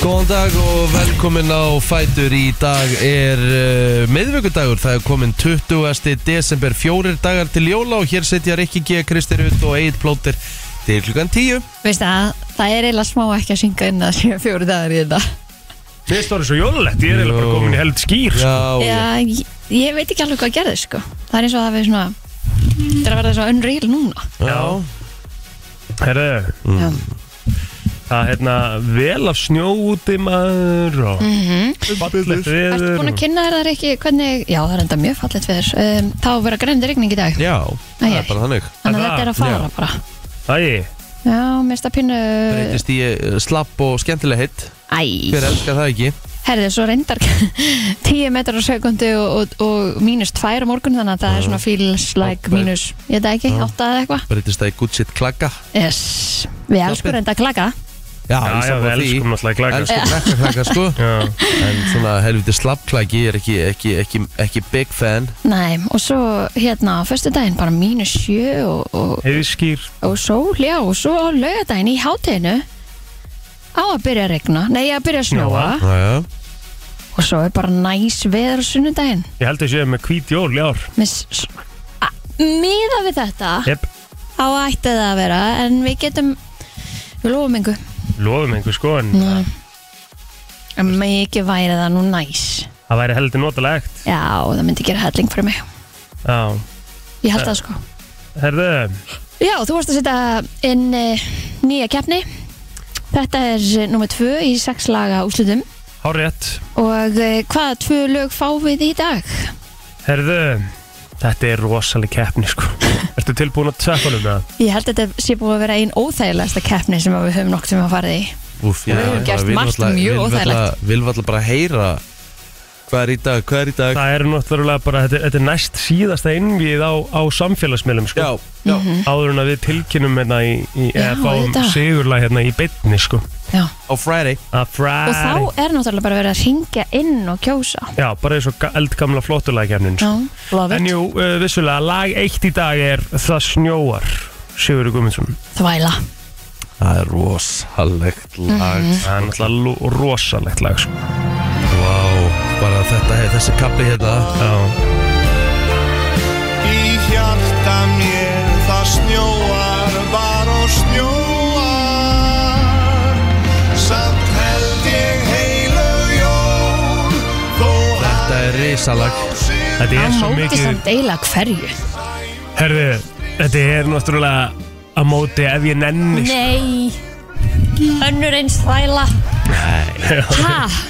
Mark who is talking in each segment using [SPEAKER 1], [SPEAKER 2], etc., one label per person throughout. [SPEAKER 1] Góðan dag og velkomin á Fætur Í dag er uh, miðvöggudagur, það er komin 20. desember, fjórir dagar til jóla og hér setja Rikki G. Kristirut og Egil Plóter til klukkan 10
[SPEAKER 2] Veist að það er eiginlega smá ekki að synga inn að séu fjóru dagar í þetta
[SPEAKER 3] Fyrst árið svo jólalegt, ég er eiginlega bara komin í held skýr sko.
[SPEAKER 1] Já,
[SPEAKER 2] Já, ég, ég veit ekki alveg hvað gerði sko Það er eins og það við svona Það er að verða svo unreal núna
[SPEAKER 1] já,
[SPEAKER 3] Herðu,
[SPEAKER 1] Mm.
[SPEAKER 2] Já.
[SPEAKER 3] það er hérna vel af snjó úti maður og fallegt
[SPEAKER 2] Ertu
[SPEAKER 3] veður
[SPEAKER 2] búin að kynna þér þar ekki hvernig Já, það er enda mjög fallegt við þér um, Þá á að vera grændir rigning í dag
[SPEAKER 1] já, það
[SPEAKER 2] Æ,
[SPEAKER 1] er bara þannig
[SPEAKER 2] Þannig að
[SPEAKER 3] það-
[SPEAKER 2] þetta er að fara bara
[SPEAKER 3] Æ,
[SPEAKER 2] Já, minnst að pínu
[SPEAKER 1] Breytist í uh, slapp og skemmtileg heitt,
[SPEAKER 2] Æ,
[SPEAKER 1] hver elskar það ekki?
[SPEAKER 2] herði, svo reyndar 10 metrar á sekundu og, og, og mínus 2 á morgun Þannig að það er svona feels like
[SPEAKER 1] Mm. Átta. Mm.
[SPEAKER 2] mínus Ég veit það ekki, 8 eða eitthvað
[SPEAKER 1] Breytist það í good shit klakka?
[SPEAKER 2] yes. Við elskum reynda að klaka
[SPEAKER 1] Já,
[SPEAKER 3] já,
[SPEAKER 1] ég
[SPEAKER 3] já, við
[SPEAKER 1] sammála því.
[SPEAKER 3] elskum náttúrulega glækast
[SPEAKER 1] Elskum klakka klakka sko
[SPEAKER 3] Já,
[SPEAKER 1] En svona helviti slappklæki er ekki, ekki, ekki, ekki big fan
[SPEAKER 2] Nei, og svo hérna á förstu daginn bara mínus sjö og, og,
[SPEAKER 3] heiðskýr
[SPEAKER 2] og sól, já, og svo á laugadaginn í hátinu á að byrja að regna, nei, að byrja að snjóa
[SPEAKER 1] Næja,
[SPEAKER 2] og svo er bara næs veður á sunnudaginn
[SPEAKER 3] Ég held að séu með hvít jól í ár
[SPEAKER 2] Með s- s- a- miða við þetta
[SPEAKER 3] Jep,
[SPEAKER 2] á ætti það að vera en við getum, við lofum yngu
[SPEAKER 3] lofum einhver sko
[SPEAKER 2] Mm.
[SPEAKER 3] en
[SPEAKER 2] en mikið væri það nú næs
[SPEAKER 3] það væri heldur notalegt
[SPEAKER 2] já, það myndi gera helling fyrir mig
[SPEAKER 3] Já,
[SPEAKER 2] ég held það sko
[SPEAKER 3] herðu,
[SPEAKER 2] Já, þú varst að setja inn uh, nýja keppni. Þetta er uh, nummer tvö í sex laga úslutum
[SPEAKER 3] hárétt
[SPEAKER 2] og uh, hvaða tvö lög fá við í dag?
[SPEAKER 3] Herðu, þetta er rosaleg keppni sko Ertu tilbúin að tjekka um það?
[SPEAKER 2] Ég held að þetta sé búið að vera einn óþægilegasta keppni sem að við höfum nokkuð sem að farið í.
[SPEAKER 1] úf,
[SPEAKER 2] Við höfum gert margt mjög óþægilegt.
[SPEAKER 1] Vil valla bara heyra hvað er í dag, hvað er í dag
[SPEAKER 3] Það er náttúrulega bara, þetta, þetta er næst síðasta innvíð á, á samfélagsmiðlum sko
[SPEAKER 1] Já, já,
[SPEAKER 3] áður en að við tilkynum hérna í, í
[SPEAKER 2] Já,
[SPEAKER 3] eða fáum
[SPEAKER 2] auðvitað.
[SPEAKER 3] sigurlega hérna í bytni sko
[SPEAKER 2] Já.
[SPEAKER 1] á Friday
[SPEAKER 3] að
[SPEAKER 2] Og
[SPEAKER 3] fræri
[SPEAKER 2] þá er náttúrulega bara verið að ringja inn og kjósa.
[SPEAKER 3] já, bara eins og ga- eldgamla flottulækjarnin
[SPEAKER 2] Já,
[SPEAKER 3] sko.
[SPEAKER 2] love
[SPEAKER 3] en
[SPEAKER 2] it.
[SPEAKER 3] jú, uh, vissulega, lag eitt í dag er Það snjóar Sigurður Guðmundsson
[SPEAKER 2] Þvæla.
[SPEAKER 1] Það er rosalegt lag
[SPEAKER 3] það er náttúrulega lo- rosalegt lag sko.
[SPEAKER 1] Vá, bara þetta, hey, þessi kapli hérna
[SPEAKER 3] já,
[SPEAKER 4] Í hjarta mér það snjóar, bara og snjóar Samt held ég heilug jól Þó
[SPEAKER 1] Þetta er risalag
[SPEAKER 3] þetta
[SPEAKER 2] Á
[SPEAKER 3] er svo
[SPEAKER 2] móti
[SPEAKER 3] mikið
[SPEAKER 2] samt eila hverju.
[SPEAKER 3] herðu, þetta er náttúrulega að móti ef ég nenni sko.
[SPEAKER 2] Nei. Önnur eins þvæla. Nei. Hæ?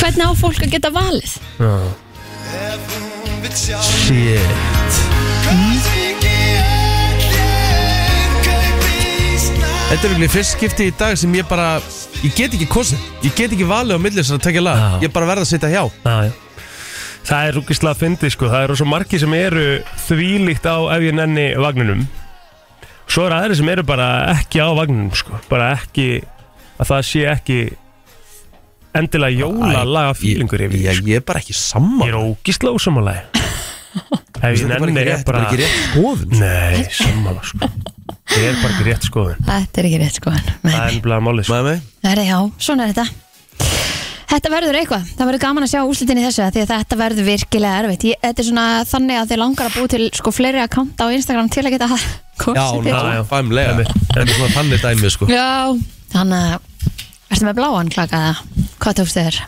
[SPEAKER 2] Hvernig á fólk að geta valið?
[SPEAKER 3] Já.
[SPEAKER 4] Ef hún vil sjá
[SPEAKER 1] Shit
[SPEAKER 4] Siggi ekkert kaupi í snæ
[SPEAKER 1] Þetta er virkelig fyrst skipti í dag sem ég bara Ég get ekki kosið, ég get ekki valið á millir sem að tekja lag,
[SPEAKER 3] Já.
[SPEAKER 1] ég bara verð að sitja hjá
[SPEAKER 3] Já, já. Það er rúkislega að fyndi sko, það eru svo margi sem eru þvílíkt á ef ég nenni vagninum Svo eru aðri sem eru bara ekki á vagninum sko, bara ekki, að það sé ekki endilega jóla laga fílingur yfir því,
[SPEAKER 1] Ég,
[SPEAKER 3] sko.
[SPEAKER 1] ég er bara ekki sammála
[SPEAKER 3] Ég er rúkislega ósamalagi Ef ég
[SPEAKER 1] Þetta bara
[SPEAKER 3] nenni
[SPEAKER 1] ekki
[SPEAKER 3] er
[SPEAKER 1] rétt-
[SPEAKER 3] bara,
[SPEAKER 1] ekki rétt skoðun sko.
[SPEAKER 3] nei, sammála sko Ég er bara ekki rétt skoðun
[SPEAKER 2] Þetta er ekki rétt sko
[SPEAKER 3] Það er ennblega málið sko
[SPEAKER 1] Mæmi,
[SPEAKER 2] Það er já, svona er þetta Þetta verður eitthvað, það verður gaman að sjá úslitin í þessu af því að þetta verður virkilega erfitt ég, Þetta er svona þannig að þið langar að búi til sko fleiri akkant á Instagram til að geta
[SPEAKER 1] já,
[SPEAKER 2] kosið til
[SPEAKER 3] já, já.
[SPEAKER 1] ná, fæmlega Þetta er svona þannig dæmi, sko
[SPEAKER 2] Já, þannig að Ertu með bláan klaka það? Hvað tókstu þér?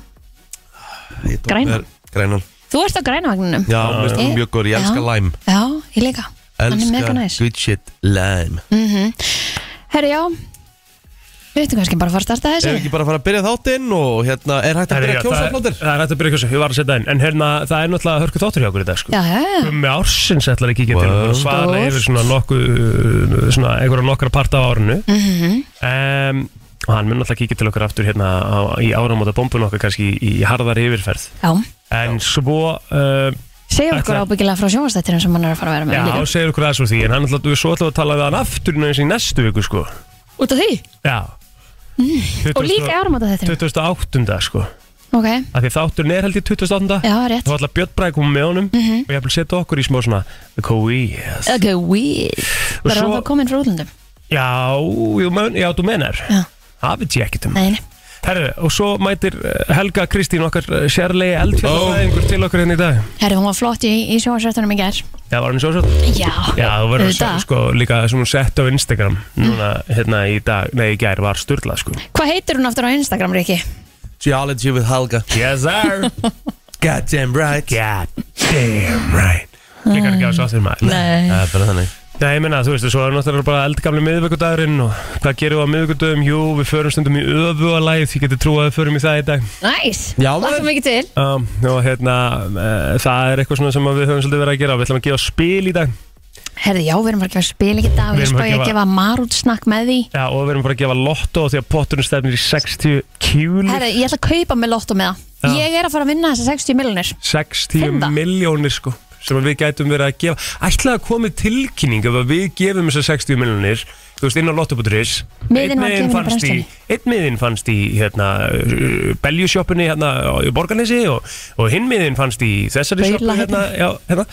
[SPEAKER 1] Ég tók
[SPEAKER 2] Grænan.
[SPEAKER 1] mér- Grænan
[SPEAKER 2] Þú ert á grænvagninum
[SPEAKER 1] Já, mér finnst hún
[SPEAKER 2] Ég-
[SPEAKER 1] mjög góð, ég elska
[SPEAKER 2] Eh, Já.
[SPEAKER 1] lime
[SPEAKER 2] Já, ég líka Hann er mega
[SPEAKER 1] Elska
[SPEAKER 2] Mm. næs
[SPEAKER 1] good shit lime
[SPEAKER 2] Herri já, við veitum kannski bara að fara að starta
[SPEAKER 1] Ef
[SPEAKER 2] þessu
[SPEAKER 1] ekki bara að fara að byrja þáttinn og hérna, er hægt að
[SPEAKER 3] Herri, já,
[SPEAKER 1] byrja
[SPEAKER 3] Það er
[SPEAKER 1] kjósaflóttir?
[SPEAKER 3] það er hægt að byrja kjósa, ég var að setja inn En hérna, það er náttúrulega hörku þáttur hjá okkur í dag sko
[SPEAKER 2] Já, já, já,
[SPEAKER 3] Gummi ársins ætlar ekki ekki til
[SPEAKER 1] Wow.
[SPEAKER 3] að svara
[SPEAKER 2] Stórt.
[SPEAKER 3] yfir svona nokkuð uh, svona einhverja nokkra part af árinu mm
[SPEAKER 2] Mhm,
[SPEAKER 3] og hann mun alltaf kikið til okkar aftur hérna á, í áramóta bombun okkar kannski í, í harðari yfirferð
[SPEAKER 2] já
[SPEAKER 3] en svo uh,
[SPEAKER 2] Segjum okkur
[SPEAKER 3] Ætla-
[SPEAKER 2] ábyggilega frá sjónvastættinum sem hann er að fara að vera með
[SPEAKER 3] já,
[SPEAKER 2] líka.
[SPEAKER 3] segir okkur aðeins úr því en hann alltaf, svo ætlar við að tala við hann aftur næst í næstu viku sko
[SPEAKER 2] Út af því?
[SPEAKER 3] já
[SPEAKER 2] Mm. Og líka áramóta þetta
[SPEAKER 3] 28. sko
[SPEAKER 2] Ok,
[SPEAKER 3] af því þátturinn er held í 28.
[SPEAKER 2] já, Mhm. rétt
[SPEAKER 3] þá ætla Björn Bræk komið með honum og ég ætla að setja okkur í smá svona E the Koreas
[SPEAKER 2] Ok, weird
[SPEAKER 3] Og
[SPEAKER 2] Bara
[SPEAKER 3] svo-
[SPEAKER 2] hann var komin frá útlöndum
[SPEAKER 3] Já, jú, men, já, þú menar
[SPEAKER 2] Já.
[SPEAKER 3] Það veit ég ekkert um
[SPEAKER 2] Nei, nei,
[SPEAKER 3] Herru, og svo mætir eh, Helga Kristín okkar eh, sérlegi eldfjallafræðingur til okkur hérna í dag
[SPEAKER 2] Herru, hún var flott í, í sjóhansrættunum í ger
[SPEAKER 3] Já, var hann svo svo?
[SPEAKER 2] Já,
[SPEAKER 3] Já, þú verður að
[SPEAKER 2] auðvitað.
[SPEAKER 3] segja sko líka sem hún sett á Instagram Núna, hérna í dag, nei í gær var styrlað sko
[SPEAKER 2] Hvað heitir hún aftur á Instagram, Riki?
[SPEAKER 1] Geology with Helga
[SPEAKER 3] Yes sir
[SPEAKER 1] Goddamn right
[SPEAKER 3] God damn right Líkar ekki á svo aftur maður
[SPEAKER 2] Nei
[SPEAKER 1] Það er bara þannig
[SPEAKER 3] Nei, ég menna, þú veist, svo er náttúrulega bara eldgamli miðvikudagurinn og hvað gerum við á miðvikudagum? Jú, við förum stundum í öfualæð, ég geti trú að við förum í það í dag.
[SPEAKER 2] Næs,
[SPEAKER 1] Já,
[SPEAKER 2] lakka
[SPEAKER 1] maður.
[SPEAKER 2] mikið til
[SPEAKER 3] Um, og hérna, uh, það er eitthvað svona sem við höfum svolítið verið að gera. Við ætlum að gefa spil í dag.
[SPEAKER 2] Herru, já, við erum bara að gefa spil ekki dag
[SPEAKER 3] Við
[SPEAKER 2] Við
[SPEAKER 3] erum að
[SPEAKER 2] spáum ég að
[SPEAKER 3] gefa-
[SPEAKER 2] gefa marút snakk með því
[SPEAKER 3] Já, og við erum bara að gefa lotto því að potturinn stefnir í 60 kjúli.
[SPEAKER 2] Herru, ég ætla að kaupa með lotto með
[SPEAKER 3] Já.
[SPEAKER 2] það Ég er að fara að vinna þessar 60 miljonir
[SPEAKER 3] 60
[SPEAKER 2] Fynda.
[SPEAKER 3] miljónir, sko, sem að við gætum verið að gefa. Ætlaði að komi tilkynning ef að við gefum þessar 60 miljónir, þú veist, inn á lotto.is.
[SPEAKER 2] Miðinn var
[SPEAKER 3] Einn miðinn
[SPEAKER 2] gefinn í
[SPEAKER 3] fannst í-
[SPEAKER 2] brennslunni.
[SPEAKER 3] Einn miðinn fannst í hérna, beljusjópunni hérna á- í Borganesi og, og hinn miðinn fannst í þessari
[SPEAKER 2] Baula
[SPEAKER 3] sjoppu hérna, já, hérna,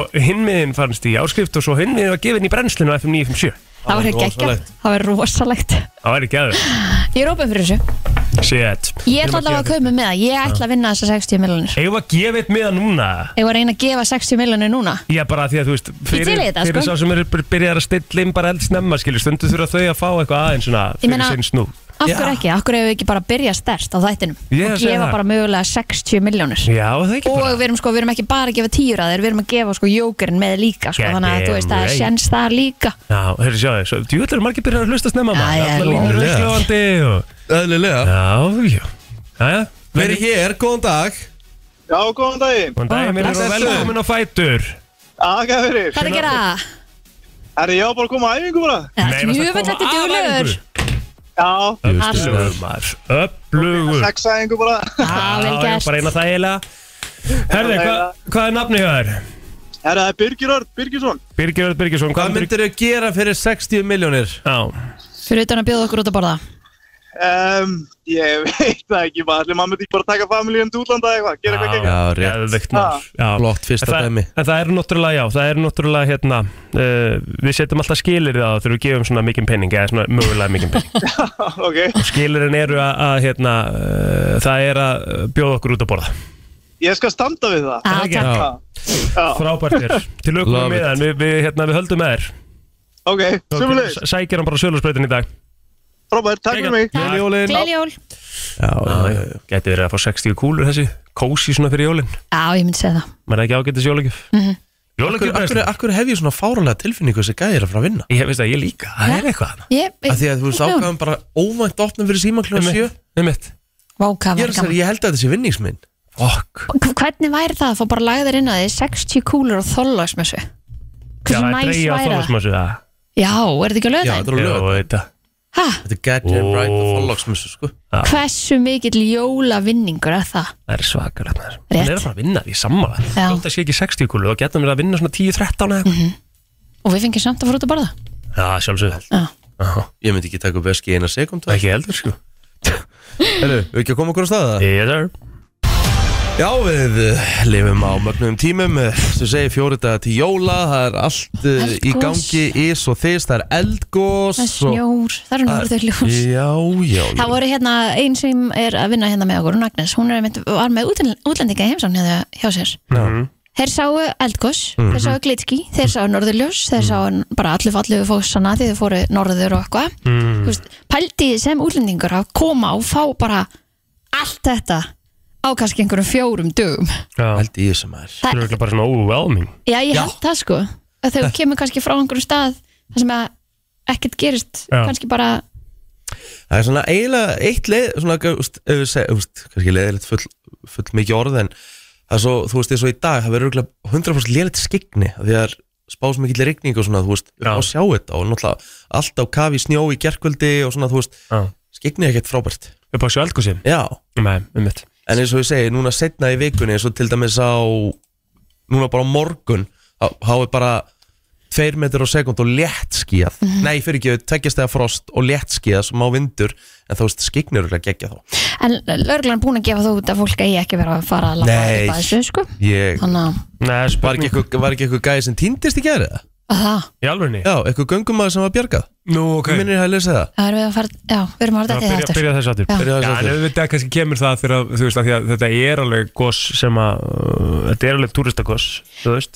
[SPEAKER 3] og hinn miðinn fannst í áskrift og svo hinn miðinn var gefinn í brennslinu á FM 957
[SPEAKER 2] Það var ekki ekki,
[SPEAKER 1] rosalegt.
[SPEAKER 2] það var rosalegt
[SPEAKER 3] Það væri ekki aður
[SPEAKER 2] Ég er opið fyrir þessu
[SPEAKER 3] Shit
[SPEAKER 2] Ég ætla allavega að kaupa með það, ég ætla að vinna þessar 60 miljonir
[SPEAKER 3] Eigum við að gefa eitt miða núna
[SPEAKER 2] Ég var að reyna að gefa 60 miljonir núna
[SPEAKER 3] Já bara því að þú veist
[SPEAKER 2] til í þetta,
[SPEAKER 3] fyrir
[SPEAKER 2] sko.
[SPEAKER 3] sá sem eru bara byrjar að stilla inn bara eldsnemma skilur Stundu þurfa þau að fá eitthvað aðeins svona
[SPEAKER 2] Ég
[SPEAKER 3] Fyrir
[SPEAKER 2] meina-
[SPEAKER 3] sinn snú
[SPEAKER 2] Af
[SPEAKER 1] Já.
[SPEAKER 2] hverju ekki? Af hverju hefur við ekki bara byrjað stert á þættinum
[SPEAKER 3] Ég
[SPEAKER 2] og
[SPEAKER 3] er að segja
[SPEAKER 2] gefa
[SPEAKER 3] það.
[SPEAKER 2] bara mögulega 60 miljónir
[SPEAKER 3] Já það ekki
[SPEAKER 2] og
[SPEAKER 3] bara
[SPEAKER 2] við erum, sko, við erum ekki bara að gefa tíur að þeir við erum að gefa sko jókerinn með líka sko,
[SPEAKER 3] God
[SPEAKER 2] þannig að þú veist það
[SPEAKER 3] damn
[SPEAKER 2] er
[SPEAKER 3] right.
[SPEAKER 2] sjens þar líka
[SPEAKER 3] Já, heyrðu sjá þessu, djúvel eru margir byrjar að hlusta snemma
[SPEAKER 2] Já, já,
[SPEAKER 1] já.
[SPEAKER 3] maður Allar línur auðsljóðandi og
[SPEAKER 1] Öðlilega
[SPEAKER 3] Já, já Jæja,
[SPEAKER 1] Verið hér, góðan dag
[SPEAKER 5] Já, góðan daginn.
[SPEAKER 3] Góðan dag, mér
[SPEAKER 1] blessaður.
[SPEAKER 3] erum velkomin á Fætur
[SPEAKER 5] Aka fyrir.
[SPEAKER 2] Hvað er að gera?
[SPEAKER 5] Herri, ég var bara að koma á æfingu bara.
[SPEAKER 2] Jöfell þetta er djúlegur
[SPEAKER 5] Já,
[SPEAKER 3] Öflugur maður, öflugur
[SPEAKER 5] sex æfingu Ah, bara.
[SPEAKER 2] Já, vel
[SPEAKER 3] Já, já, bara
[SPEAKER 2] gert
[SPEAKER 3] eina þægilega Herði,
[SPEAKER 5] Þægilega.
[SPEAKER 3] hva, hvað er nafni hjá þér?
[SPEAKER 5] Herri, það er Birgir Örn, Birgisson.
[SPEAKER 3] Birgir Örn Birgisson,
[SPEAKER 1] Hvað myndir þau gera fyrir 60 miljónir?
[SPEAKER 3] Já,
[SPEAKER 2] Fyrir utan að bjóða okkur út að borða
[SPEAKER 5] Um, ég veit það ekki, maður allir maður myndi ekki bara taka familíum til útlanda eða eitthvað, gera eitthvað gegn.
[SPEAKER 1] Já, rétt.
[SPEAKER 3] geðveikt maður. Já,
[SPEAKER 1] Flott fyrsta
[SPEAKER 3] En það-
[SPEAKER 1] dæmi.
[SPEAKER 3] En það eru náttúrulega, já, það eru náttúrulega hérna uh, Við setjum alltaf skilir það þegar við gefum svona mikinn penning Eða svona mögulega mikinn penning
[SPEAKER 5] Ok,
[SPEAKER 3] Skilirinn eru að, að hérna, uh, það er að uh, bjóða okkur út að borða
[SPEAKER 5] ég skal standa við það.
[SPEAKER 2] Já,
[SPEAKER 3] ekki?
[SPEAKER 2] takk.
[SPEAKER 1] Já.
[SPEAKER 5] Já,
[SPEAKER 3] Frábært þér, til okkur
[SPEAKER 1] Love
[SPEAKER 3] með hann, við, við, hérna, við höldum með þér
[SPEAKER 5] ok, sumulegis.
[SPEAKER 3] S- Sækir hann bara sölurspreytin í dag
[SPEAKER 5] Robert, takk fyrir mig.
[SPEAKER 1] Gleðileg jólin.
[SPEAKER 2] Gleðileg jól
[SPEAKER 1] Já, já, já.
[SPEAKER 3] Gæti verið að fá 60 kúlur þessi, kósi svona fyrir jólin
[SPEAKER 2] Já, ég myndi segja það
[SPEAKER 3] Maður er ekki ágættis jólagjöf mm
[SPEAKER 5] Mhm.
[SPEAKER 3] -hmm.
[SPEAKER 1] Akkur, akkur, akkur hef ég svona fáranlega tilfinningu þessi gæðir að fara að vinna?
[SPEAKER 3] Ég veist að ég líka, það er eitthvað þarna.
[SPEAKER 2] Ég,
[SPEAKER 1] Af því að þú veist ákvæðan bara óvænt opnum fyrir síman kljóðan sjö
[SPEAKER 3] Einmitt, einmitt.
[SPEAKER 2] Váka,
[SPEAKER 1] Ég, er að segja, ég held að þetta sé vinningsminn
[SPEAKER 3] Fuck.
[SPEAKER 2] Hvernig væri það að fá bara lagðir inn að því 60 kúlur og þóllagsmessu
[SPEAKER 3] Já,
[SPEAKER 2] Hversu
[SPEAKER 3] það er
[SPEAKER 2] næs
[SPEAKER 3] dreigja á
[SPEAKER 2] væri það?
[SPEAKER 3] þólasmössu það
[SPEAKER 2] Já, er þetta ekki að
[SPEAKER 1] Já,
[SPEAKER 2] löða
[SPEAKER 1] þetta er alveg
[SPEAKER 3] Já,
[SPEAKER 1] lög
[SPEAKER 3] þetta
[SPEAKER 2] Hæ?
[SPEAKER 1] Þetta er goddamn
[SPEAKER 3] Ó.
[SPEAKER 1] right og fólksmessu sko
[SPEAKER 2] Hversu mikill jólavinningur er það?
[SPEAKER 3] Það er svakalega maður
[SPEAKER 2] Rétt.
[SPEAKER 3] Það er að fara að vinna því sammála
[SPEAKER 2] Já.
[SPEAKER 3] Þótt að sé ekki 60 kúlu og getum við að vinna svona 10-13 eða eitthvað
[SPEAKER 2] Og við fengið samt að fara út að borða
[SPEAKER 3] Já, sjálfsögðu
[SPEAKER 2] Já.
[SPEAKER 3] Aha,
[SPEAKER 1] Ég myndi ekki taka upp veski í eina sekund Herru,
[SPEAKER 3] Ekki heldur sko
[SPEAKER 1] við ekki að koma okkur á staða
[SPEAKER 3] Yes sir
[SPEAKER 1] Já, við eh, lifum á mögnum tímum eh, sem segir fjóri daga til jóla það er allt uh, í
[SPEAKER 2] Eldgos.
[SPEAKER 1] gangi ís og þist, það er eldgós
[SPEAKER 2] Það er snjór, það eru norður ljós
[SPEAKER 1] Já, já, já
[SPEAKER 2] Það voru hérna einn sem er að vinna hérna með okkur, hún Agnes, hún er einmitt, var með útlend- útlendinga í heimsán hérna hjá sér.
[SPEAKER 3] Mhm.
[SPEAKER 2] Þeir sáu eldgoss, þeir sáu glitski, þeir sáu norðurljós, þeir sáu bara allu fallu fóksana því þeir fóru norður og eitthvað.
[SPEAKER 3] Mhm.
[SPEAKER 2] Mm. Veist, pældi sem útlendingur að koma og fá bara allt þetta á kannski einhverjum fjórum dögum.
[SPEAKER 3] Það
[SPEAKER 1] Held í þessu maður
[SPEAKER 2] Það,
[SPEAKER 3] er bara svona overwhelming
[SPEAKER 2] Já, ég
[SPEAKER 1] Já.
[SPEAKER 2] held það sko að þau kemur kannski frá einhverjum stað þar sem að ekkert gerist
[SPEAKER 3] Já.
[SPEAKER 2] kannski bara,
[SPEAKER 1] Það er svona eiginlega eitt leið svona, eh, úst, ef við seg, úst, kannski leiðilegt full, full mikið orð en það er svo, þú veist, eins og í dag það verður örugglega 100% leiðilegt skikni af því það er spás mikill rigning og svona, þú veist, upp
[SPEAKER 3] Já.
[SPEAKER 1] á sjá þetta og náttúrulega allt á kafi í snjó í gerkvöldi og svona, þú veist,
[SPEAKER 3] Já.
[SPEAKER 1] skikni er ekkert frábært
[SPEAKER 3] Upp á sjö eldgósi
[SPEAKER 1] Já,
[SPEAKER 3] Nei, um mitt
[SPEAKER 1] en eins og ég segi, núna setna í vikunni eins og til dæmis á núna bara á morgun þá þá er bara 2 metr á sekund og létt skíðað
[SPEAKER 2] Mhm.
[SPEAKER 1] nei, fyrir ekki, tveggjast eða frost og létt skíðað sem á vindur, en þá veist skignir eru að gegja þá
[SPEAKER 2] en lögreglan er búin að gefa þú út að fólk eigi ekki verið að fara að lappa
[SPEAKER 1] Nei.
[SPEAKER 2] upp að þessu sko
[SPEAKER 1] ég,
[SPEAKER 2] þannig að,
[SPEAKER 3] Nei,
[SPEAKER 1] var ekki
[SPEAKER 3] spurning
[SPEAKER 1] eitthvað, var ekki eitthvað gæði sem týndist í gæri það?
[SPEAKER 2] að það,
[SPEAKER 3] Í alvegni?
[SPEAKER 1] Já, eitthvað göngumæður sem var bjargað
[SPEAKER 6] Nú, ok
[SPEAKER 2] Mm.
[SPEAKER 1] Þú minnir ég að lesa það
[SPEAKER 2] það erum við að fara já, við erum að horfa
[SPEAKER 3] Það
[SPEAKER 2] þetta sko. þetta
[SPEAKER 3] byrja, byrja þessu aftur
[SPEAKER 2] Já.
[SPEAKER 6] Já,
[SPEAKER 1] Byrjaðu
[SPEAKER 6] en
[SPEAKER 1] þessu aftur.
[SPEAKER 6] auðvitað kannski kemur það þegar að, þú veist að, að þetta er alveg
[SPEAKER 3] Gós sem að uh, Þetta er alveg túristagoss, þú veist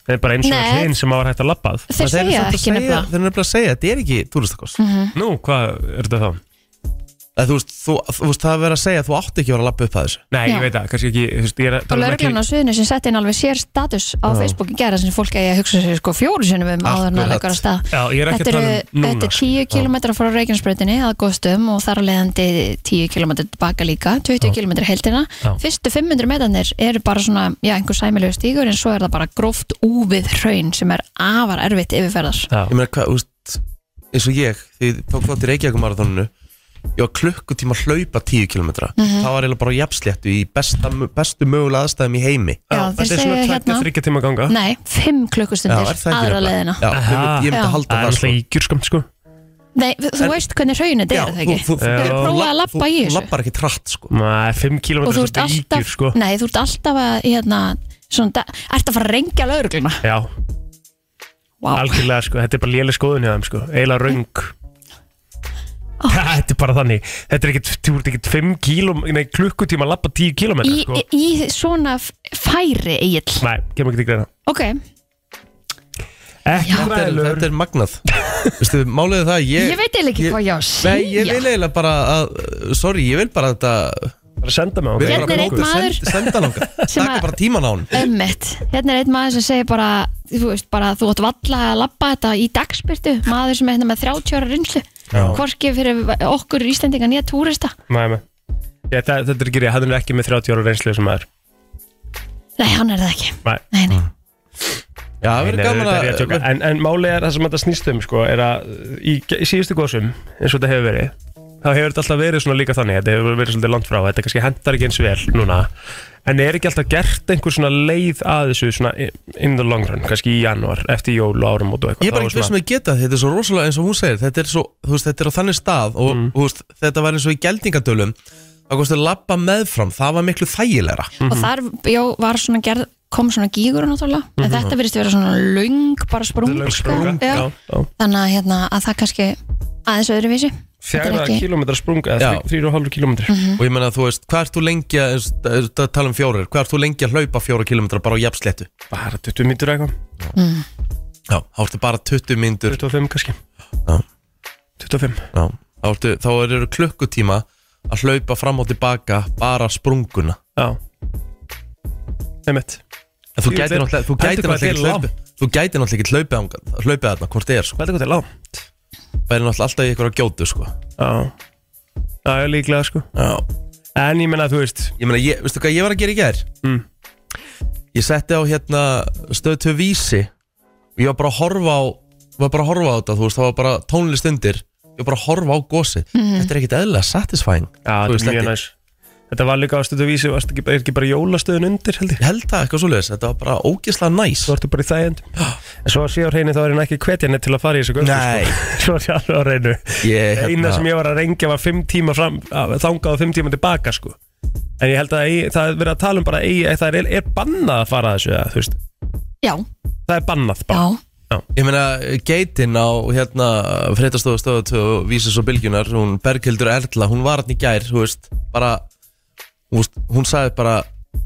[SPEAKER 3] Það er bara eins og
[SPEAKER 2] Nei.
[SPEAKER 3] hlinn sem að var hægt að labbað
[SPEAKER 2] þeir
[SPEAKER 1] eru
[SPEAKER 2] segja
[SPEAKER 1] samt að
[SPEAKER 2] ekki nefnilega Mhm.
[SPEAKER 1] Þeir eru nefnilega að segja, þetta er ekki túristakost mm.
[SPEAKER 3] Nú, hvað er þetta þá?
[SPEAKER 1] þú, veist, þú, þú veist, það er verið að segja að þú átt ekki að vera að lappa upp að þessu
[SPEAKER 6] Nei,
[SPEAKER 2] Já.
[SPEAKER 6] ég veit það, kannski ekki þú veist, ég er að
[SPEAKER 2] og
[SPEAKER 6] tala um ekki
[SPEAKER 2] lögreglan á sviðinu sem setti inn alveg sér status á Facebook í gera sem fólk eigi að hugsa sér sko fjóru sinum um áður en
[SPEAKER 1] Akkurat.
[SPEAKER 2] að leikur á stað
[SPEAKER 6] Já, ég er ekki að tala
[SPEAKER 2] þetta eru
[SPEAKER 6] um
[SPEAKER 2] þetta
[SPEAKER 6] núna
[SPEAKER 2] er 10 km frá Reykjanesbreytinni að góðstum og þar að leiðandi 10 km tilbaka líka 20 km heldina
[SPEAKER 3] Já.
[SPEAKER 2] fyrstu 500 metanir eru bara svona já, einhver sæmilegu stígur en svo er það bara gróft úfið hraun sem er afar erfitt yfirferðar
[SPEAKER 1] Ég meina, hvað, þú veist eins og ég, því ég tók þátt í Reykjavíkumarathoninu ég var klukkutíma að hlaupa 10 km
[SPEAKER 2] Mhm.
[SPEAKER 1] það var eiginlega bara jafnsléttu í besta, bestu mögulega aðstæðum í heimi
[SPEAKER 2] Já, þeir
[SPEAKER 3] Þetta er svona
[SPEAKER 2] segja
[SPEAKER 3] tveggja,
[SPEAKER 2] hérna-
[SPEAKER 3] þryggja tíma ganga
[SPEAKER 2] nei, 5 klukkustundir
[SPEAKER 1] það ekki
[SPEAKER 2] aðra
[SPEAKER 1] nefnilega?
[SPEAKER 2] leiðina
[SPEAKER 1] Já, ég myndi, ég myndi
[SPEAKER 2] Já.
[SPEAKER 1] halda
[SPEAKER 3] Það er
[SPEAKER 1] það sko
[SPEAKER 3] alltaf ígjurskamt sko
[SPEAKER 2] nei, þú veist hvernig hraun þetta
[SPEAKER 1] Já,
[SPEAKER 2] er það ekki
[SPEAKER 1] þú, þú,
[SPEAKER 3] Þú
[SPEAKER 1] þú,
[SPEAKER 2] prófaði að labba í
[SPEAKER 1] Þú
[SPEAKER 2] þessu?
[SPEAKER 1] lappar ekki trætt sko
[SPEAKER 3] Nei, 5 km
[SPEAKER 2] og þú ert alltaf
[SPEAKER 3] ígjur sko
[SPEAKER 2] nei, þú ert alltaf að hérna, svona, da- ert að fara að rengja lögregluna
[SPEAKER 3] Já,
[SPEAKER 2] wow.
[SPEAKER 3] algjörlega sko, þetta er bara léleg skoðun hjá þeim sko, eiginlega röng Þetta er bara þannig Þetta er ekkit, þú ert ekkit 5 kílum Nei, klukkutíma að labba 10 km
[SPEAKER 2] í,
[SPEAKER 3] sko
[SPEAKER 2] í, í svona f- færi eigill
[SPEAKER 3] Nei, kemur ekki til greina
[SPEAKER 2] ok,
[SPEAKER 3] Ekki
[SPEAKER 1] Þetta er,
[SPEAKER 3] fræðilegur.
[SPEAKER 1] þetta er magnað Vistu, Málið er það að ég
[SPEAKER 2] ég veit eiginlega ekki
[SPEAKER 1] ég-
[SPEAKER 2] hvað ég á að
[SPEAKER 1] Nei, ég
[SPEAKER 2] segja
[SPEAKER 1] vil eiginlega bara að Sorry, ég vil bara að þetta
[SPEAKER 3] Bara senda mig á
[SPEAKER 1] við
[SPEAKER 2] Hérna
[SPEAKER 1] bara
[SPEAKER 2] er einn
[SPEAKER 1] bókum,
[SPEAKER 2] maður
[SPEAKER 1] send- Senda hann okkar
[SPEAKER 2] sem
[SPEAKER 1] Takka
[SPEAKER 2] að-
[SPEAKER 1] bara tíman á hann
[SPEAKER 2] Ömmit, hérna er einn maður sem segir bara þú veist bara, þú átt valla að labba þetta í dagspyrtu, maður sem er hérna með 30 ára rinslu, hvorki fyrir okkur Íslendinga nýja túrista
[SPEAKER 3] Nei, nei. Ég, það, þetta er ekki rétt, hann er ekki með 30 ára reynslu sem maður.
[SPEAKER 2] nei, hann er það ekki
[SPEAKER 3] Nei.
[SPEAKER 2] nei, nei.
[SPEAKER 1] Já, það verður
[SPEAKER 3] Nei,
[SPEAKER 1] gaman
[SPEAKER 3] þetta er rétt
[SPEAKER 1] að
[SPEAKER 3] tjóka. En, en máli er það sem þetta snýst um sko, er að í, í síðustu góðsum eins og þetta hefur verið þá hefur þetta alltaf verið svona líka þannig þetta hefur verið svolítið langt frá, þetta kannski hendar ekki eins vel núna, en er ekki alltaf gert einhver svona leið að þessu svona in the long run, kannski í janúar eftir jól og árum og eitthvað
[SPEAKER 1] Ég er bara
[SPEAKER 3] Þá
[SPEAKER 1] ekki veist sem ég geta þetta er svo rosalega eins og hún segir þetta er, svo, þú veist, þetta er á þannig stað og þú veist, þetta var eins og í geldingadölum þá komstu að labba meðfram, það var miklu þægilegra
[SPEAKER 3] Mm.
[SPEAKER 2] og þar já, var svona gerð kom svona gígur náttúrulega en þetta virðist vera svona löng bara sprung,
[SPEAKER 3] Mhm. löng
[SPEAKER 2] sko.
[SPEAKER 3] sprunga,
[SPEAKER 2] já. þannig að, hérna, að það kannski aðeins öðruvísi Þetta er
[SPEAKER 3] fjara
[SPEAKER 2] ekki- Mhm.
[SPEAKER 3] kilometra sprunga,
[SPEAKER 1] Já.
[SPEAKER 3] 3,5 kilometri
[SPEAKER 1] og ég menna þú veist, hvað ert þú lengi að eins- þetta tala um fjórir, hvað ert þú lengi að hlaupa fjóra kilometra bara á jafnsléttu
[SPEAKER 3] bara 20 mítur eitthvað,
[SPEAKER 1] Já, þá ertu bara 20 myndur
[SPEAKER 3] 25 kannski
[SPEAKER 1] Já.
[SPEAKER 3] 25
[SPEAKER 1] Já, þá, ertu, þá eru klukkutíma að hlaupa fram og tilbaka bara sprunguna
[SPEAKER 3] Já Einmitt
[SPEAKER 1] en þú
[SPEAKER 3] Ég
[SPEAKER 1] gætir
[SPEAKER 3] veit-
[SPEAKER 1] náttúrulega þú
[SPEAKER 3] Heldur
[SPEAKER 1] gætir
[SPEAKER 3] hvað
[SPEAKER 1] náttúrulega
[SPEAKER 3] þetta
[SPEAKER 1] ekki
[SPEAKER 3] er
[SPEAKER 1] hlaupið þú gætir náttúrulega ekki hlaupið þangað- hlaupið þarna, hvort þið er sko.
[SPEAKER 3] Hvað er þetta er langt?
[SPEAKER 1] það er náttúrulega alltaf í ykkur að gjótu sko.
[SPEAKER 3] Já Já, ég er líklega sko
[SPEAKER 1] Já.
[SPEAKER 3] En ég menna að þú veist
[SPEAKER 1] ég meina, ég, veistu hvað ég var að gera í gær
[SPEAKER 3] Mm.
[SPEAKER 1] ég setti á hérna stöð 2 vísi og ég var bara að horfa á var bara að horfa á þetta, þú veist, það var bara tónlist undir ég var bara að horfa á gósi
[SPEAKER 2] Mhm.
[SPEAKER 1] þetta er ekkit eðlilega satisfying Þú
[SPEAKER 3] Já, þetta
[SPEAKER 1] veist,
[SPEAKER 3] er mjög
[SPEAKER 1] þetta-
[SPEAKER 3] næs Þetta var líka á stöðu vísi varstu ekki, Er ekki bara jólastöðun undir held ég
[SPEAKER 1] ég held það eitthvað svoleiðis, þetta var bara ógeðslega næs
[SPEAKER 3] Svo ertu bara í þægjend En svo að sé á hreinu þá er hann ekki hvetja neitt til að fara í þessu göstu
[SPEAKER 1] Nei.
[SPEAKER 3] sko. Svo að sé alveg á hreinu
[SPEAKER 1] ég,
[SPEAKER 3] Eina sem ég hérna- var að rengja var fimm tíma fram að- Þangað og fimm tíma tilbaka sko En ég held að eigi- það er verið að tala um bara eigi, Það er, er bannað að fara að þessu eða, þú veist.
[SPEAKER 2] já,
[SPEAKER 3] Það er bannað
[SPEAKER 2] já,
[SPEAKER 3] bara
[SPEAKER 1] Ég meina, geitin á hérna fréttastofu stöðu 2 og vísis og bylgjunar hún Berghildur Erla, hún var hann í gær þú veist, bara hún, veist, hún sagði bara,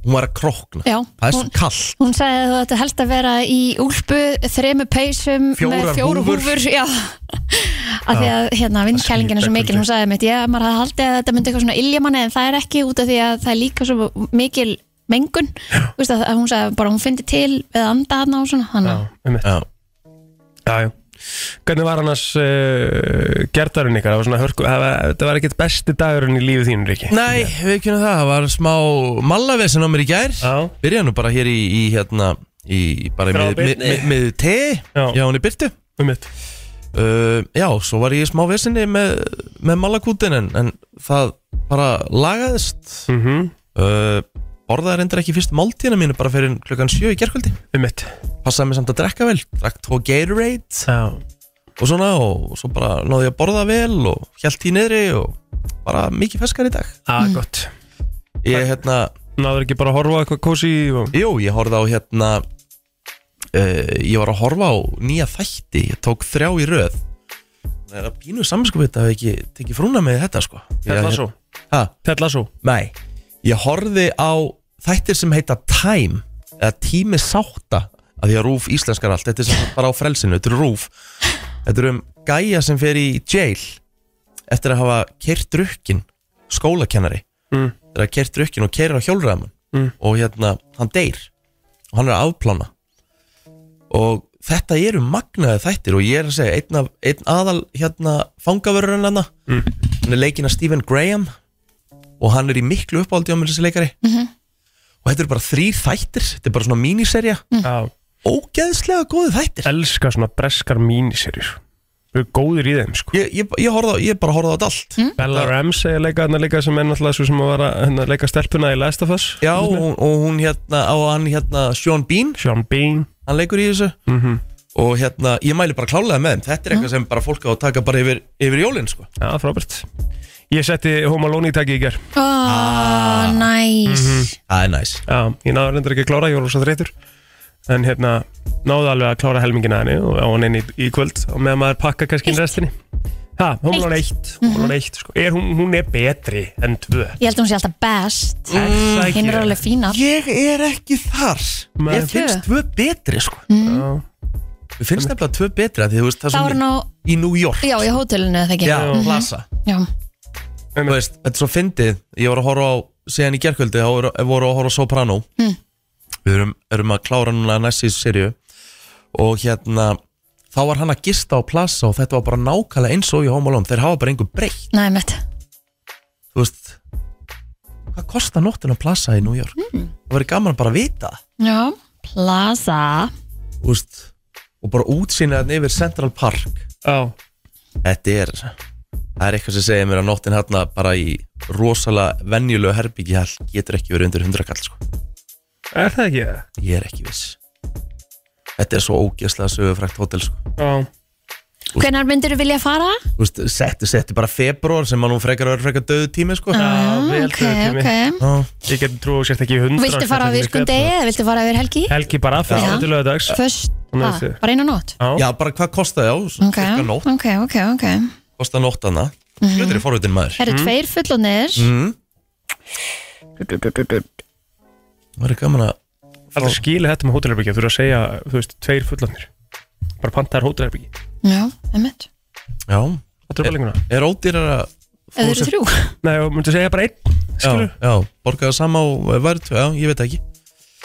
[SPEAKER 1] hún var að krókna
[SPEAKER 2] já
[SPEAKER 1] það er svo
[SPEAKER 2] hún,
[SPEAKER 1] kallt
[SPEAKER 2] hún sagði að þú ætti helst að vera í úlpu þremu peysum með
[SPEAKER 1] Fjórar
[SPEAKER 2] fjóru
[SPEAKER 1] húfur.
[SPEAKER 2] húfur, já af því að hérna vindkælingin er svo mikil hún sagði mitt, já, maður hafði haldið að þetta myndi eitthvað svona iljamanni en það er ekki út af því að það er líka svo mikil mengun, þú veist að að hún sagði bara hún fyndi til við að anda hann á svona þannig,
[SPEAKER 3] Já, einmitt.
[SPEAKER 1] Já.
[SPEAKER 3] Já, já. Hvernig var annars uh, gerðarinn ykkar? Það var svona hörku, það var, þetta var ekkert besti dagurinn í lífið þínu, Ríkki.
[SPEAKER 1] Nei, við kynum það, það var smá mallavesin á mér í gær
[SPEAKER 3] Já,
[SPEAKER 1] byrjaði nú bara hér í, í hérna í bara í
[SPEAKER 3] Frá
[SPEAKER 1] mið, mið,
[SPEAKER 3] Birni.
[SPEAKER 1] mið, mið te
[SPEAKER 3] Já.
[SPEAKER 1] já, hún er byrtu
[SPEAKER 3] um mitt.
[SPEAKER 1] uh, já, svo var ég í smá vesinni með, með mallakútin en, en það bara lagaðist
[SPEAKER 3] Mm
[SPEAKER 1] uh, borðaði reyndar ekki fyrst máltíðina mínu bara fyrir klukkan 7 í gerkvöldi
[SPEAKER 3] Um mitt.
[SPEAKER 1] passaði mig samt að drekka vel, drakk tvo Gatorade
[SPEAKER 3] Já.
[SPEAKER 1] og svona og svo bara náði ég að borða vel og hjælt í niðri og bara mikið feskar í dag
[SPEAKER 3] Á, gott.
[SPEAKER 1] ég hérna,
[SPEAKER 3] Náður ekki bara að horfa á eitthvað kósi og...
[SPEAKER 1] jú, ég horfði á hérna uh, ég var að horfa á nýja þætti ég tók þrjá í röð það er að pínu samskupið að ekki tekið frúna með þetta sko
[SPEAKER 3] Ted Lasso
[SPEAKER 1] ha,
[SPEAKER 3] Ted Lasso
[SPEAKER 1] Nei, ég horfi á þættir sem heita Time eða Tími Sátta að því að Rúf íslenskar allt, þetta er sem sagt bara á frelsinu þetta er Rúf, þetta er um gæja sem fer í jail eftir að hafa kert drukkin skólakennari
[SPEAKER 3] Mm.
[SPEAKER 1] eftir að hafa kert drukkin og kerir á hjólræðamun
[SPEAKER 3] Mm.
[SPEAKER 1] og hérna, hann deyr og hann er að afplána og þetta eru magnaði þættir og ég er að segja, einn, af, einn aðal hérna fangavörurinn hann
[SPEAKER 3] Mm.
[SPEAKER 1] hann er leikinn af Stephen Graham og hann er í miklu uppáldi á mér þessi leikari
[SPEAKER 2] Mhm.
[SPEAKER 1] og þetta eru bara þrýr þættir þetta er bara svona míniserja
[SPEAKER 2] Mhm.
[SPEAKER 3] Já
[SPEAKER 1] ógeðslega góði þættir
[SPEAKER 3] Elskar svona breskar míniserjur Þau eru góðir í þeim sko
[SPEAKER 1] ég, ég, ég, horfði á, ég bara horfði á þetta allt
[SPEAKER 2] Mhm.
[SPEAKER 3] Bella Ramsey er leika hérna líka sem er náttúrulega svo sem að vara hérna leika stelpuna í Last of Us
[SPEAKER 1] já og, hún- og hún hérna á hann hérna Sean Bean
[SPEAKER 3] Sean Bean
[SPEAKER 1] hann leikur í þessu
[SPEAKER 3] mm
[SPEAKER 1] og hérna ég mæli bara klálega með þeim þetta er
[SPEAKER 2] Mhm.
[SPEAKER 1] eitthvað sem bara fólk á að taka bara yfir, yfir jólin sko.
[SPEAKER 3] Já, frábært Ég setti Home Alone í takki í ger
[SPEAKER 2] Ó,
[SPEAKER 1] Ah.
[SPEAKER 2] næs
[SPEAKER 1] það er næs
[SPEAKER 3] Já, ég náður endur ekki að klára, ég var rosa þreytur En hérna, náðu alveg að klára helmingina henni og á henni í, í kvöld og meðan maður pakka kannski inn
[SPEAKER 2] Eitt.
[SPEAKER 3] restinni Ha, Home Alone 1, Home Alone 1 sko. er, hún, hún er betri enn 2
[SPEAKER 2] Ég held að hún sé alltaf best Hinn Mm, er alveg fínar
[SPEAKER 1] ég er ekki þar
[SPEAKER 3] Nei.
[SPEAKER 1] ég finnst tvö betri sko. ég finnst nefnilega tvö betri að því þú veist það
[SPEAKER 2] Þá er
[SPEAKER 1] sem
[SPEAKER 2] hann á,
[SPEAKER 1] í New York
[SPEAKER 2] já, Mhm. í hótelinu eða ekki
[SPEAKER 1] já, plasa
[SPEAKER 2] já.
[SPEAKER 1] Þú veist, þetta er svo fyndið Ég voru að horfa á, síðan í gerkvöldi þá voru- voru að horfa á Soprano Við erum, erum að klára núna næst í sériu Og hérna Þá var hann að gista á plasa og þetta var bara nákvæmlega eins og í Home Alone Þeir hafa bara einhver breytt,
[SPEAKER 2] Nei, mitt
[SPEAKER 1] þú veist Hvað kostar nóttin á plasa í New York? Það væri gaman bara að vita það,
[SPEAKER 2] Já, Plaza
[SPEAKER 1] Þú veist Og bara útsýna þarna yfir Central Park
[SPEAKER 3] Já,
[SPEAKER 1] Þetta er Það er eitthvað sem segir mér að nóttin hérna bara í rosalega venjulegu herbyggi getur ekki verið undir 100 kall sko.
[SPEAKER 3] er það ekki það?
[SPEAKER 1] Ég er ekki viss Þetta er svo ógeðslega sögufrækt hótel sko.
[SPEAKER 3] Já,
[SPEAKER 2] Ah, Hvenær myndirðu vilja fara?
[SPEAKER 1] Þú veist, Settu, settu bara februar sem að nú frekar að vera frekar döðu tími sko.
[SPEAKER 3] Já,
[SPEAKER 2] Mm,
[SPEAKER 3] vel
[SPEAKER 2] ok,
[SPEAKER 3] þau tími.
[SPEAKER 2] ok
[SPEAKER 1] ah.
[SPEAKER 3] Ég getur trú og sért ekki í 100
[SPEAKER 2] Viltu
[SPEAKER 3] sért
[SPEAKER 2] fara á
[SPEAKER 3] ekki í
[SPEAKER 2] virkum
[SPEAKER 3] skefna.
[SPEAKER 2] degi eða viltu fara yfir helgi?
[SPEAKER 3] Helgi bara fyrst
[SPEAKER 2] Já.
[SPEAKER 3] til lögadags
[SPEAKER 2] Föst,
[SPEAKER 3] Hún er
[SPEAKER 2] hvað?
[SPEAKER 3] þið.
[SPEAKER 2] Bara eina nótt?
[SPEAKER 1] Já, bara hvað kostaði á
[SPEAKER 2] Ok,
[SPEAKER 1] okay. nótt,
[SPEAKER 2] ok, ok, ok
[SPEAKER 1] Kosta nóttana
[SPEAKER 3] Mhm.
[SPEAKER 1] mm. Hlutir í forvitin maður
[SPEAKER 2] Eru tveir fullonir?
[SPEAKER 1] mm. Það er gaman að
[SPEAKER 3] Aldrei skilið þetta með hótelherbyggja Þú eru að segja, þú veist, tveir fullanir Bara pantaðar hótelherbyggja
[SPEAKER 1] Mm.
[SPEAKER 2] Já, einmitt
[SPEAKER 1] Já,
[SPEAKER 3] Það er pælinguna
[SPEAKER 1] er ódýrar að
[SPEAKER 2] Ef þau eru þrjú
[SPEAKER 3] Nei, og myndu segja bara einn
[SPEAKER 1] Já,
[SPEAKER 3] Skilur
[SPEAKER 1] já, borgaði sama og væri tvö, já, ég veit ekki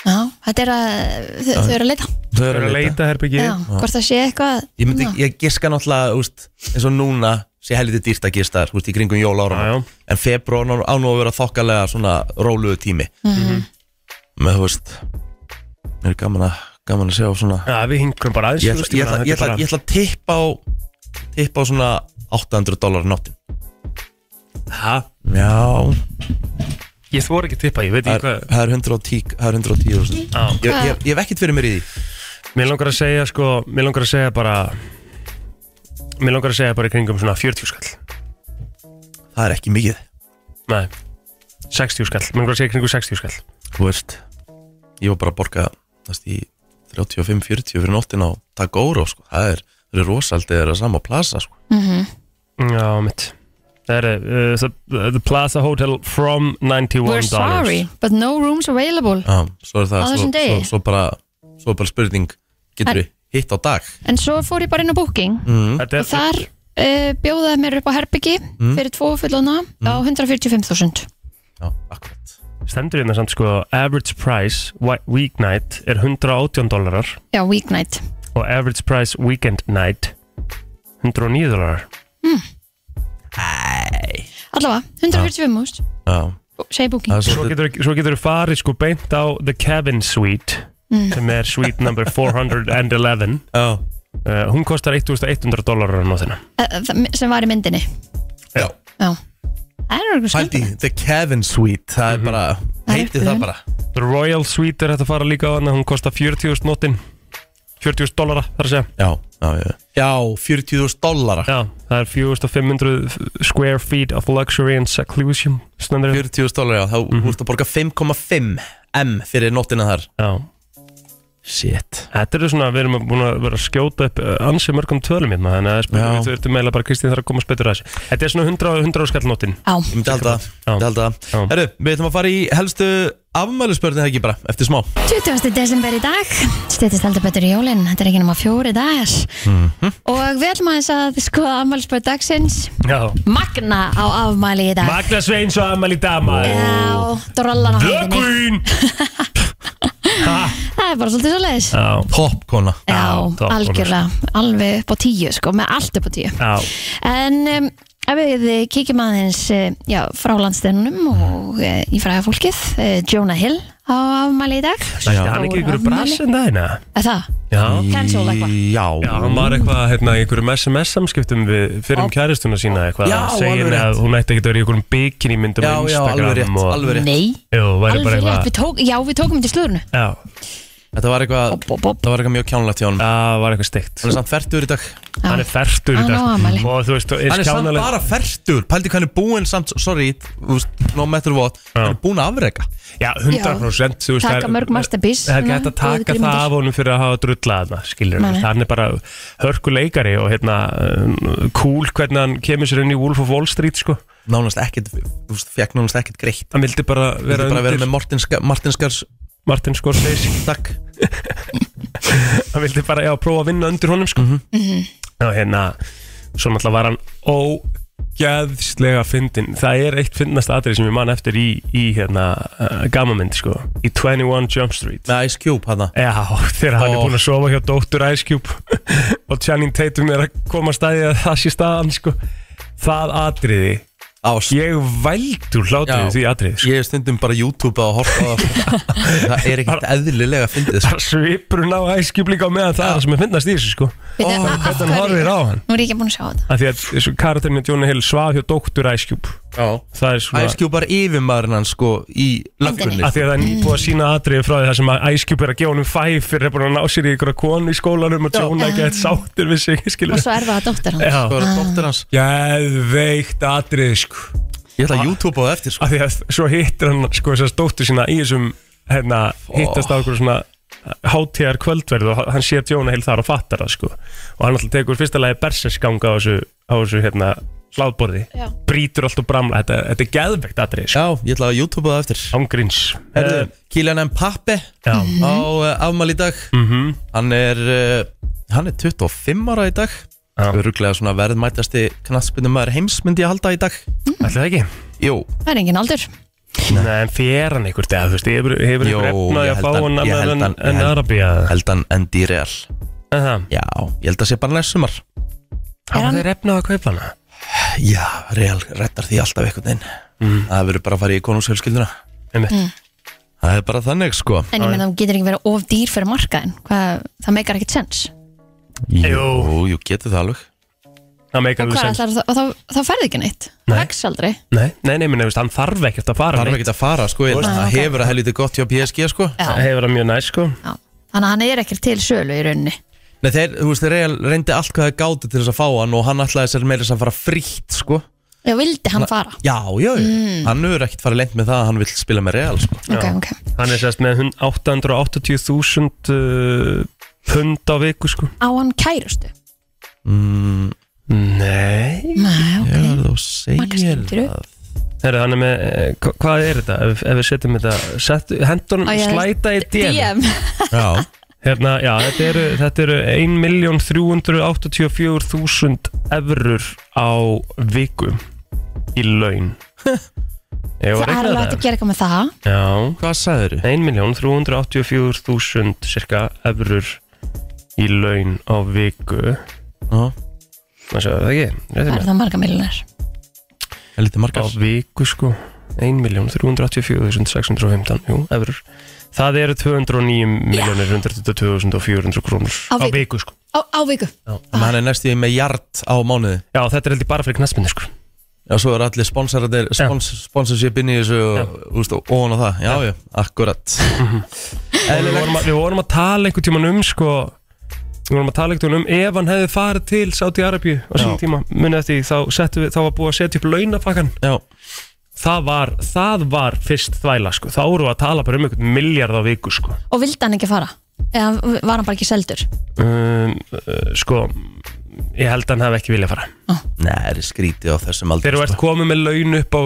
[SPEAKER 2] Já, þetta er að þau, þau eru að leita
[SPEAKER 1] Þau
[SPEAKER 3] Þú
[SPEAKER 1] eru
[SPEAKER 3] eru að leita herbyggji
[SPEAKER 2] Já, hvort það sé eitthvað
[SPEAKER 1] Ég, myndi, ég giska náttúrulega, úst, eins og núna sé helviti dýrt að gista þar, úst, í kringum jólárum
[SPEAKER 3] Já, já.
[SPEAKER 1] en februar á á nú að vera þokkalega svona róluðu tími með þú veist mér er gaman að, gaman að sjá svona
[SPEAKER 3] Já, við hingum bara aðeins
[SPEAKER 1] ég ætla, ég ætla, ég ætla, ég ætla að tippa á tippa á svona 800 dólar náttin
[SPEAKER 3] Hæ?
[SPEAKER 1] já,
[SPEAKER 3] Ég þvor ekki að tippa, ég veit
[SPEAKER 1] það
[SPEAKER 3] ekki
[SPEAKER 1] er,
[SPEAKER 3] hvað
[SPEAKER 1] það er 110 það er 110 þúsund.
[SPEAKER 3] Já.
[SPEAKER 1] ég, ég, ég hef ekkert fyrir mér í því
[SPEAKER 3] Mér langar að segja, sko, mér langar að segja bara Mér langar að segja bara í kringum svona 40 skall
[SPEAKER 1] það er ekki mikið,
[SPEAKER 3] Nei 60 skall, mér langar að segja í kringum 60 skall
[SPEAKER 1] þú veist ég var bara að borga þess, í 35-40 fyrir nóttin á Tagoro sko. það er, það er rosaldi það er að sama plasa sko.
[SPEAKER 3] Já, mitt Það er, uh, the- the Plaza Hotel from $91
[SPEAKER 2] We're sorry, but no rooms available
[SPEAKER 1] Já, svo er það
[SPEAKER 2] Á
[SPEAKER 1] svo,
[SPEAKER 2] þessum degi?
[SPEAKER 1] svo, svo, bara, svo er bara spurning Getur við hitt á dag?
[SPEAKER 2] En svo fór ég bara inn á
[SPEAKER 1] Mm.
[SPEAKER 2] booking
[SPEAKER 3] Þetta
[SPEAKER 2] og
[SPEAKER 1] Hérna.
[SPEAKER 2] þar uh, bjóðaði mér upp á herbyggi
[SPEAKER 1] Mm.
[SPEAKER 2] fyrir tvo fullona á 145.000
[SPEAKER 1] Já, akkurat
[SPEAKER 3] stendur hérna samt sko average price wi- weeknight er 118 dólarar
[SPEAKER 2] Já, weeknight
[SPEAKER 3] og average price weekend night 109 dólarar
[SPEAKER 2] Allavega, 145.000
[SPEAKER 1] Já,
[SPEAKER 2] segi
[SPEAKER 1] það
[SPEAKER 2] booking
[SPEAKER 1] er
[SPEAKER 3] svo
[SPEAKER 1] svolítið
[SPEAKER 3] getur, svo getur farið sko beint á the cabin suite sem er suite number 411
[SPEAKER 1] Já,
[SPEAKER 3] uh, hún kostar 1100 dólarar á nóðina
[SPEAKER 2] Eh, það- sem var í myndinni
[SPEAKER 1] já
[SPEAKER 2] Já Það er eitthvað
[SPEAKER 1] Haldi,
[SPEAKER 2] skemmt
[SPEAKER 1] The Kevin Suite Það er bara,
[SPEAKER 2] Það er
[SPEAKER 1] heiti það
[SPEAKER 2] upplifun.
[SPEAKER 1] bara
[SPEAKER 3] the royal suite er hægt að fara líka á hana hún kostar 40.000 nótin 40.000 dólara þar að segja
[SPEAKER 1] Já, já, já Já, 40.000 dollara
[SPEAKER 3] Já, það er 4500 square feet of luxury and seclusion stendur hérna.
[SPEAKER 1] Mhm. 40.000 dollara, já, þá mm -hmm. úrst að borga 5,5 M fyrir nóttina þar
[SPEAKER 3] Já
[SPEAKER 1] Shit
[SPEAKER 7] Þetta eru svona, við erum búin að vera að skjóta upp
[SPEAKER 3] uh,
[SPEAKER 7] eh, ansi mörgum tölum hérna Þannig að það er
[SPEAKER 1] Já.
[SPEAKER 7] spurning, við þurfum meðlega bara Kristín þarf að komast betur að þessu Þetta er svona 100, 100 skallnótin
[SPEAKER 2] á,
[SPEAKER 1] Ég myndi halda það,
[SPEAKER 7] Já.
[SPEAKER 1] ég myndi halda
[SPEAKER 7] Já.
[SPEAKER 1] það Herru, við ætlum að fara í helstu afmælisbörnið ekki bara, eftir smá
[SPEAKER 2] 20. desember í dag stýttist aldrei betur í jólinn, þetta er ekki nema fjóri dagar
[SPEAKER 1] Mhm.
[SPEAKER 2] og við ætlum aðeins að skoða afmælspöð dagsins
[SPEAKER 7] Já
[SPEAKER 2] Magna á afmæli í dag
[SPEAKER 7] Magna Sveins og Amal í dama
[SPEAKER 2] Já, drollan á
[SPEAKER 7] The
[SPEAKER 2] hæðinni
[SPEAKER 7] Queen
[SPEAKER 2] Það er bara svolítið svo leiðis
[SPEAKER 7] Já,
[SPEAKER 1] Popkona
[SPEAKER 2] Já,
[SPEAKER 7] Já, topp,
[SPEAKER 2] algjörlega, alveg upp á tíu sko, með allt upp á tíu
[SPEAKER 7] já,
[SPEAKER 2] En um, ef við kíkjum aðeins eh, já, frá landstennunum og e, í fræða fólkið, e, Jonah Hill á afmæli í dag
[SPEAKER 7] já Hann er ekki ykkur brasin dagina
[SPEAKER 2] Er það?
[SPEAKER 7] Já
[SPEAKER 2] Cancel eitthvað
[SPEAKER 3] Já,
[SPEAKER 1] Já,
[SPEAKER 3] hann var eitthvað hérna, í einhverjum SMS-samskiptum við fyrir um kæristuna sína eitthvað
[SPEAKER 1] Já,
[SPEAKER 3] að segja
[SPEAKER 1] alveg
[SPEAKER 3] henni
[SPEAKER 1] rétt.
[SPEAKER 3] að hún ætti ekkert að vera í einhverjum bikinýmyndum
[SPEAKER 1] já, já, alveg rétt,
[SPEAKER 3] og,
[SPEAKER 1] alveg rétt
[SPEAKER 2] Nei,
[SPEAKER 3] Jú, væri bara
[SPEAKER 2] alveg rétt,
[SPEAKER 3] eitthvað
[SPEAKER 2] við tók, já við tókum þetta í slúðurnu
[SPEAKER 3] Já,
[SPEAKER 1] Þetta var eitthvað,
[SPEAKER 2] Bob, bob, bob.
[SPEAKER 1] það var eitthvað mjög kjánlegt hjá honum
[SPEAKER 3] það var eitthvað steikt
[SPEAKER 1] Hann er samt færtur í dag
[SPEAKER 3] Hann er fertur í
[SPEAKER 2] Hann á afmæli.
[SPEAKER 3] dag og þú veist, er
[SPEAKER 1] Hann er samt
[SPEAKER 3] skjánaleg
[SPEAKER 1] bara færtur, pældi hvað hann er búinn samt, sorry, þú veist, no matter what Hann er búinn að afreka
[SPEAKER 3] Já, 100% þú veist, það
[SPEAKER 2] Taka
[SPEAKER 3] er-
[SPEAKER 2] mörg masterpiece
[SPEAKER 3] Það er ekki
[SPEAKER 2] svona,
[SPEAKER 3] hægt að
[SPEAKER 2] góðu
[SPEAKER 3] taka það
[SPEAKER 2] kvikmyndir.
[SPEAKER 3] af honum fyrir að hafa drullað þarna, skilur
[SPEAKER 2] Nei, nei.
[SPEAKER 3] við Hann er bara hörku leikari og hérna um, cool hvernig hann kemur sér inn í Wolf of Wall Street, sko
[SPEAKER 1] Nánast ekkert, þú veist, fekk nánast ekkert greitt
[SPEAKER 3] Hann vildi bara
[SPEAKER 1] Þetta
[SPEAKER 3] vera,
[SPEAKER 1] bara að vera
[SPEAKER 3] undir
[SPEAKER 1] með Martin, Ska- Martin Skars
[SPEAKER 3] Martin Scorsese
[SPEAKER 1] Takk
[SPEAKER 3] hann vildi bara já, prófa að vinna undir honum sko.
[SPEAKER 1] Mhm.
[SPEAKER 3] og hérna svo náttúrulega var hann ógæðslega fyndin, það er eitt fyndnast atrið sem ég man eftir í, í hérna, uh, gamamynd sko, í 21 Jump Street
[SPEAKER 1] Með Ice Cube hana
[SPEAKER 3] Já, þegar hann er
[SPEAKER 1] Ó.
[SPEAKER 3] búin að sofa hjá Dóttur Ice Cube og Channing Tatum er að koma að staði að það sé staðan sko. það atriði
[SPEAKER 1] Ást
[SPEAKER 3] ég vældur hlátrið
[SPEAKER 1] Já.
[SPEAKER 3] því atriði sko.
[SPEAKER 1] Ég er stundum bara YouTube að horfa á það. Það er ekkert eðlilega að fyndið sko.
[SPEAKER 3] bara svipurinn á Ice Cube líka á meðan það er það sem er fyndnast í þessu sko.
[SPEAKER 2] Við þau- af
[SPEAKER 3] hvernig
[SPEAKER 2] hverju-
[SPEAKER 3] hann horfir á hann
[SPEAKER 2] Nú er ég ekki búin að sjá þetta
[SPEAKER 3] að því að þessu karakterinu Johnny Hill svaf hjá dóttur Ice Cube það er svona
[SPEAKER 1] Ice Cube var yfirmaðurinn hans sko í löggunni
[SPEAKER 3] að því að það er nýbúið að sína atriði frá því það sem að Ice Cube er að gefa honum fæf fyrir að búin að ná sér í ykkur konu í skólanum og Johnny ekki eitthvað sáttir við sig
[SPEAKER 2] Og
[SPEAKER 3] skilur
[SPEAKER 2] svo erfa að dóttir hann
[SPEAKER 3] Já.
[SPEAKER 1] Það var dóttir hans
[SPEAKER 3] Geðveikt atriði sko
[SPEAKER 1] Ég ætla að YouTube á það eftir sko
[SPEAKER 3] að því að svo hittir hann sko þessar dóttur sína í þessum hérna hittast á ykkur svona hátíðar kvöldverð og hann sér Johnny Hill þar og fattar það sko og hann alltaf tekur fyrsta lagi berserskanga á þessu, á þessu hérna hlaðborði
[SPEAKER 2] Já.
[SPEAKER 3] brýtur allt og bramla, þetta, þetta er geðveikt atrið sko.
[SPEAKER 1] Já, ég ætla að YouTube á það eftir
[SPEAKER 3] ángríns
[SPEAKER 1] Herðu, Kílan M. Pappe
[SPEAKER 3] Já.
[SPEAKER 1] á uh, afmæli í dag -hmm. Hann er uh, Hann er 25 ára í dag
[SPEAKER 3] Já.
[SPEAKER 1] Öruglega svona verðmætasti knattspindum maður heims myndi ég halda í dag
[SPEAKER 3] Ætli það ekki?
[SPEAKER 1] Jú,
[SPEAKER 2] Það er engin aldur
[SPEAKER 3] Nei, en fer hann einhvern dag, þú veist, hefur hefur
[SPEAKER 1] Jó,
[SPEAKER 3] einhver efna
[SPEAKER 1] ég
[SPEAKER 3] að
[SPEAKER 1] held
[SPEAKER 3] fá
[SPEAKER 1] hann-
[SPEAKER 3] hann
[SPEAKER 1] ég held
[SPEAKER 3] annað en,
[SPEAKER 1] hann- ég
[SPEAKER 3] en
[SPEAKER 1] held-
[SPEAKER 3] Arabía
[SPEAKER 1] held hann endi í real
[SPEAKER 3] Er það?
[SPEAKER 1] Já, ég held að sé bara næst sumar
[SPEAKER 3] Hafa
[SPEAKER 2] hann-
[SPEAKER 3] þeir efna að kaupa hana?
[SPEAKER 1] Já, Mhm. real rettar því alltaf einhvern veginn Það verður bara að fara í konungshjölskylduna
[SPEAKER 2] Mm.
[SPEAKER 3] Einmitt.
[SPEAKER 1] Það er bara þannig sko
[SPEAKER 2] En ég menn það getur ekki verið of dýr fyrir markaðin Hvað, það meikar ekkert sens
[SPEAKER 1] Jú, jú, getur það alveg
[SPEAKER 3] Það meikar
[SPEAKER 2] Og
[SPEAKER 3] alveg
[SPEAKER 2] hvað
[SPEAKER 3] sens
[SPEAKER 2] ætlar það, og þá, þá færði ekki neitt
[SPEAKER 3] Nei.
[SPEAKER 2] Vex aldrei
[SPEAKER 3] Nei, nei, nei, meni, veist, hann þarf ekkert að fara
[SPEAKER 1] Það er
[SPEAKER 3] neitt.
[SPEAKER 1] ekki að fara sko, ég-
[SPEAKER 2] veist-
[SPEAKER 1] það
[SPEAKER 2] Já, ok.
[SPEAKER 1] hefur að helviti gott hjá PSG sko
[SPEAKER 2] Já,
[SPEAKER 3] Það hefur hann mjög næst, sko
[SPEAKER 2] já. Þannig að hann er ekkert til sölu í rauninni
[SPEAKER 1] Nei, þeir, þú veist, þeir Real reyndi allt hvað þeir gátu til þess að fá hann og hann ætlaði sér meira þess að fara frítt sko
[SPEAKER 2] Já, vildi hann fara
[SPEAKER 1] Já, já, mm. hann hefur ekkert farið lengt með það að hann vill spila með Real sko
[SPEAKER 2] Ok,
[SPEAKER 3] Já.
[SPEAKER 2] ok
[SPEAKER 3] Hann er sérst með hund- 880.000 uh, pund á viku, sko
[SPEAKER 2] Á hann kærustu
[SPEAKER 1] mm,
[SPEAKER 3] Nei
[SPEAKER 2] Nei, ok
[SPEAKER 1] Já, þú segir
[SPEAKER 2] Margar stundir upp.
[SPEAKER 1] það
[SPEAKER 3] Herra, hann er með, eh, hva- hvað er þetta? Ef, ef við setjum þetta, set, hendunum,
[SPEAKER 2] Á, ég-
[SPEAKER 3] slæta í DM,
[SPEAKER 2] DM
[SPEAKER 1] Já,
[SPEAKER 3] Hérna, já, þetta eru, þetta eru 1.384.000 eurur á viku í laun Ég
[SPEAKER 2] Það
[SPEAKER 3] var
[SPEAKER 2] er alveg hægt að
[SPEAKER 3] reiknað það
[SPEAKER 2] gera eitthvað með það
[SPEAKER 3] Já,
[SPEAKER 1] hvað sagðir
[SPEAKER 3] 1.384.000 cirka eurur í laun á viku
[SPEAKER 1] þú?
[SPEAKER 3] Það séu það ekki,
[SPEAKER 2] Það
[SPEAKER 3] reyðum
[SPEAKER 2] er það marga millunar
[SPEAKER 1] Helviti
[SPEAKER 3] Á
[SPEAKER 1] margar
[SPEAKER 3] viku sko 1.384.615 Jú, eurur Það eru 209.122.400 krónur
[SPEAKER 2] Á
[SPEAKER 3] á
[SPEAKER 2] viku.
[SPEAKER 3] viku sko
[SPEAKER 2] Á, á viku
[SPEAKER 1] Þannig að hann er næstu í með jart á mánuði
[SPEAKER 3] Já, þetta er heldur bara fyrir knastminni sko
[SPEAKER 1] Já, svo eru allir sponsoratir, spons, sponsorship inn í þessu og, úst, og ofan á það, já, já, akkurat
[SPEAKER 3] Og við vorum, að, við vorum að tala einhvern tíman um sko Við vorum að tala einhvern tíman um ef hann hefði farið til Saudi Arabíu á sín tíma munið eftir því, þá, settu við, þá var búið að setja upp launafakkan
[SPEAKER 1] Já,
[SPEAKER 3] það var, það var fyrst þvæla sko. þá vorum við að tala bara um einhvern miljard á viku sko.
[SPEAKER 2] Og vildi hann ekki fara eða var hann bara ekki seldur
[SPEAKER 3] um, uh, Sko Ég held að hann hafði ekki viljað fara
[SPEAKER 1] Nei, það er skrítið á þessum sko. aldrei
[SPEAKER 3] Þegar þú ert komið með laun upp á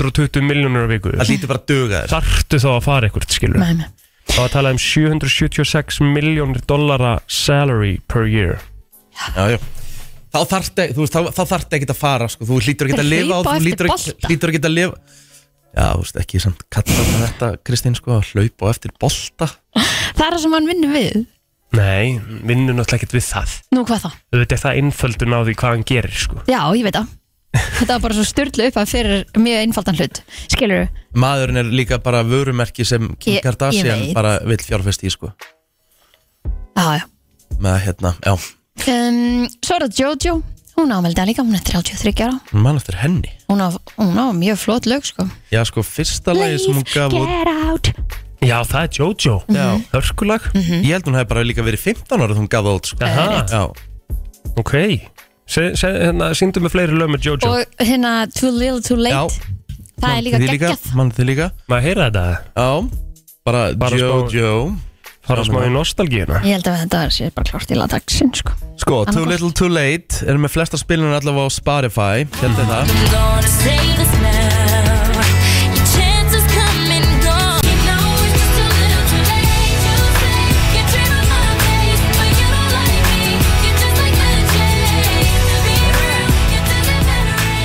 [SPEAKER 3] 220 miljónur á viku
[SPEAKER 1] Það lítur bara að duga þér
[SPEAKER 3] Þartu þá að fara eitthvað skilur
[SPEAKER 2] með mig
[SPEAKER 3] Það var að tala um 776 miljónir dollara salary per year
[SPEAKER 1] já, já. Þá þarfti, þú veist, þá, þá þarfti ekki að fara sko. Þú lítur ekki að
[SPEAKER 2] Þeir
[SPEAKER 1] lifa á,
[SPEAKER 2] hlaupa
[SPEAKER 1] þú lítur
[SPEAKER 2] eftir
[SPEAKER 1] ekki,
[SPEAKER 2] bolta.
[SPEAKER 1] lítur ekki að lifa Já, þú veist, ekki samt kalla það þetta, Kristín, sko, að hlaupa á eftir bolta
[SPEAKER 2] það er það sem hann vinnur við
[SPEAKER 3] Nei, vinnur náttúrulega ekkert við það
[SPEAKER 2] nú hvað þá
[SPEAKER 3] Þú veit, það er einföldun á því hvað hann gerir sko.
[SPEAKER 2] já ég veit það þetta var bara svo styrlu upp að fyrir mjög einfaldan hlut skilur
[SPEAKER 1] Maðurinn er líka bara vörumerki sem Kim
[SPEAKER 2] Ég- ég
[SPEAKER 1] Kardashian
[SPEAKER 2] veit.
[SPEAKER 1] bara vill fjárfesti í, sko
[SPEAKER 2] já já
[SPEAKER 1] með, hérna, já,
[SPEAKER 2] um, svo er það Jojo hún ámeldi að líka hún er 33 ára
[SPEAKER 1] mann eftir henni
[SPEAKER 2] hún á, hún á mjög flott lög sko
[SPEAKER 1] Já, sko, fyrsta lagi sem hún gaf út
[SPEAKER 2] get out
[SPEAKER 3] Já, það er Jojo
[SPEAKER 1] Já,
[SPEAKER 3] Hörkulag
[SPEAKER 2] Mhm.
[SPEAKER 1] ég held hún hefði bara líka verið 15 ára þegar hún gaf það út, sko
[SPEAKER 3] Aha.
[SPEAKER 1] Já,
[SPEAKER 3] Ok se, se, hérna, Sýndu með fleiri lög með Jojo
[SPEAKER 2] og hérna too little too late
[SPEAKER 1] já
[SPEAKER 2] það er líka
[SPEAKER 1] Þið
[SPEAKER 2] geggjað
[SPEAKER 1] Mann þið líka
[SPEAKER 3] Maður heyra þetta
[SPEAKER 1] Já, bara,
[SPEAKER 3] Bara
[SPEAKER 1] Jojo
[SPEAKER 3] smá- Fara smá í nostalgíuna
[SPEAKER 2] ég held að þetta sé bara klart í lagdagsinn sko
[SPEAKER 1] Sko, Too
[SPEAKER 2] Annaðhvort.
[SPEAKER 1] Little Too Late er með flesta spilinu allavega á Spotify Hérna er það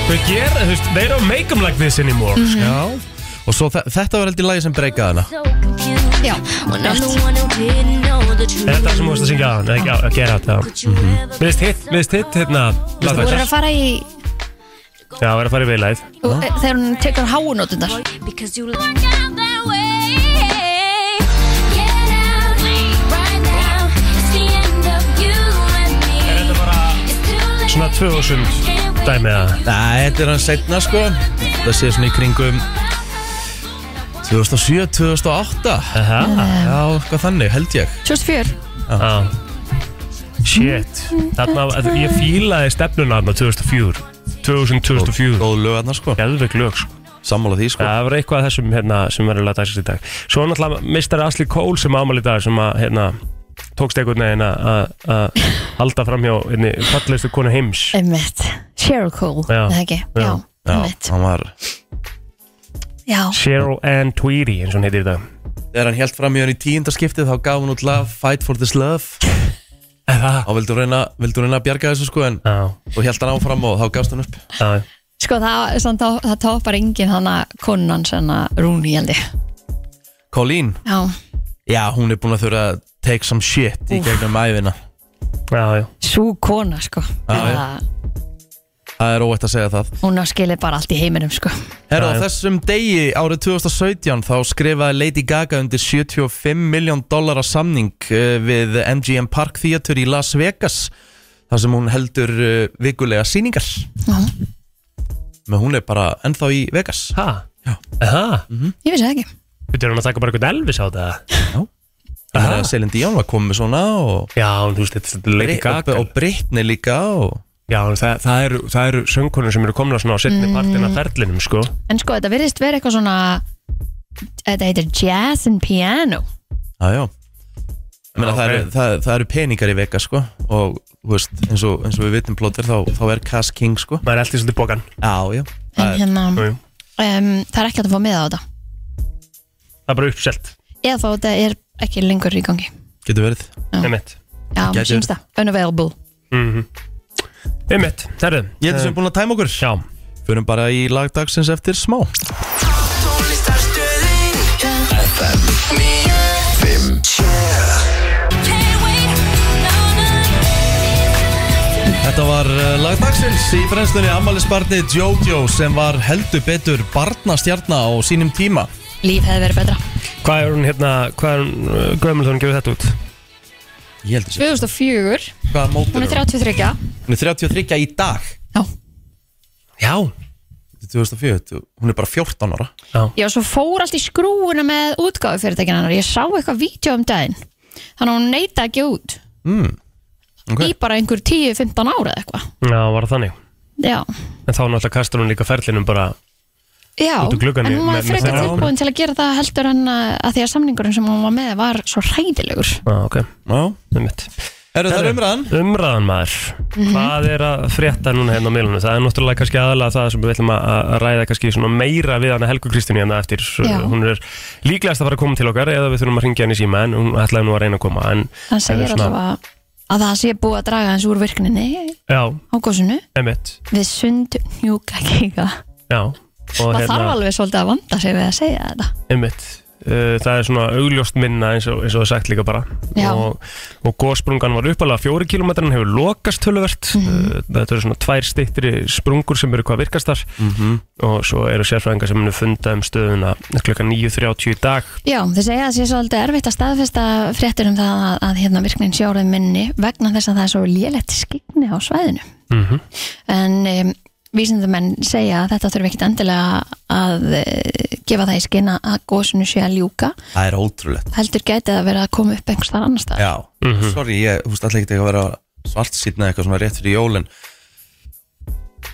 [SPEAKER 3] Þau gera, þú veist, they don't make them like this anymore mm
[SPEAKER 1] Já Og svo þe- þetta var held í lagi sem breykaði hana
[SPEAKER 2] já, rétt.
[SPEAKER 3] Þetta er sem þú veist að syngja Mhm. að hann Ekki að gera þetta Mér finnst hitt, mér finnst hitt hérna
[SPEAKER 2] þú
[SPEAKER 3] lagdagsins.
[SPEAKER 2] er að fara í
[SPEAKER 3] Já, við erum að fara í viðlæð
[SPEAKER 2] þú- eh, þegar hún tekur háunótunar
[SPEAKER 3] Svona 2000 dæmi að
[SPEAKER 1] Nei, þetta er hann setna sko Það sé svona í kringum 2007, 2008
[SPEAKER 3] Aha,
[SPEAKER 1] Já, hvað þannig, held ég
[SPEAKER 2] 2004
[SPEAKER 3] á Ah. Shit Þarna, ég fílaði stefnuna þarna 2004 2000, 2004
[SPEAKER 1] Góð lög þarna sko
[SPEAKER 3] Gæðveg lög, sko
[SPEAKER 1] Sammála því sko
[SPEAKER 3] Það var eitthvað af þessum hérna, sem verður að dagsast í dag Svo er náttúrulega mistari Asli Kól sem ámali í dag sem að hérna, tókst einhvern veginn að- að að halda fram hjá hérna, fallegustu konu heims
[SPEAKER 2] einmitt Cheryl Cole
[SPEAKER 3] Já.
[SPEAKER 2] eða ekki já,
[SPEAKER 3] Já.
[SPEAKER 1] Já,
[SPEAKER 2] einmitt
[SPEAKER 1] hann var
[SPEAKER 2] já
[SPEAKER 3] Cheryl Ann Tweedy eins og hún heitir í dag
[SPEAKER 1] Þegar hann held fram í hann í tíundaskiptið þá gaf hún út love, fight for this love
[SPEAKER 3] Það?
[SPEAKER 1] Þá vildi hún reyna, vildi hún reyna að bjarga þessu sko en
[SPEAKER 3] Já,
[SPEAKER 1] og held hann áfram og þá gafst hann upp
[SPEAKER 3] já
[SPEAKER 2] sko það, samt, þá- það topar enginn þannig konan svona Rúni held ég
[SPEAKER 1] Colleen
[SPEAKER 2] já
[SPEAKER 1] Já, hún er búin að þurfa að take some shit í gegnum æfina
[SPEAKER 3] Já, já,
[SPEAKER 2] sú kona sko
[SPEAKER 1] Já, já.
[SPEAKER 2] Það-
[SPEAKER 1] Það er óætt að segja það
[SPEAKER 2] hún á skilið bara allt í heiminum sko
[SPEAKER 1] Herra, á
[SPEAKER 3] Já, já.
[SPEAKER 1] þessum degi árið 2017 þá skrifaði Lady Gaga undir 75 miljón dollara samning eh, við MGM Park Theater í Las Vegas þar sem hún heldur eh, vikulega síningar
[SPEAKER 2] Já.
[SPEAKER 1] Men hún er bara ennþá í Vegas
[SPEAKER 3] ha?
[SPEAKER 1] Já.
[SPEAKER 3] Aha,
[SPEAKER 2] ég vissi það ekki
[SPEAKER 3] veitir hún að taka bara eitthvað Elvis á þetta?
[SPEAKER 1] Ég meina, Celine Dion var komið svona og,
[SPEAKER 3] Já, en þú veist, þetta er Lady Gaga
[SPEAKER 1] og Britney líka og
[SPEAKER 3] Já, en það, það eru, það eru söngkonur sem eru komna svona á setni partin af ferlinum, sko
[SPEAKER 2] en sko þetta virðist verið eitthvað svona þetta heitir jazz and piano
[SPEAKER 1] Já, já Ég meina,
[SPEAKER 3] Já,
[SPEAKER 1] það,
[SPEAKER 3] ok.
[SPEAKER 1] eru, það, það eru peningar í vega sko og þú veist, eins, og eins og við vitum plótir þá, þá er Cass King sko
[SPEAKER 3] Maður er alltaf svolítið bókan
[SPEAKER 1] Já, já
[SPEAKER 2] en
[SPEAKER 1] Það er-
[SPEAKER 2] hérna
[SPEAKER 3] Jú, jú.
[SPEAKER 2] um, það er ekki hægt að fá miða á þetta
[SPEAKER 3] Það er bara uppselt,
[SPEAKER 2] eða þá þetta er ekki lengur í gangi
[SPEAKER 1] Getur verið
[SPEAKER 3] einmitt
[SPEAKER 2] já,
[SPEAKER 1] Gæti
[SPEAKER 2] sínst það, unavailable
[SPEAKER 3] Einmitt, herðu
[SPEAKER 1] Ég held sem búin að tæma okkur
[SPEAKER 3] Já,
[SPEAKER 1] Förum bara í lagdagsins eftir smá Þetta var eh, lagdagsins í brennslunni Amalisbarni Jojo sem var heldur betur barnastjarnar á sínum tíma
[SPEAKER 2] líf hefði verið betra
[SPEAKER 3] hvað er hún hérna, hvað er hún uh, gömul þegar hún gefur þetta út?
[SPEAKER 1] Ég heldur sér
[SPEAKER 2] 2004,
[SPEAKER 1] Hvaða mótur
[SPEAKER 2] hún er 33
[SPEAKER 1] Hún er 33 í dag
[SPEAKER 2] já,
[SPEAKER 3] Já
[SPEAKER 1] 2004, hún er bara 14 ára
[SPEAKER 2] já, svo fór allt í skrúuna með útgáfu fyrirtækina hennar, ég sá eitthvað vídeo um daginn, þannig að hún neyta ekki út
[SPEAKER 1] Hmm, Ok.
[SPEAKER 2] í bara einhver 10-15 ára eða eitthvað
[SPEAKER 3] Já, var það þannig
[SPEAKER 2] já,
[SPEAKER 3] En þá náttúrulega kastur hún líka ferlinum bara
[SPEAKER 2] Já,
[SPEAKER 3] út úr glugganum
[SPEAKER 2] en hún var
[SPEAKER 3] með- með
[SPEAKER 2] frekar
[SPEAKER 3] það.
[SPEAKER 2] tilbúin til að gera það heldur en að, að því að samningurinn sem hún var með var svo hræðilegur
[SPEAKER 3] ah, ok,
[SPEAKER 1] Já
[SPEAKER 3] um mitt
[SPEAKER 1] Eru það umræðan?
[SPEAKER 3] umræðan maður
[SPEAKER 2] Mhm.
[SPEAKER 3] hvað er að frétta núna hérna á miðlunum það er náttúrulega kannski aðalega það sem við ætlum að að ræða kannski svona meira við hana Helgu Kristínu hérna eftir
[SPEAKER 2] Já.
[SPEAKER 3] hún er líklegast að fara að koma til okkar eða við þurfum að ringja hann í síma en hún ætlaði nú að reyna að koma en
[SPEAKER 2] hann segir allavega að það sé búið að draga hans úr virkninni
[SPEAKER 3] já,
[SPEAKER 2] á gósunu
[SPEAKER 3] emitt,
[SPEAKER 2] við sund njúka kíka
[SPEAKER 3] já og hérna-
[SPEAKER 2] maður þarf alveg svolítið að vanda sig við að segja þetta
[SPEAKER 3] Einmitt. Uh, það er svona augljóst minna eins og, eins og það er sagt líka bara
[SPEAKER 2] Já.
[SPEAKER 3] og, og gósprungan var uppalega fjóri kilometrar en hefur lokast töluvert
[SPEAKER 2] Mhm.
[SPEAKER 3] uh, þetta eru svona tvær stittri sprungur sem eru hvað virkast þar -hmm. og svo eru sérfræðingar sem munu funda um stöðuna klukkan 9.30 í dag
[SPEAKER 2] Já, þið segja að það sé svolítið erfitt að staðfesta fréttir um það að, að hérna virknin sjórið minni vegna þess að það er svo lélegt skikni á svæðinu.
[SPEAKER 3] Mhm.
[SPEAKER 2] En um, vísindamenn segja að þetta þurfi ekkit endilega að uh, gefa það í skina að gósinu sé að ljúka.
[SPEAKER 1] Það er ótrúlegt
[SPEAKER 2] Heldur gæti að vera að koma upp einhvers þar annars staðar.
[SPEAKER 1] Já, sorry, ég húst alltaf ekki að vera svart sýtna eitthvað svona rétt fyrir jólin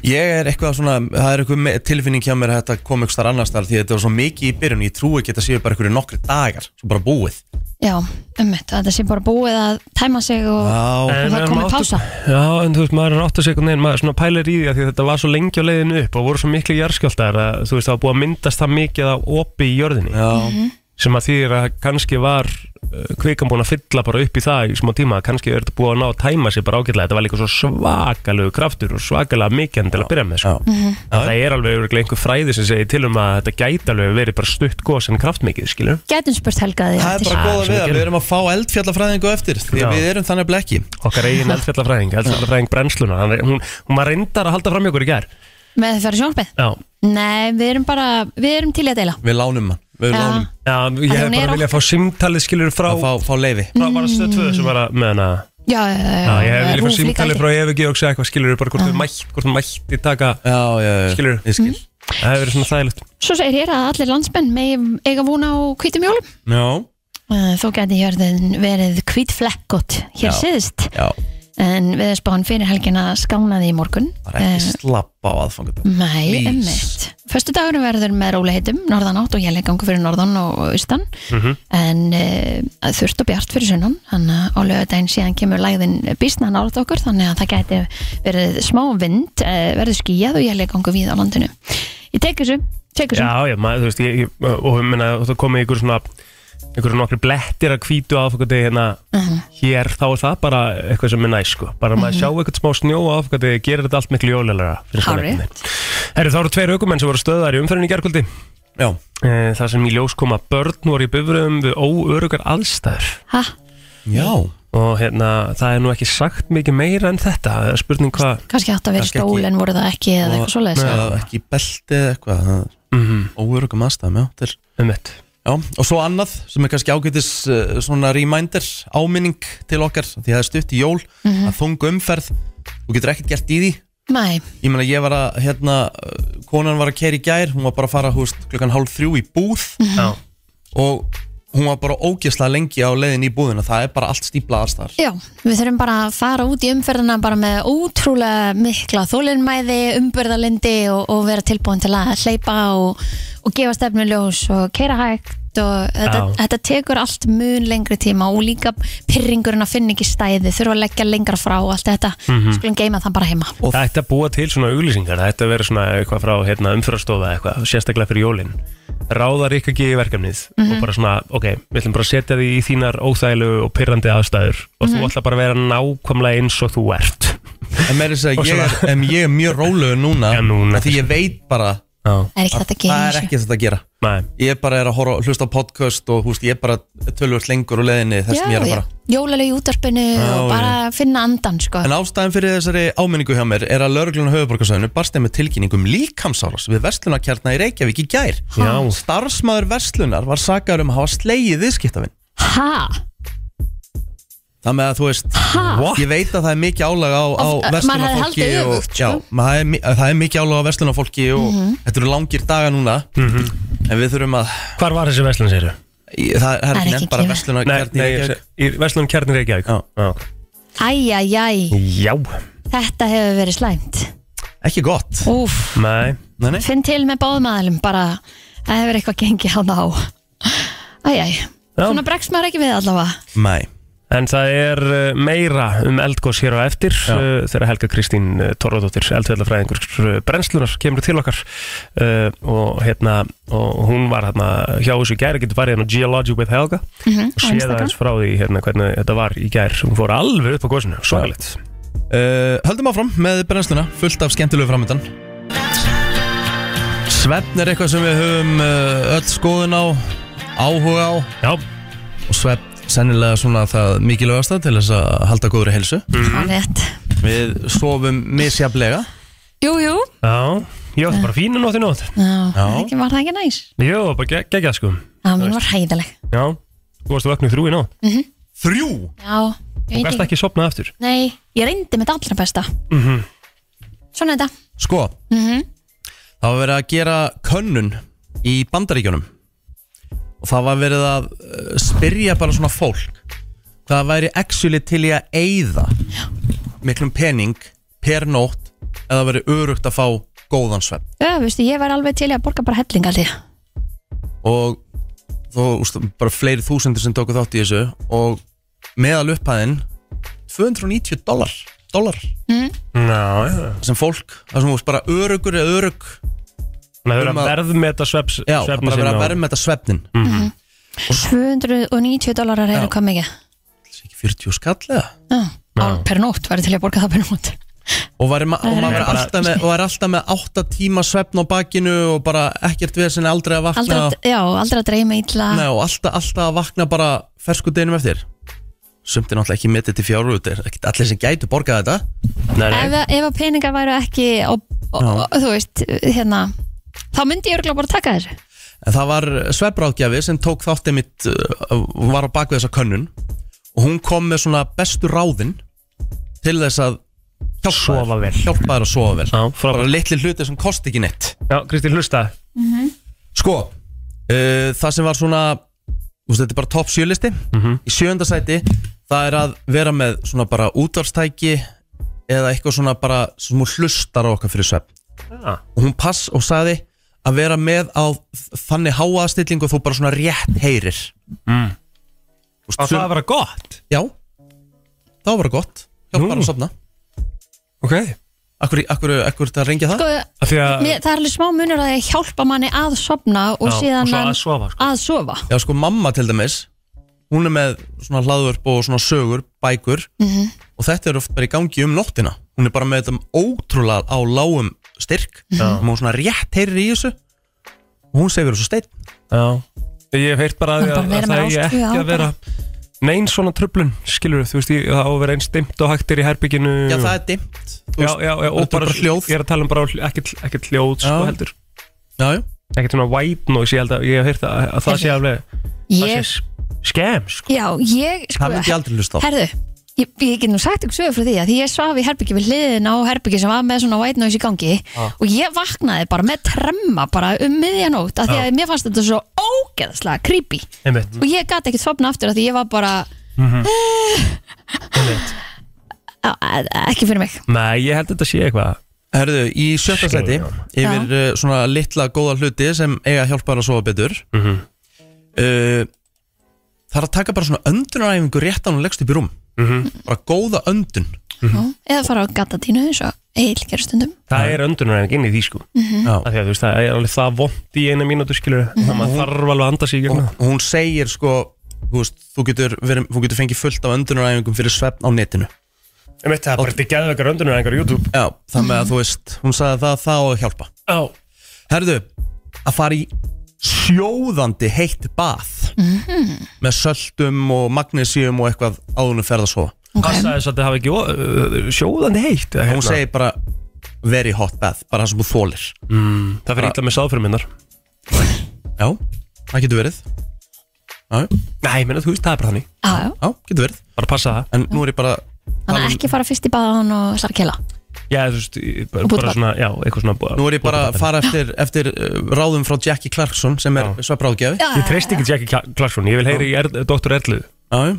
[SPEAKER 1] Ég er eitthvað svona, það er eitthvað me- tilfinning hjá mér að þetta kom eitthvað annars þar því að þetta var svo mikið í byrjun, ég trúi ekki að þetta séu bara einhverju nokkri dagar, svo bara búið
[SPEAKER 2] Já, ummitt, þetta sé bara búið að tæma sig og,
[SPEAKER 1] Já,
[SPEAKER 2] og
[SPEAKER 3] En-
[SPEAKER 2] það
[SPEAKER 3] en
[SPEAKER 2] komið
[SPEAKER 3] máttu-
[SPEAKER 2] pása.
[SPEAKER 3] Já, en þú veist, maður er átt að segja neginn, maður svona pælir í því að því þetta var svo lengi á leiðinu upp og voru svo miklu jarðskjáltar að þú veist, það var búið að myndast það mikið á opi í jörðinni
[SPEAKER 1] já,
[SPEAKER 3] sem að þýðir að kannski var uh, kvikan búin að fylla bara upp í það í smá tíma, kannski er þetta búin að ná að tæma sér bara ágætlega, þetta var líka svo svakalegu kraftur og svakalega mikið enn til að byrja með sko.
[SPEAKER 1] já
[SPEAKER 3] það er alveg örugglega einhver fræði sem segir til um að þetta gæti alveg verið bara stutt gos en kraftmikið, skilur
[SPEAKER 2] Gætum spurt helgaði.
[SPEAKER 1] Það er bara
[SPEAKER 3] Já,
[SPEAKER 1] góða
[SPEAKER 3] sem
[SPEAKER 1] við
[SPEAKER 3] við
[SPEAKER 1] að
[SPEAKER 3] gerum.
[SPEAKER 1] við erum að fá eldfjallafræðingu eftir því
[SPEAKER 3] Já.
[SPEAKER 1] að við erum þannig blekki
[SPEAKER 3] okkar eigin eldfjallafræðing, eldfjallafræðing brennsluna hann, er- hún, hún var reyndar að halda fram í okkur í gær
[SPEAKER 2] Með því fyrir sjónarbeð?
[SPEAKER 3] já,
[SPEAKER 2] Nei, við erum bara, við erum til í að deila.
[SPEAKER 1] Við lánum hann, við
[SPEAKER 2] Já.
[SPEAKER 1] lánum
[SPEAKER 3] já
[SPEAKER 2] En
[SPEAKER 3] ég hef
[SPEAKER 2] hún er
[SPEAKER 3] bara viljað
[SPEAKER 2] okkar.
[SPEAKER 3] fá simtalið skilur frá,
[SPEAKER 1] að
[SPEAKER 3] frá
[SPEAKER 1] fá, fá leiði
[SPEAKER 3] bara stöð 2 sem var að með hana
[SPEAKER 2] Já, já, já.
[SPEAKER 3] já, ég hef viljað fá
[SPEAKER 2] RÚV líka
[SPEAKER 3] simtalið
[SPEAKER 2] ekki.
[SPEAKER 3] frá Efi Georgs eða eitthvað skilur bara hvort þú mætt, hvort þú mætti taka
[SPEAKER 1] Já, já, já,
[SPEAKER 3] Skilurðu?
[SPEAKER 1] ég skil
[SPEAKER 3] það hefur verið svona þægilegt
[SPEAKER 2] Svo segir hér að allir landsmenn megi eiga vona á hvítum jólum.
[SPEAKER 1] Já,
[SPEAKER 2] Eh, Þó gæti hjörðin verið hvít flekkot hér
[SPEAKER 1] Já.
[SPEAKER 2] síðust.
[SPEAKER 1] já,
[SPEAKER 2] En viðspáin fyrir helgina skánaði í morgun.
[SPEAKER 1] það er
[SPEAKER 2] Eh.
[SPEAKER 1] ekki slappa á aðfangandag
[SPEAKER 2] Mæ,
[SPEAKER 1] Please.
[SPEAKER 2] emmitt. Föstu dagurum verður með róliheitum, norðan átt og jælegangu fyrir norðan og austan.
[SPEAKER 1] Mhm.
[SPEAKER 2] En uh, þurft og bjart fyrir sunnan. Þannig að á lögadaginn síðan kemur lægðin býstna nálat okkur, þannig að það gæti verið smá vind, uh, verður skýjað og jælegangu við á landinu. Ég tek þessu, tek þessu.
[SPEAKER 3] Já, já, maður, þú veist, ég, ég, og ég meina, það komið ykkur svona ykkur nokkri blettir að hvítu aðfokkandi hérna
[SPEAKER 2] Mhm.
[SPEAKER 3] hér, þá er það bara eitthvað sem er næs, sko, bara maður sjá eitthvað smá snjó aðfokkandi, gerir þetta allt miklu jólulega
[SPEAKER 2] Hárrétt.
[SPEAKER 3] Herri, þá eru tveir aukumenn sem voru stöðar í umferðinni í gerkvöldi
[SPEAKER 1] Já,
[SPEAKER 3] e, það sem í ljós kom að börn voru í bifröðum við óörugar allstæður
[SPEAKER 2] Ha,
[SPEAKER 1] já,
[SPEAKER 3] og hérna, það er nú ekki sagt mikið meira en þetta, það er spurning hvað
[SPEAKER 2] kannski átt að vera í
[SPEAKER 1] Kannski ekki.
[SPEAKER 2] stól en voru það ekki eða eitthvað svoleiðis.
[SPEAKER 1] já ekki í belti eða eitthvað það er
[SPEAKER 3] mm
[SPEAKER 1] Óörugum aðstæðum, já, þetta er
[SPEAKER 3] um þetta
[SPEAKER 1] Já, og svo annað sem er kannski ágætis uh, svona reminder, áminning til okkar því að það er stutt í jól,
[SPEAKER 2] Mhm.
[SPEAKER 1] að þungu umferð þú getur ekkert gert í því
[SPEAKER 2] Mæ,
[SPEAKER 1] ég meina ég var að, hérna uh, konan var að kæra í gær, hún var bara að fara húst, klukkan hálf þrjú í búð
[SPEAKER 2] Mhm.
[SPEAKER 3] Já,
[SPEAKER 1] og hún var bara ógeðslega lengi á leiðin í búðina, það er bara allt stíplað aðstæðar
[SPEAKER 2] já, við þurfum bara að fara út í umferðina bara með ótrúlega mikla þólinmæði, umburðalindi og, og vera tilbúin til að hleypa og, og gefa stefnu ljós og keira hægt og þetta,
[SPEAKER 3] Já.
[SPEAKER 2] þetta tekur allt mun lengri tíma og líka pyrringurinn að finna ekki stæði, þurfa að leggja lengra frá og allt þetta,
[SPEAKER 1] Mhm.
[SPEAKER 2] skulum geima það bara heima.
[SPEAKER 3] Það ætti að búa til svona auglýsingar, það ætti að vera svona eitthvað frá hérna, umfyrrastofa eitthvað, sérstaklega fyrir jólin. Ráðar ykkur ekki í verkefnið og bara svona, ok, við ætlum bara að setja því í þínar óþægilegu og pyrrandi aðstæður og þú ætla bara að vera nákvæmlega eins og þú ert.
[SPEAKER 1] en meira þess að
[SPEAKER 3] Og
[SPEAKER 1] ég,
[SPEAKER 3] svona-
[SPEAKER 1] er- en ég er mjög rólegur núna,
[SPEAKER 3] Já, núna.
[SPEAKER 1] af því ég veit bara
[SPEAKER 3] Já,
[SPEAKER 2] Það er ekki
[SPEAKER 1] að
[SPEAKER 2] þetta að
[SPEAKER 1] það er
[SPEAKER 2] geima
[SPEAKER 1] ekki þetta að gera
[SPEAKER 3] næ,
[SPEAKER 1] ég bara er að horfa, hlusta á podcast og húst, ég er bara tölvöld lengur á leiðinni þess
[SPEAKER 2] Já,
[SPEAKER 1] sem ég er að
[SPEAKER 2] já,
[SPEAKER 1] fara
[SPEAKER 2] jólalegi í útarpinu
[SPEAKER 1] Já,
[SPEAKER 2] og bara finna andan sko.
[SPEAKER 1] En ástæðan fyrir þessari áminningu hjá mér er að lauruglun á höfuborgarsöðinu barst þeim með tilkynningum líkamsáras við verslunarkjarnar í Reykjavík í gær.
[SPEAKER 3] já,
[SPEAKER 1] Starfsmaður verslunar var sakaður um að hafa slegið viðskiptafinn.
[SPEAKER 2] Ha,
[SPEAKER 1] Það með að þú veist,
[SPEAKER 2] ha,
[SPEAKER 3] What?
[SPEAKER 1] ég veit að það er mikið álag á, á
[SPEAKER 2] Of- maður hefði
[SPEAKER 1] verslunarfólki
[SPEAKER 2] haldið
[SPEAKER 1] og,
[SPEAKER 2] öfugt,
[SPEAKER 1] já,
[SPEAKER 2] sko. Mhm.
[SPEAKER 1] maður hefði mi- það er mikið álag á verslunarfólki og þetta eru langir daga núna
[SPEAKER 3] Mhm.
[SPEAKER 1] en við þurfum að,
[SPEAKER 3] hvar var þessi verslun, segir
[SPEAKER 1] í- það, það er ekki nefnt bara
[SPEAKER 2] gefið.
[SPEAKER 3] Nei,
[SPEAKER 1] verslunarkjarnar í
[SPEAKER 3] nei,
[SPEAKER 1] Reykjavík.
[SPEAKER 3] í verslun kjarnir Reykjavík.
[SPEAKER 1] Já.
[SPEAKER 3] Já.
[SPEAKER 2] æj, æj, æj.
[SPEAKER 3] Já.
[SPEAKER 2] Þetta hefur verið slæmt
[SPEAKER 1] Ekki gott
[SPEAKER 2] Úf,
[SPEAKER 3] Nei,
[SPEAKER 1] Nei, nei
[SPEAKER 2] finn til með báðum aðalum bara það hefur eitthvað gengið hann á Æjæj,
[SPEAKER 3] Já.
[SPEAKER 2] svona bregst maður ekki við allavega
[SPEAKER 1] Nei
[SPEAKER 3] en það er uh, meira um eldgós hér á eftir uh, þegar Helga Kristín uh, Torfadóttir, eldfjallafræðingur uh, brennslunar kemur til okkar uh, og hérna og hún var hérna hjá þessu í gær getur farið hérna á Geology with Helga
[SPEAKER 2] Mhm, á
[SPEAKER 3] og séð
[SPEAKER 2] Instagram.
[SPEAKER 3] aðeins frá því hérna hvernig þetta var í gær hún fór alveg upp á gósinu, svakalegt
[SPEAKER 1] Uh, höldum áfram með brennsluna fullt af skemmtilegu framöndan Svefn er eitthvað sem við höfum uh, öll skoðun á áhuga á
[SPEAKER 3] Já,
[SPEAKER 1] og svefn sennilega svona það mikilvægasta til þess að halda góðri helsu
[SPEAKER 2] Það er rétt
[SPEAKER 1] við sofum misjaflega
[SPEAKER 2] Jú, jú,
[SPEAKER 3] já, ég átti bara fínu nótt í nótt
[SPEAKER 2] Já,
[SPEAKER 1] Já.
[SPEAKER 2] Ekki, var það ekki næs?
[SPEAKER 3] Jó, bara geg- geggjað sko
[SPEAKER 2] Já, mín var hæðileg
[SPEAKER 3] Já, þú varst að vakna í þrjú í nótt
[SPEAKER 1] þrjú
[SPEAKER 2] Já, ég veit
[SPEAKER 3] og gæst
[SPEAKER 2] ekki Mhm.
[SPEAKER 3] ekki sopnað aftur
[SPEAKER 2] Nei, ég reyndi mitt allra besta Svona þetta
[SPEAKER 1] sko
[SPEAKER 2] Mhm.
[SPEAKER 1] það var verið að gera könnun í bandaríkjunum og það var verið að uh, spyrja bara svona fólk hvað væri actually til í að eyða miklum pening per nótt eða verið örugt að fá góðan svefn
[SPEAKER 2] Já, veistu, ég var alveg til í að borga bara helling allir
[SPEAKER 1] og þó úst, bara fleiri þúsundir sem tóku þátt í þessu og meðal upphæðin 290 dólar, dólar
[SPEAKER 3] Já, já
[SPEAKER 1] sem fólk, það sem þú veist bara örugur eða örug,
[SPEAKER 3] Þannig að
[SPEAKER 1] Um
[SPEAKER 3] vera
[SPEAKER 1] að-
[SPEAKER 3] verðmeta sveps,
[SPEAKER 1] já, það bara vera að verða með þetta svefnin,
[SPEAKER 2] 290 dólarar
[SPEAKER 1] Já.
[SPEAKER 2] eru hvað mikið
[SPEAKER 1] Þessi ekki 40 skall eða
[SPEAKER 2] Já, á per nótt var ég til í að borga það per nótt
[SPEAKER 1] og væri ma- og
[SPEAKER 2] Það er
[SPEAKER 1] maður
[SPEAKER 2] bara-
[SPEAKER 1] er alltaf með, og væri alltaf með 8 tíma svefn á bakinu og bara ekkert við sem aldrei að vakna
[SPEAKER 2] Aldrei, ah. já, aldrei að dreyma illa
[SPEAKER 1] Nei, og alltaf, alltaf að vakna bara fersku deginum eftir sumt er náttúrulega ekki metið til fjárúr þetta er ekkert allir sem gætu borgað þetta
[SPEAKER 3] Nei,
[SPEAKER 2] ef,
[SPEAKER 3] nei,
[SPEAKER 2] ef að peningar væru ekki og, og,
[SPEAKER 1] Já.
[SPEAKER 2] og, þú veist, hérna þá myndi ég örgulega bara taka þér
[SPEAKER 1] En það var svefráðgjafi sem tók þáttið mitt var á bakvið þessa könnun og hún kom með svona bestu ráðin til þess að hjálpa
[SPEAKER 3] Sofa vel.
[SPEAKER 1] þér hjálpa þér að sofa vel
[SPEAKER 3] Já, frábært.
[SPEAKER 1] bara litli hluti sem kosti ekki neitt
[SPEAKER 3] já, Kristín hlusta
[SPEAKER 1] sko, uh, það sem var svona þú veist, þetta er bara topp sjölisti í sjönda sæti, það er að vera með svona bara útvarstæki eða eitthvað svona bara sem hún hlustar á okkar fyrir svefn
[SPEAKER 3] Já,
[SPEAKER 1] og hún pass og sagði að vera með á þannig háaðstillingu þú bara svona rétt heyrir mm.
[SPEAKER 3] Á
[SPEAKER 1] Vist,
[SPEAKER 3] það að vera gott
[SPEAKER 1] Já, það var bara gott Hjálp
[SPEAKER 3] Nú.
[SPEAKER 1] bara að sofna
[SPEAKER 3] Ok
[SPEAKER 1] Akkur, akkur, akkur þetta reyngja það?
[SPEAKER 2] sko,
[SPEAKER 3] Af því að
[SPEAKER 2] mér, Það er alveg smá munur að ég hjálpa manni að sofna og
[SPEAKER 3] Já,
[SPEAKER 2] síðan
[SPEAKER 3] og svo að
[SPEAKER 2] hann-
[SPEAKER 3] sofa, sko.
[SPEAKER 2] að sofa.
[SPEAKER 1] Já, sko mamma til dæmis Hún er með svona hlaðvörp og svona sögur, bækur -hmm. Og þetta er oft bara í gangi um nóttina Hún er bara með þetta ótrúlega á lágum styrk Og hún svona rétt heyrir í þessu Og hún segir þessu steinn
[SPEAKER 3] Já Ég hef heyrt bara að,
[SPEAKER 2] Bara
[SPEAKER 3] að,
[SPEAKER 2] vera
[SPEAKER 3] að
[SPEAKER 2] með
[SPEAKER 3] það eigi
[SPEAKER 2] ástríðu,
[SPEAKER 3] ekki
[SPEAKER 2] já,
[SPEAKER 3] að vera Nein svona tröflun, skilur þú veist ég, Það á að vera einn stimmt og hægtir í herbygginu
[SPEAKER 1] Já, það er dimmt þú
[SPEAKER 3] Já,
[SPEAKER 1] veist.
[SPEAKER 3] já, já, og
[SPEAKER 1] þetta er
[SPEAKER 3] bara
[SPEAKER 1] bara hljóð.
[SPEAKER 3] Ég er að tala um bara hl- ekkert ekkert hljóð, sko,
[SPEAKER 1] Já.
[SPEAKER 3] heldur
[SPEAKER 1] já, já.
[SPEAKER 3] Ekkert svona white noise, ég held að ég hef heyrt að, að það sé alveg Það
[SPEAKER 2] Ég,
[SPEAKER 3] sé skemm, sko
[SPEAKER 2] já, ég sko,
[SPEAKER 1] Það myndi ég aldrei hlusta á
[SPEAKER 2] herðu, ég, ég get nú sagt ykkur sögur frá því að því ég svaf í herbyggi við hliðin á herbyggi sem var með svona white noise í gangi og ég vaknaði bara með tremma bara um miðjanótt af því að mér fannst þetta svo ógeðslega creepy
[SPEAKER 3] Einmitt,
[SPEAKER 2] og ég gat ekkert svapna aftur af því ég var bara
[SPEAKER 1] Mhm.
[SPEAKER 2] "Eh."
[SPEAKER 3] einmitt
[SPEAKER 2] "Á, á, á, e, ekki fyrir mig
[SPEAKER 3] Nei, ég held að þetta sé eitthvað
[SPEAKER 1] Herðu, í sjötta sæti
[SPEAKER 3] Skilja.
[SPEAKER 1] yfir uh, svona litla góða hluti sem eiga að hjálpa þér að sofa betur mm Það er að taka bara svona öndunaræfingu rétt án og leggst upp í rúm bara góða öndun
[SPEAKER 2] eða fara á gatatínu eins og eil gerur stundum
[SPEAKER 3] Það er öndunaræfing inn í því sko
[SPEAKER 1] Já.
[SPEAKER 3] Af því að þú veist, það er alveg það vond í eina mínútu skilur
[SPEAKER 2] Mhm.
[SPEAKER 3] Þannig að maður þarf alveg að anda sig í
[SPEAKER 1] og
[SPEAKER 3] gegnum það.
[SPEAKER 1] og hún segir sko þú, veist, þú, getur verið, þú getur fengið fullt af öndunaræfingum fyrir svefn á netinu
[SPEAKER 3] Ég veit það, bara þetta er geðveikar öndunaræfingar á YouTube
[SPEAKER 1] Já, þannig að þú veist, hún sagði að það, það á að hjálpa
[SPEAKER 3] Já
[SPEAKER 1] Herðu, að fara í sjóðandi heitt bath með söltum og magnesíum og eitthvað áðunum ferð að sofa
[SPEAKER 3] Passaði þess að þetta hafi ekki ó- uh, sjóðandi heitt eða
[SPEAKER 1] hún
[SPEAKER 3] hérna.
[SPEAKER 1] segir bara very hot bath, bara það sem þú þólir
[SPEAKER 3] Það fyrir illa með sáðfyrirminnar
[SPEAKER 1] já, það getur verið já,
[SPEAKER 3] Nei, ég meina, þú veist, það er bara þannig
[SPEAKER 2] Já, já.
[SPEAKER 1] já, getur verið
[SPEAKER 3] Bara passa það
[SPEAKER 1] en nú er ég bara
[SPEAKER 2] þannig að
[SPEAKER 1] talan,
[SPEAKER 2] ekki fara fyrst í baðan og sarkela
[SPEAKER 3] Já, þú veist, í- bara,
[SPEAKER 2] Og búta
[SPEAKER 3] bara
[SPEAKER 2] barn.
[SPEAKER 3] svona, já, eitthvað svona
[SPEAKER 1] nú er ég bara að fara eftir, eftir uh, ráðum frá Jackie Clarkson sem er svefráðgjafi já,
[SPEAKER 3] Ég treyst ekki Jackie Cla- Clarkson, ég vil heyri í er, Dr. Erlu
[SPEAKER 1] já.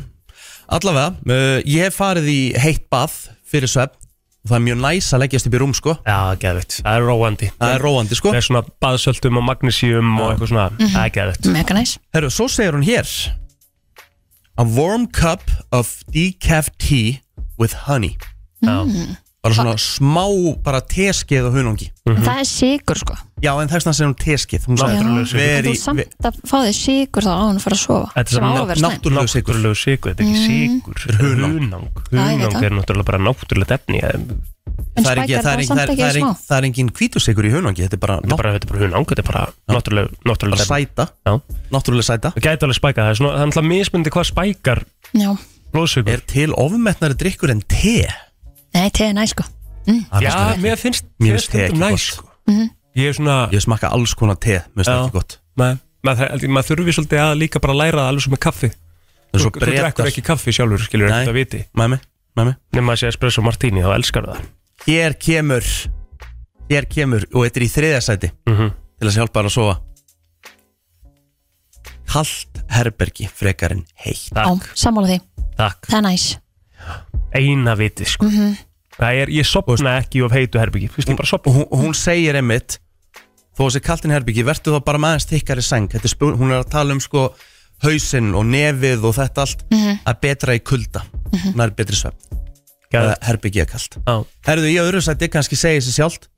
[SPEAKER 1] allavega, uh, ég hef farið í heitt bath fyrir svefn og það er mjög næs að leggjast upp í rúm sko
[SPEAKER 3] Já, geðvitt, það er róandi
[SPEAKER 1] það er róandi sko
[SPEAKER 3] Það er svona baðsöldum og magnesíum og eitthvað svona
[SPEAKER 2] Mhm.
[SPEAKER 3] Það er geðvitt
[SPEAKER 2] mega næs
[SPEAKER 1] Herru, svo segir hún hér A warm cup of decaf tea with honey
[SPEAKER 2] Mhm.
[SPEAKER 1] bara svona smá bara teskeið og hunungi
[SPEAKER 2] það er sigur sko
[SPEAKER 1] já en þess vegna segir hún teskeið hún
[SPEAKER 2] Já.
[SPEAKER 1] sagði
[SPEAKER 2] en þú
[SPEAKER 1] veri, veri,
[SPEAKER 2] samt að fá þig sigur þá á hún að fara að sofa
[SPEAKER 3] Þetta er
[SPEAKER 2] sem á
[SPEAKER 3] samt
[SPEAKER 2] að vera slæmt
[SPEAKER 1] náttúrulegu sigur
[SPEAKER 3] Náttúrulegu sigur, þetta er ekki sigur Þetta er Hunang
[SPEAKER 2] Já, ég veit
[SPEAKER 3] Hunang
[SPEAKER 2] það.
[SPEAKER 3] er náttúrulega bara náttúrulegt efni Það er
[SPEAKER 2] en
[SPEAKER 1] það er ekki, það er
[SPEAKER 2] spækjar bara
[SPEAKER 1] ekki, það
[SPEAKER 2] samt
[SPEAKER 1] er, það
[SPEAKER 2] ekki að
[SPEAKER 1] er,
[SPEAKER 2] smá
[SPEAKER 1] ekki- það er engin hvítusikur í hunangi þetta er bara, náttúrulega
[SPEAKER 3] bara, þetta er bara hunang, þetta er bara náttúrulega, náttúrulega efni
[SPEAKER 1] sæta
[SPEAKER 3] Já.
[SPEAKER 1] náttúrulega sæta
[SPEAKER 3] Það gæti alveg spæka, það er svona, það er náttúrulega mismundi hvað spækar
[SPEAKER 2] já
[SPEAKER 3] blóðsugur
[SPEAKER 1] er til ofmetnari drikkur en te
[SPEAKER 2] nei, te er næs sko
[SPEAKER 1] Það
[SPEAKER 3] Já,
[SPEAKER 1] finnst mér
[SPEAKER 3] mér
[SPEAKER 1] ekki.
[SPEAKER 3] finnst,
[SPEAKER 1] Mér finnst te
[SPEAKER 3] mér finnst
[SPEAKER 1] ekki
[SPEAKER 3] þetta
[SPEAKER 1] gott,
[SPEAKER 3] næs sko. Ég er svona,
[SPEAKER 1] ég smakka alls konar te, mér finnst það
[SPEAKER 3] Já.
[SPEAKER 1] ekki gott
[SPEAKER 3] maður maður- maður þurfi svolítið að líka bara læra það alveg sem með kaffi
[SPEAKER 1] það er svo
[SPEAKER 3] Þú þú drekkur ekki kaffi sjálfur, skilur
[SPEAKER 1] Nei.
[SPEAKER 3] þetta viti
[SPEAKER 1] með mig, með mig
[SPEAKER 3] Nefnum að sé espresso martini, þá elskar það
[SPEAKER 1] hér kemur hér kemur og þetta er í þriðja sæti
[SPEAKER 3] Mhm.
[SPEAKER 1] til að hjálpa þér að sofa kallt herbergi frekar en heitt
[SPEAKER 2] á, sammála því
[SPEAKER 3] Takk
[SPEAKER 2] það er næs
[SPEAKER 3] Eina viti, sko Það er, ég sopna ekki of heitu herbyggi Fyrst ég bara
[SPEAKER 1] og
[SPEAKER 3] sopna
[SPEAKER 1] hún, og hún segir einmitt þó að þessi kallt herbergi verður þá bara með aðeins þykkari sæng Þetta er spurn, hún er að tala um sko hausinn og nefið og þetta allt að betra í kulda mm -hmm. nær betri svefn eða
[SPEAKER 3] Geðveikt.
[SPEAKER 1] herbergi er kallt
[SPEAKER 3] Já.
[SPEAKER 1] Herðu, ég á öðru sæti kannski segja þessi sjálft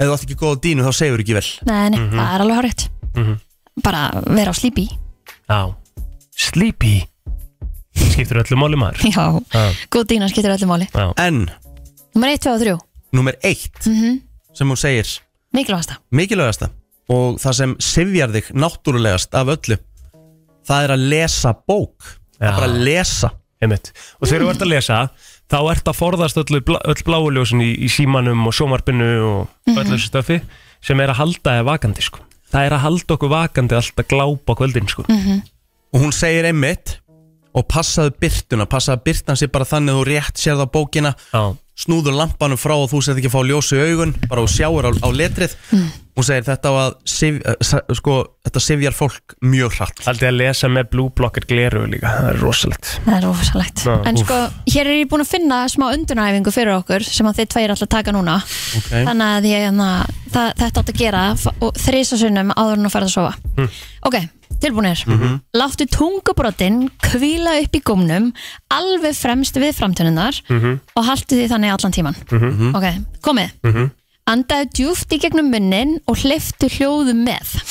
[SPEAKER 1] Ef þú átt ekki góða dínu þá segjur ekki vel
[SPEAKER 2] nei, nei,
[SPEAKER 1] Mhm.
[SPEAKER 2] það er alveg horrið bara vera á slípi
[SPEAKER 3] Já Sleepy Skiptir öllu máli maður
[SPEAKER 2] já, góð dýna skiptir öllu máli
[SPEAKER 1] En,
[SPEAKER 2] nummer 1, 2 og 3
[SPEAKER 1] nummer eitt sem hún segir
[SPEAKER 2] mikilvægasta
[SPEAKER 1] mikilvægasta og það sem sifjar þig náttúrulegast af öllu það er að lesa bók það er
[SPEAKER 3] Já.
[SPEAKER 1] bara að lesa
[SPEAKER 3] Einmitt. Og þegar þú ert að lesa þá ert að forðast öllu, bla- öll bláuljósin í, í símanum og sjómarpinu og
[SPEAKER 2] Mhm.
[SPEAKER 3] öllu þessu stöfi sem er að halda þér vakandi sko. Það er að halda okkur vakandi alltaf glápa á kvöldin sko.
[SPEAKER 2] Mhm.
[SPEAKER 1] og hún segir einmitt og passaðu byrtuna, passaðu byrtan sér bara þannig að þú rétt sér það bókina
[SPEAKER 3] Já,
[SPEAKER 1] snúður lampanum frá og þú sett ekki að fá ljósu í augun bara og sjáur á, á letrið hún segir þetta á að sif, eh, sa- sko, þetta sifjar fólk mjög hratt
[SPEAKER 3] aldrei að lesa með blue blocker gleru líka, það er rosalegt
[SPEAKER 2] Það er rosalegt
[SPEAKER 3] Já,
[SPEAKER 2] En
[SPEAKER 3] úff.
[SPEAKER 2] sko, hér er ég búin að finna smá undunaræfingu fyrir okkur sem að þið tveir alltaf taka núna
[SPEAKER 1] okay.
[SPEAKER 2] Þannig að ég, na, það, þetta átt að gera f- og þrisa sunnum áður en að fara að sofa Ok, tilbúinir Láttu tungubrotin kvíla upp í gómnum alveg fremst við framtuninnar og haltu því þannig allan tíman Ok, komið Andaðu djúft í gegnum munnin og hliftu hljóðum með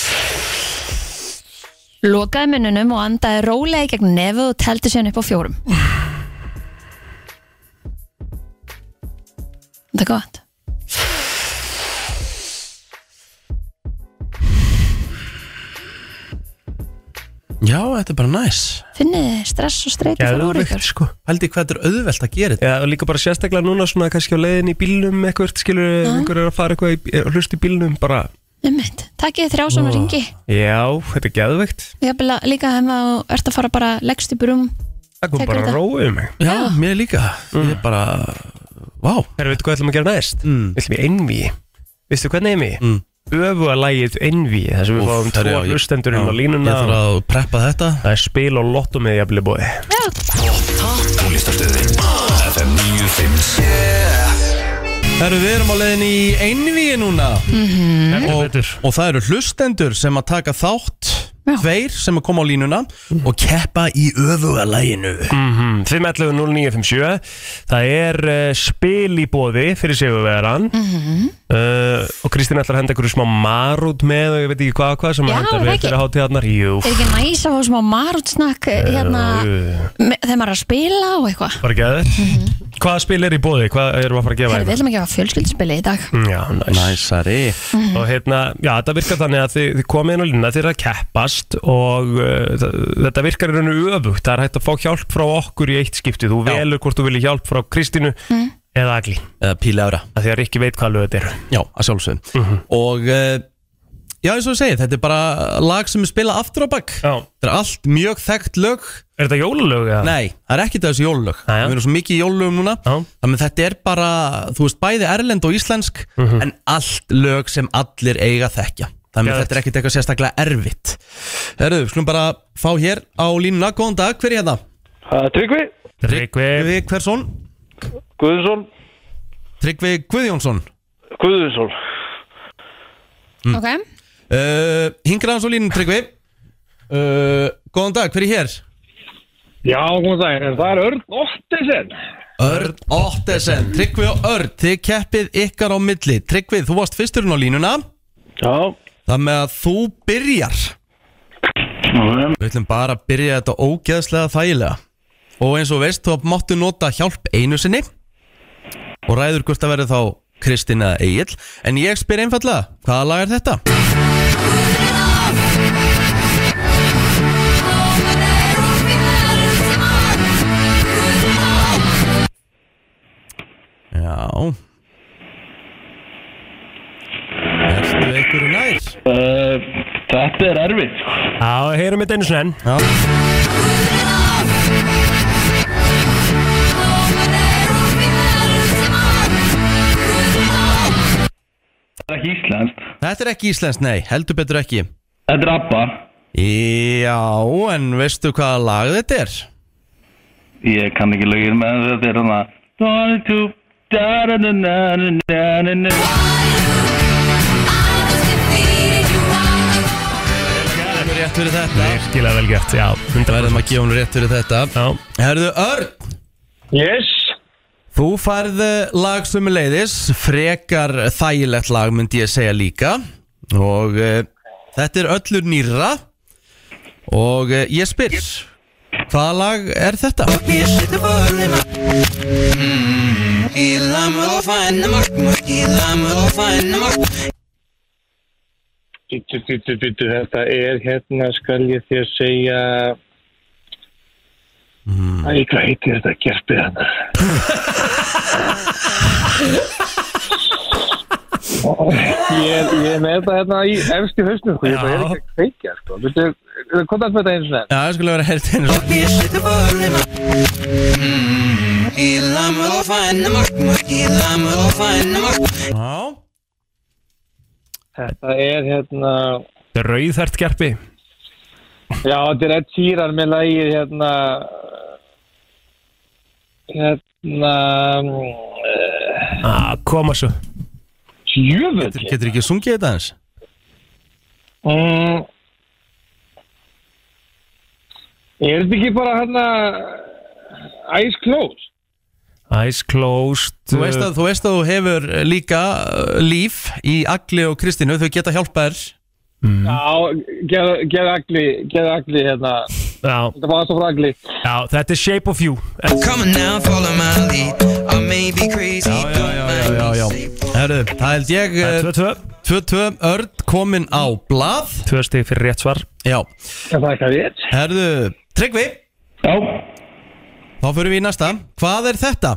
[SPEAKER 2] Lokaði munnunum og andaði rólega í gegnum nefið og teldi síðan upp á fjórum. Þetta er gott.
[SPEAKER 1] já, þetta er bara næs
[SPEAKER 2] Finnið þið stress og streyti fyrir úr
[SPEAKER 3] Geðveikt,
[SPEAKER 2] ykkur.
[SPEAKER 3] sko.
[SPEAKER 1] hældi hvað þetta er auðvelt að gera þetta
[SPEAKER 3] Já, og líka bara sérstaklega núna svona kannski á leiðin í bílnum eitthvað, skilur, ja. einhver er að fara eitthvað í, er að hlusta í bílnum, bara
[SPEAKER 2] Ummitt, takkið þið þrjá svona ringi.
[SPEAKER 3] Já, þetta er geðveikt
[SPEAKER 2] Jafnvel að- líka ef þú ert að fara bara leggst upp í rúm.
[SPEAKER 3] Það kom
[SPEAKER 2] Tekur
[SPEAKER 3] bara
[SPEAKER 2] þetta.
[SPEAKER 3] að róið mig
[SPEAKER 1] já, mér líka, ég er bara vá,
[SPEAKER 3] Herra, veitu hvað ætlum að gera næst?
[SPEAKER 1] Mm.
[SPEAKER 3] Við ætlum í einví Vistu hvernig einví?
[SPEAKER 1] Mm.
[SPEAKER 3] Öfuga lægið einví Þar sem við
[SPEAKER 1] Úff,
[SPEAKER 3] fáum
[SPEAKER 1] herri, já,
[SPEAKER 3] tvo
[SPEAKER 1] ég-
[SPEAKER 3] hlustendurinn
[SPEAKER 1] já,
[SPEAKER 3] á línuna
[SPEAKER 1] Ég þarf
[SPEAKER 3] og
[SPEAKER 1] að preppa þetta
[SPEAKER 3] Það er spil og lottum með jafnli bóði
[SPEAKER 1] Herru, við erum á leiðin í einvíi núna og, og það eru hlustendur sem að taka þátt
[SPEAKER 2] Já.
[SPEAKER 1] Tveir sem að koma á línuna og keppa í öfuga læginu
[SPEAKER 3] Mm, 511 0957 Það er uh, spil í bóði fyrir sigurvegaran mm
[SPEAKER 2] Mhm.
[SPEAKER 3] Og Kristín ætlar að henda einhverju smá marút með og ég veit ekki hvað og hvað sem
[SPEAKER 2] Já,
[SPEAKER 3] að
[SPEAKER 2] er
[SPEAKER 3] henda
[SPEAKER 2] það
[SPEAKER 3] við
[SPEAKER 2] ekki?
[SPEAKER 3] fyrir hátíðarnar Jú,
[SPEAKER 2] Er ekki næs að fá smá marútsnakk hérna
[SPEAKER 3] uh,
[SPEAKER 2] me- þegar maður er að spila og eitthvað?
[SPEAKER 3] bara geður Hvaða spil er í bóði? Hvað erum við að fara að gefa
[SPEAKER 2] Herri, Mhm. við
[SPEAKER 3] hérna?
[SPEAKER 2] ætlum ekki að hafa fjölskyldspili í dag.
[SPEAKER 3] Já, næs
[SPEAKER 1] Næsari
[SPEAKER 3] og hérna, já, þetta virkar þannig að þið, þið komið inn á línuna, þið er að keppast og uh, þa- þetta virkar í rauninu öfugt, það er hægt að fá hjálp frá okkur í eitt skipti,
[SPEAKER 1] Já.
[SPEAKER 3] þú
[SPEAKER 1] Mhm.
[SPEAKER 3] velur hvort þú vilji hjálp frá Kristínu eða Agli,
[SPEAKER 1] Eða píla ára
[SPEAKER 3] að því að Rikki veit hvað lög þetta eru
[SPEAKER 1] Já, að sjálfsögum Og eh, já, eins og ég segi, þetta er bara lag sem er spilað aftur á bakk
[SPEAKER 3] Já,
[SPEAKER 1] Þetta er allt mjög þekkt lög
[SPEAKER 3] er þetta jólalög eða?
[SPEAKER 1] Nei, það er ekkert af þessu jólulög
[SPEAKER 3] Jæja.
[SPEAKER 1] Við erum svo mikið í jólulögum núna
[SPEAKER 3] Já,
[SPEAKER 1] Þannig að þetta er bara, þú veist, bæði erlend og íslensk
[SPEAKER 3] Mhm.
[SPEAKER 1] En allt lög sem allir eiga að þekkja Þannig að
[SPEAKER 3] Geðvegt.
[SPEAKER 1] þetta er ekkert eitthvað sérstaklega erfitt Herðu, skulum bara fá hér á línuna Góðan dag, hver er hérna?
[SPEAKER 8] Uh, Tryggvi
[SPEAKER 3] Rikki
[SPEAKER 1] Við Hversson
[SPEAKER 8] Guðunsson
[SPEAKER 1] Tryggvi Guðjónsson
[SPEAKER 8] Guðunsson
[SPEAKER 2] Ok,
[SPEAKER 1] uh, Hingra hans og línu Tryggvi uh, Góðan dag, hver er hér?
[SPEAKER 8] Já, góðan daginn, en það er Örn Ottesen
[SPEAKER 1] Örn Ottesen Tryggvi og Örn, þið keppið ykkar á milli Tryggvi, þú varst fyrsturinn á línuna
[SPEAKER 8] Já,
[SPEAKER 1] Það með að þú byrjar Við ætlum bara að byrja þetta ógeðslega þægilega Og eins og veist, þú máttu nota hjálp einu sinni Og ræður hvort að verði þá Kristín eða Egil En ég spyr einfallega, hvaða lag er þetta? Já Ertu einhverju nær?
[SPEAKER 8] uh, þetta er erfitt sko.
[SPEAKER 3] Já, heyrum þetta einu svona enn
[SPEAKER 1] Já
[SPEAKER 8] Það er ekki íslenskt
[SPEAKER 1] Þetta er ekki íslensk, nei, heldur betur ekki
[SPEAKER 8] Þetta er ABBA
[SPEAKER 1] Já, en veistu hvaða lag þetta er?
[SPEAKER 8] Ég kann ekki lögir með þetta er hann að Don't you da-da-da-na-na-na-na-na.
[SPEAKER 1] Hún rétt fyrir þetta
[SPEAKER 3] Virkilega vel gert, já
[SPEAKER 1] Verðum að gefa hún rétt fyrir þetta
[SPEAKER 3] Já,
[SPEAKER 1] Herðu Örn,
[SPEAKER 8] Yes
[SPEAKER 1] þú færð eh, lag sem leiðis Frekar þægilegt lag myndi ég segja líka Og uh, þetta er öllur nýra Og uh, ég spyr Hvaða lag er þetta?
[SPEAKER 8] Bítu, bítu, bítu, þetta er hérna, skal ég þér segja mm. Æ, hvað heitir þetta hérna? gerpið hann? ég, ég er með þetta hérna í efst í hausnum, sko, ég bara er ekki að kveikja, sko Bítu, hvað er þetta eins og
[SPEAKER 1] Já, það skulle vera herrt einu sinni. Já,
[SPEAKER 8] Þetta er hérna,
[SPEAKER 3] þetta er rauðhært gerpi
[SPEAKER 8] já, þetta er Ed Sheeran með lagið hérna Hérna,
[SPEAKER 3] ah, Koma svo
[SPEAKER 8] jöfull
[SPEAKER 1] getur ekki sungið þetta eins?
[SPEAKER 8] Mm. Er þetta ekki bara hérna Eyes Closed?
[SPEAKER 3] Eyes closed
[SPEAKER 1] Þú veist, að, þú veist að þú hefur eh, líka uh, líf í Agli og Kristínu, þau geta hjálpa þér
[SPEAKER 8] Já, geð agli, geð agli hérna
[SPEAKER 3] já,
[SPEAKER 8] Þetta var svo frá agli
[SPEAKER 3] já, þetta er shape of you
[SPEAKER 1] Já, já, já, já, já, já. Herru, það held ég eh,
[SPEAKER 3] 2-2
[SPEAKER 1] 2-2 Örn komin á blað
[SPEAKER 3] 2 stig fyrir rétt svar
[SPEAKER 1] Já,
[SPEAKER 8] Það er eitthvað rétt
[SPEAKER 1] herru, Tryggvi
[SPEAKER 8] Já,
[SPEAKER 1] Þá fyrir við í næsta Hvað er þetta?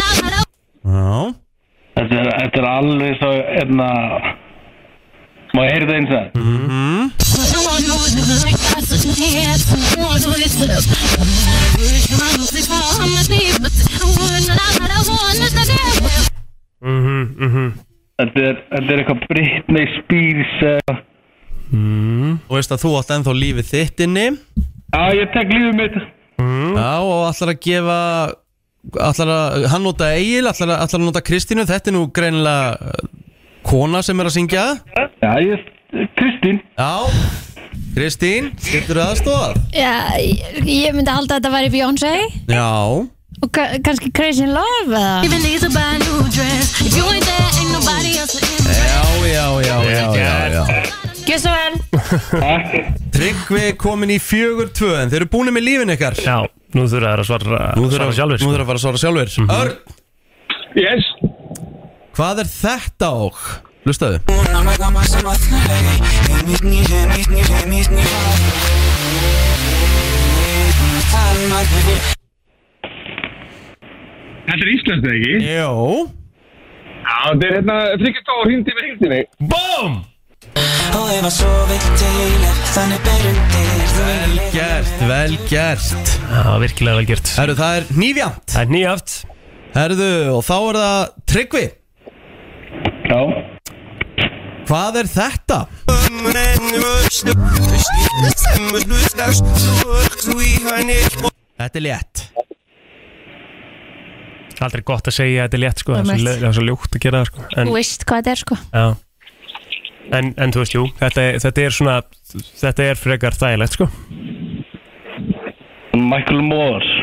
[SPEAKER 1] Já,
[SPEAKER 8] þetta er, þetta er alveg svo hérna Má ég heyra þetta eins og
[SPEAKER 1] Mhm.
[SPEAKER 8] það? Þetta er, þetta er eitthvað Britney Spears uh,
[SPEAKER 1] þú veist að þú átt ennþá lífið þitt inni
[SPEAKER 8] Já, ég tek lífið mitt
[SPEAKER 1] Já, og ætlar að gefa ætlar að, hann nota Egil ætlar að, ætlar að nota Kristínu, þetta er nú greinilega eh, kona sem er að syngja
[SPEAKER 8] Já, ég, Kristín
[SPEAKER 1] Já, Kristín, getur þú aðstofað?
[SPEAKER 2] já, ég ég myndi halda að þetta væri Beyoncé
[SPEAKER 1] Já
[SPEAKER 2] og ka kannski Crazy in Love eða
[SPEAKER 1] Já, já, já, já, já, já
[SPEAKER 2] Gjössu vel
[SPEAKER 1] Tryggvi komin í fjögur tvö en þeir eru búin með lífin ykkar
[SPEAKER 3] Já, nú þurfa þær að svara, svara
[SPEAKER 1] Nú
[SPEAKER 3] sjálfur sko.
[SPEAKER 1] þurfa að fara Mhm. að svara sjálfur Örn,
[SPEAKER 8] Yes
[SPEAKER 1] hvað er þetta og? Lustaðu
[SPEAKER 8] Þetta er Íslands, eða ekki?
[SPEAKER 1] Jó
[SPEAKER 8] Já, þetta er hérna Frikki Tór hindi með hildinni
[SPEAKER 3] BOOM!
[SPEAKER 1] Gert, vel gert
[SPEAKER 3] Já, virkilega vel gert
[SPEAKER 1] Herru, það er nýfjant
[SPEAKER 3] Það er nýjaft
[SPEAKER 1] Herru, og þá er það Tryggvi
[SPEAKER 8] Já
[SPEAKER 1] Hvað er þetta? Þetta er létt
[SPEAKER 3] Það er aldrei gott að segja að þetta er létt sko, það er svo
[SPEAKER 2] Einmitt.
[SPEAKER 3] le- það er svo ljótt að gera það sko. en,
[SPEAKER 2] Þú veist hvað þetta er sko
[SPEAKER 3] já. en, en þú veist, jú, þetta, er- þetta er svona þetta er frekar þægilegt sko.
[SPEAKER 9] Michael Moore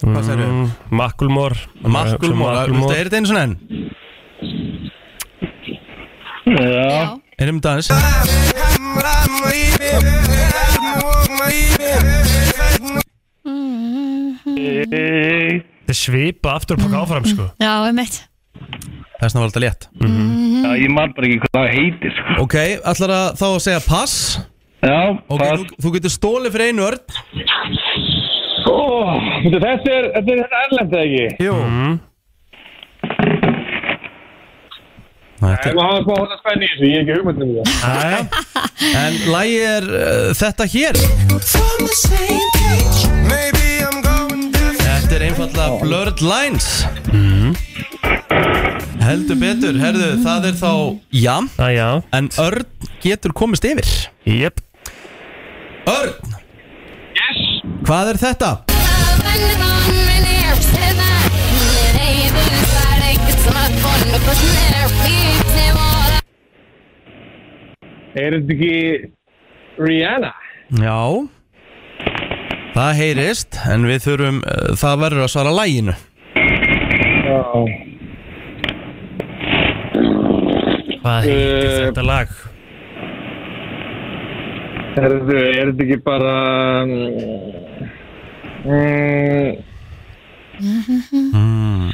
[SPEAKER 1] Hvað segir við?
[SPEAKER 3] Makulmór
[SPEAKER 1] Markulmór, veistu, er þetta einu svona enn?
[SPEAKER 2] Já,
[SPEAKER 1] Erum dans
[SPEAKER 3] Þetta er svipa aftur og pakka áfram sko.
[SPEAKER 2] já einmitt
[SPEAKER 1] Þessna var alltaf létt
[SPEAKER 9] Já, ég man bara ekki hvað það heitir sko.
[SPEAKER 1] Ok, ætlar að þá að segja pass
[SPEAKER 9] Já,
[SPEAKER 1] Ok,
[SPEAKER 9] það
[SPEAKER 1] þú, þú getur stólið fyrir einu örn
[SPEAKER 8] Ó, veitu, Þetta er þetta er þetta erlend eða ekki?
[SPEAKER 1] Jú mm.
[SPEAKER 8] Ég má hafa smá hóla spenni í þessu, ég hef ekki hugmyndin í það
[SPEAKER 1] En lægi er uh, þetta hér Þetta er einfallega Blurred Lines Heldur betur, herðu, það er þá Já,
[SPEAKER 3] ah, Já,
[SPEAKER 1] en Örn getur komist yfir
[SPEAKER 3] jöp
[SPEAKER 1] Örn Yes Hvað er þetta?
[SPEAKER 8] Er þetta ekki Rihanna?
[SPEAKER 1] Já Það heyrist, en við þurfum uh, Það verður að svara læginu
[SPEAKER 8] Já
[SPEAKER 3] Hvað heitir
[SPEAKER 8] Eh,
[SPEAKER 3] þetta lag?
[SPEAKER 8] Er þetta er þetta ekki bara mm, mm,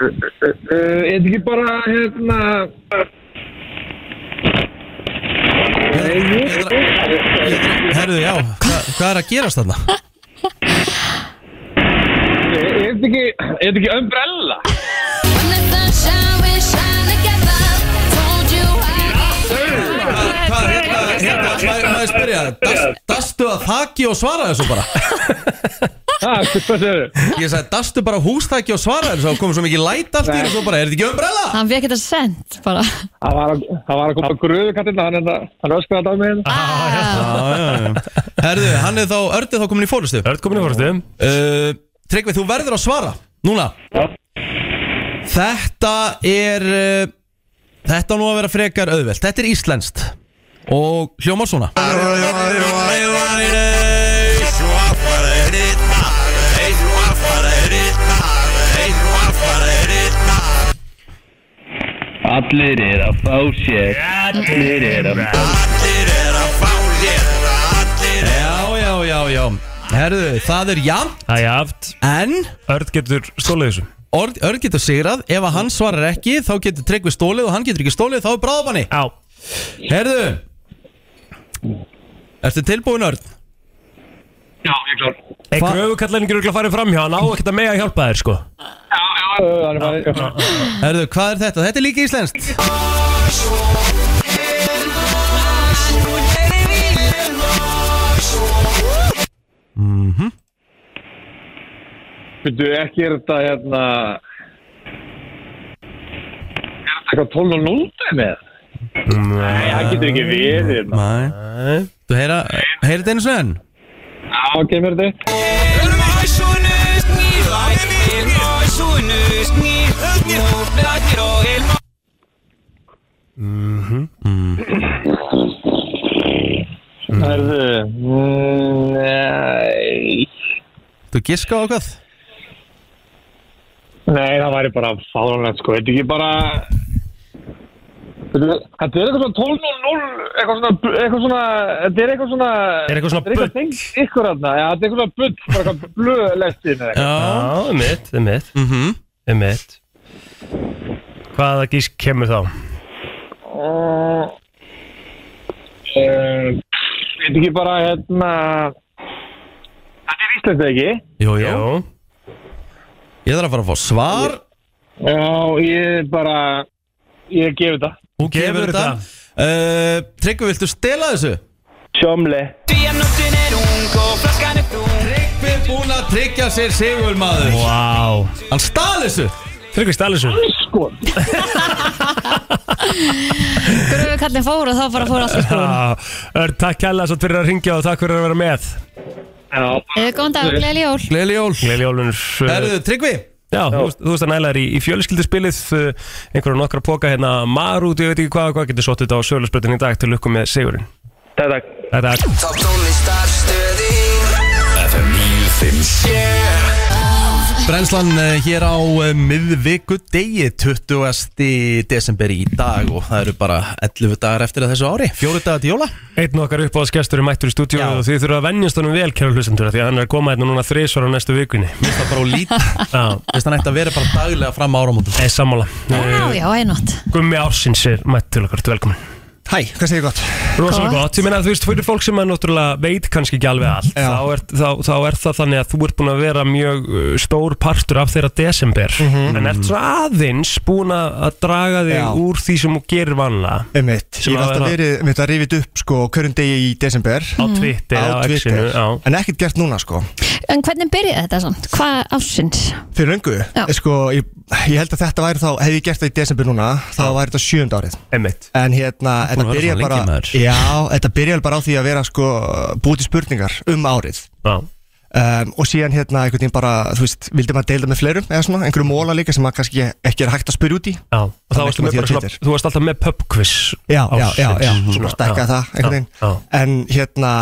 [SPEAKER 8] Er þetta ekki bara hérna
[SPEAKER 1] Herðu, já, hva, hvað er að gerast þarna?
[SPEAKER 8] Er er þetta ekki Er þetta ekki Umbrella?
[SPEAKER 1] Hvað, hérna, hérna, maður maður spyrja dast, Dastu að þaki og svara þessu bara
[SPEAKER 8] Ha, hvað segir þau?
[SPEAKER 1] Ég sagði, dastu bara hústaki og svara þessu Það kom svo mikið læt allt í þér og svo bara, er þetta ekki umbrella?
[SPEAKER 2] hann fekk þetta sent bara
[SPEAKER 8] Það var að- það var að koma gröðu kallina, hann, hérna- hann öskraði þetta á mig hérna.
[SPEAKER 2] Ah,
[SPEAKER 1] Já, já, já Herðu, hann er þá, ördi þá komin í fórustu
[SPEAKER 3] Örn komin í fórstu
[SPEAKER 1] uh, Tryggvi, þú verður að svara Núna Þetta er uh, Þetta á nú að vera frekar auðvelt Þetta er íslenskt Og hljómar svona
[SPEAKER 9] Allir er að fá sér Allir er að fá
[SPEAKER 1] Já, já, já, já Herðu, það er jafn
[SPEAKER 3] Það er jaft,
[SPEAKER 1] En
[SPEAKER 3] Örn getur stólið þessu
[SPEAKER 1] Orð, Örn getur sigrað, ef að hann svarar ekki þá getur Tryggvi stólið og hann getur ekki stólið þá er bráðabanni
[SPEAKER 3] Já,
[SPEAKER 1] Herðu Ertu tilbúin Örn?
[SPEAKER 8] Já, ég er klár
[SPEAKER 3] en
[SPEAKER 1] Hva-
[SPEAKER 3] gröfukallarinn gerur að fara fram hjá hann á ekkert að mega hjálpa þér sko
[SPEAKER 8] Já, hann er bara
[SPEAKER 1] Herðu, hvað er þetta? Þetta er líka íslenskt
[SPEAKER 8] Býttu, ekki er þetta hérna Er þetta eitthvað 12 og 0 dæmi? eða? Nei, það getur ekki verið hérna.
[SPEAKER 1] Nei Þú heyra, heyra þetta einu svona enn?
[SPEAKER 8] Já, kemur þetta Herðu mm, Nei
[SPEAKER 1] Þú giska á hvað?
[SPEAKER 8] Nei, það væri bara fáránlegt sko, þetta er ekki bara Þetta er- þetta er eitthvað svona 12 og 0 eitthvað svona, eitthvað svona þetta er eitthvað svona
[SPEAKER 3] Er eitthvað svona
[SPEAKER 8] þetta er eitthvað
[SPEAKER 3] bull?
[SPEAKER 8] tengt ykkur þarna, já, þetta er eitthvað svona bull bara eitthvað blöðlestin eða
[SPEAKER 1] Já
[SPEAKER 8] eitthvað
[SPEAKER 3] Já, um mitt, um mitt
[SPEAKER 1] mm -hmm.
[SPEAKER 3] Um mitt Hvaða gísk kemur þá?
[SPEAKER 8] Uh, uh, Þetta er ekki bara hérna Þetta er Ísland ekki
[SPEAKER 1] Jú, jú Ég þarf að fara að fá svar
[SPEAKER 8] Já, ég bara Ég gef þetta
[SPEAKER 1] Þú
[SPEAKER 3] gefur
[SPEAKER 1] gefur þetta
[SPEAKER 3] þetta.
[SPEAKER 1] uh, Tryggvi, viltu stela þessu?
[SPEAKER 8] Sjómli
[SPEAKER 1] Tryggvi búin að tryggja sér sigurmaður
[SPEAKER 3] Vá
[SPEAKER 1] Hann stal þessu
[SPEAKER 3] Tryggvi Stalisson
[SPEAKER 10] sko
[SPEAKER 2] Gröfu kallin fór og þá bara fór allt í skoðun
[SPEAKER 3] Já, Örn, takk hella svo fyrir að ringja og takk fyrir að vera með
[SPEAKER 2] Eða góðan dag, gleyli jól
[SPEAKER 1] Gleðileg jól
[SPEAKER 3] Gleili Ólunur Já,
[SPEAKER 1] Herðu, Tryggvi
[SPEAKER 3] eh, þú veist- þú veist að næla þér í, í fjölskylduspilið uh, einhverju nokkra póka hérna Marút, ég veit ekki hvað og hvað getur sótt þetta á sögulegsbrutin í dag til lukku með Sigurinn
[SPEAKER 8] Takk, takk
[SPEAKER 3] Þetta er
[SPEAKER 4] Top tónlistarstöði FM 957
[SPEAKER 1] Brennslan eh, hér á eh, miðvikudegi 20. desember í dag og það eru bara 11 dagar eftir að þessu ári Fjóru dagar til jóla
[SPEAKER 3] einn okkar uppáðsgestur er mættur í stúdíu
[SPEAKER 1] Já.
[SPEAKER 3] og þið þurfa að venjast honum vel, kæra hlustendur af því að hann er að koma hérna núna þrisvar á næstu vikunni
[SPEAKER 1] Mér finnst það bara á lít Mér
[SPEAKER 3] Já,
[SPEAKER 1] finnst það nætti að vera bara daglega fram á áramótum
[SPEAKER 3] eða sammála
[SPEAKER 2] Já, já, einnátt
[SPEAKER 3] Gummi Ársins er mætt til okkar, velkomin
[SPEAKER 11] Hæ, hvað segir gott?
[SPEAKER 3] Rosalega
[SPEAKER 2] Gott.
[SPEAKER 3] gott, ég meina að þú veist, fyrir fólk sem er náttúrulega veit kannski ekki alveg allt
[SPEAKER 11] Já.
[SPEAKER 3] þá er, þá, þá er það þannig að þú ert búin að vera mjög uh, stór partur af þeirra desember en ert svo aðeins búin að að draga þig
[SPEAKER 11] Mhm. Já.
[SPEAKER 3] úr því sem þú gerir vanlega
[SPEAKER 11] Einmitt,
[SPEAKER 3] Sem
[SPEAKER 11] ég hef
[SPEAKER 3] að
[SPEAKER 11] alltaf
[SPEAKER 3] vera-
[SPEAKER 11] verið, einmitt að rifið upp sko hverjum degi í desember
[SPEAKER 3] á Twitter, á,
[SPEAKER 11] Mm. á
[SPEAKER 3] X-inu
[SPEAKER 11] Twitter,
[SPEAKER 3] já.
[SPEAKER 11] en ekkert gert núna sko
[SPEAKER 2] En hvernig byrjaði þetta samt? Hvað ásins?
[SPEAKER 11] fyrir löngu, Eh, sko ég, ég held að þetta væri þá, hef ég gert það í desember núna þá væri þetta sjönd árið
[SPEAKER 3] Einmitt.
[SPEAKER 11] en hérna,
[SPEAKER 1] búin að
[SPEAKER 11] þetta
[SPEAKER 1] vera
[SPEAKER 11] byrjar
[SPEAKER 1] svona
[SPEAKER 11] bara
[SPEAKER 1] lengi, maður.
[SPEAKER 11] já, þetta byrjar bara á því að vera sko búið til spurningar um árið
[SPEAKER 3] Já.
[SPEAKER 11] um, og síðan hérna einhvern veginn bara, þú veist, vildi maður deila með fleirum eða svona, einhverju móla líka sem maður kannski ekki er hægt að spyrja út í
[SPEAKER 3] Já. og þá
[SPEAKER 11] Þannig
[SPEAKER 3] varstu
[SPEAKER 11] kom
[SPEAKER 3] með
[SPEAKER 11] því
[SPEAKER 3] bara
[SPEAKER 11] á
[SPEAKER 3] svona,
[SPEAKER 11] Twitter.
[SPEAKER 3] þú varst alltaf með pubquiz
[SPEAKER 11] Já, já,
[SPEAKER 3] ársins.
[SPEAKER 11] já, já,
[SPEAKER 3] Svona,
[SPEAKER 11] svona stækkaði það einhvern veginn
[SPEAKER 3] já,
[SPEAKER 11] En hérna,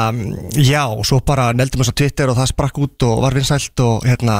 [SPEAKER 11] já, svo bara neldum þess að Twitter og það sprakk út og var vinsælt og hérna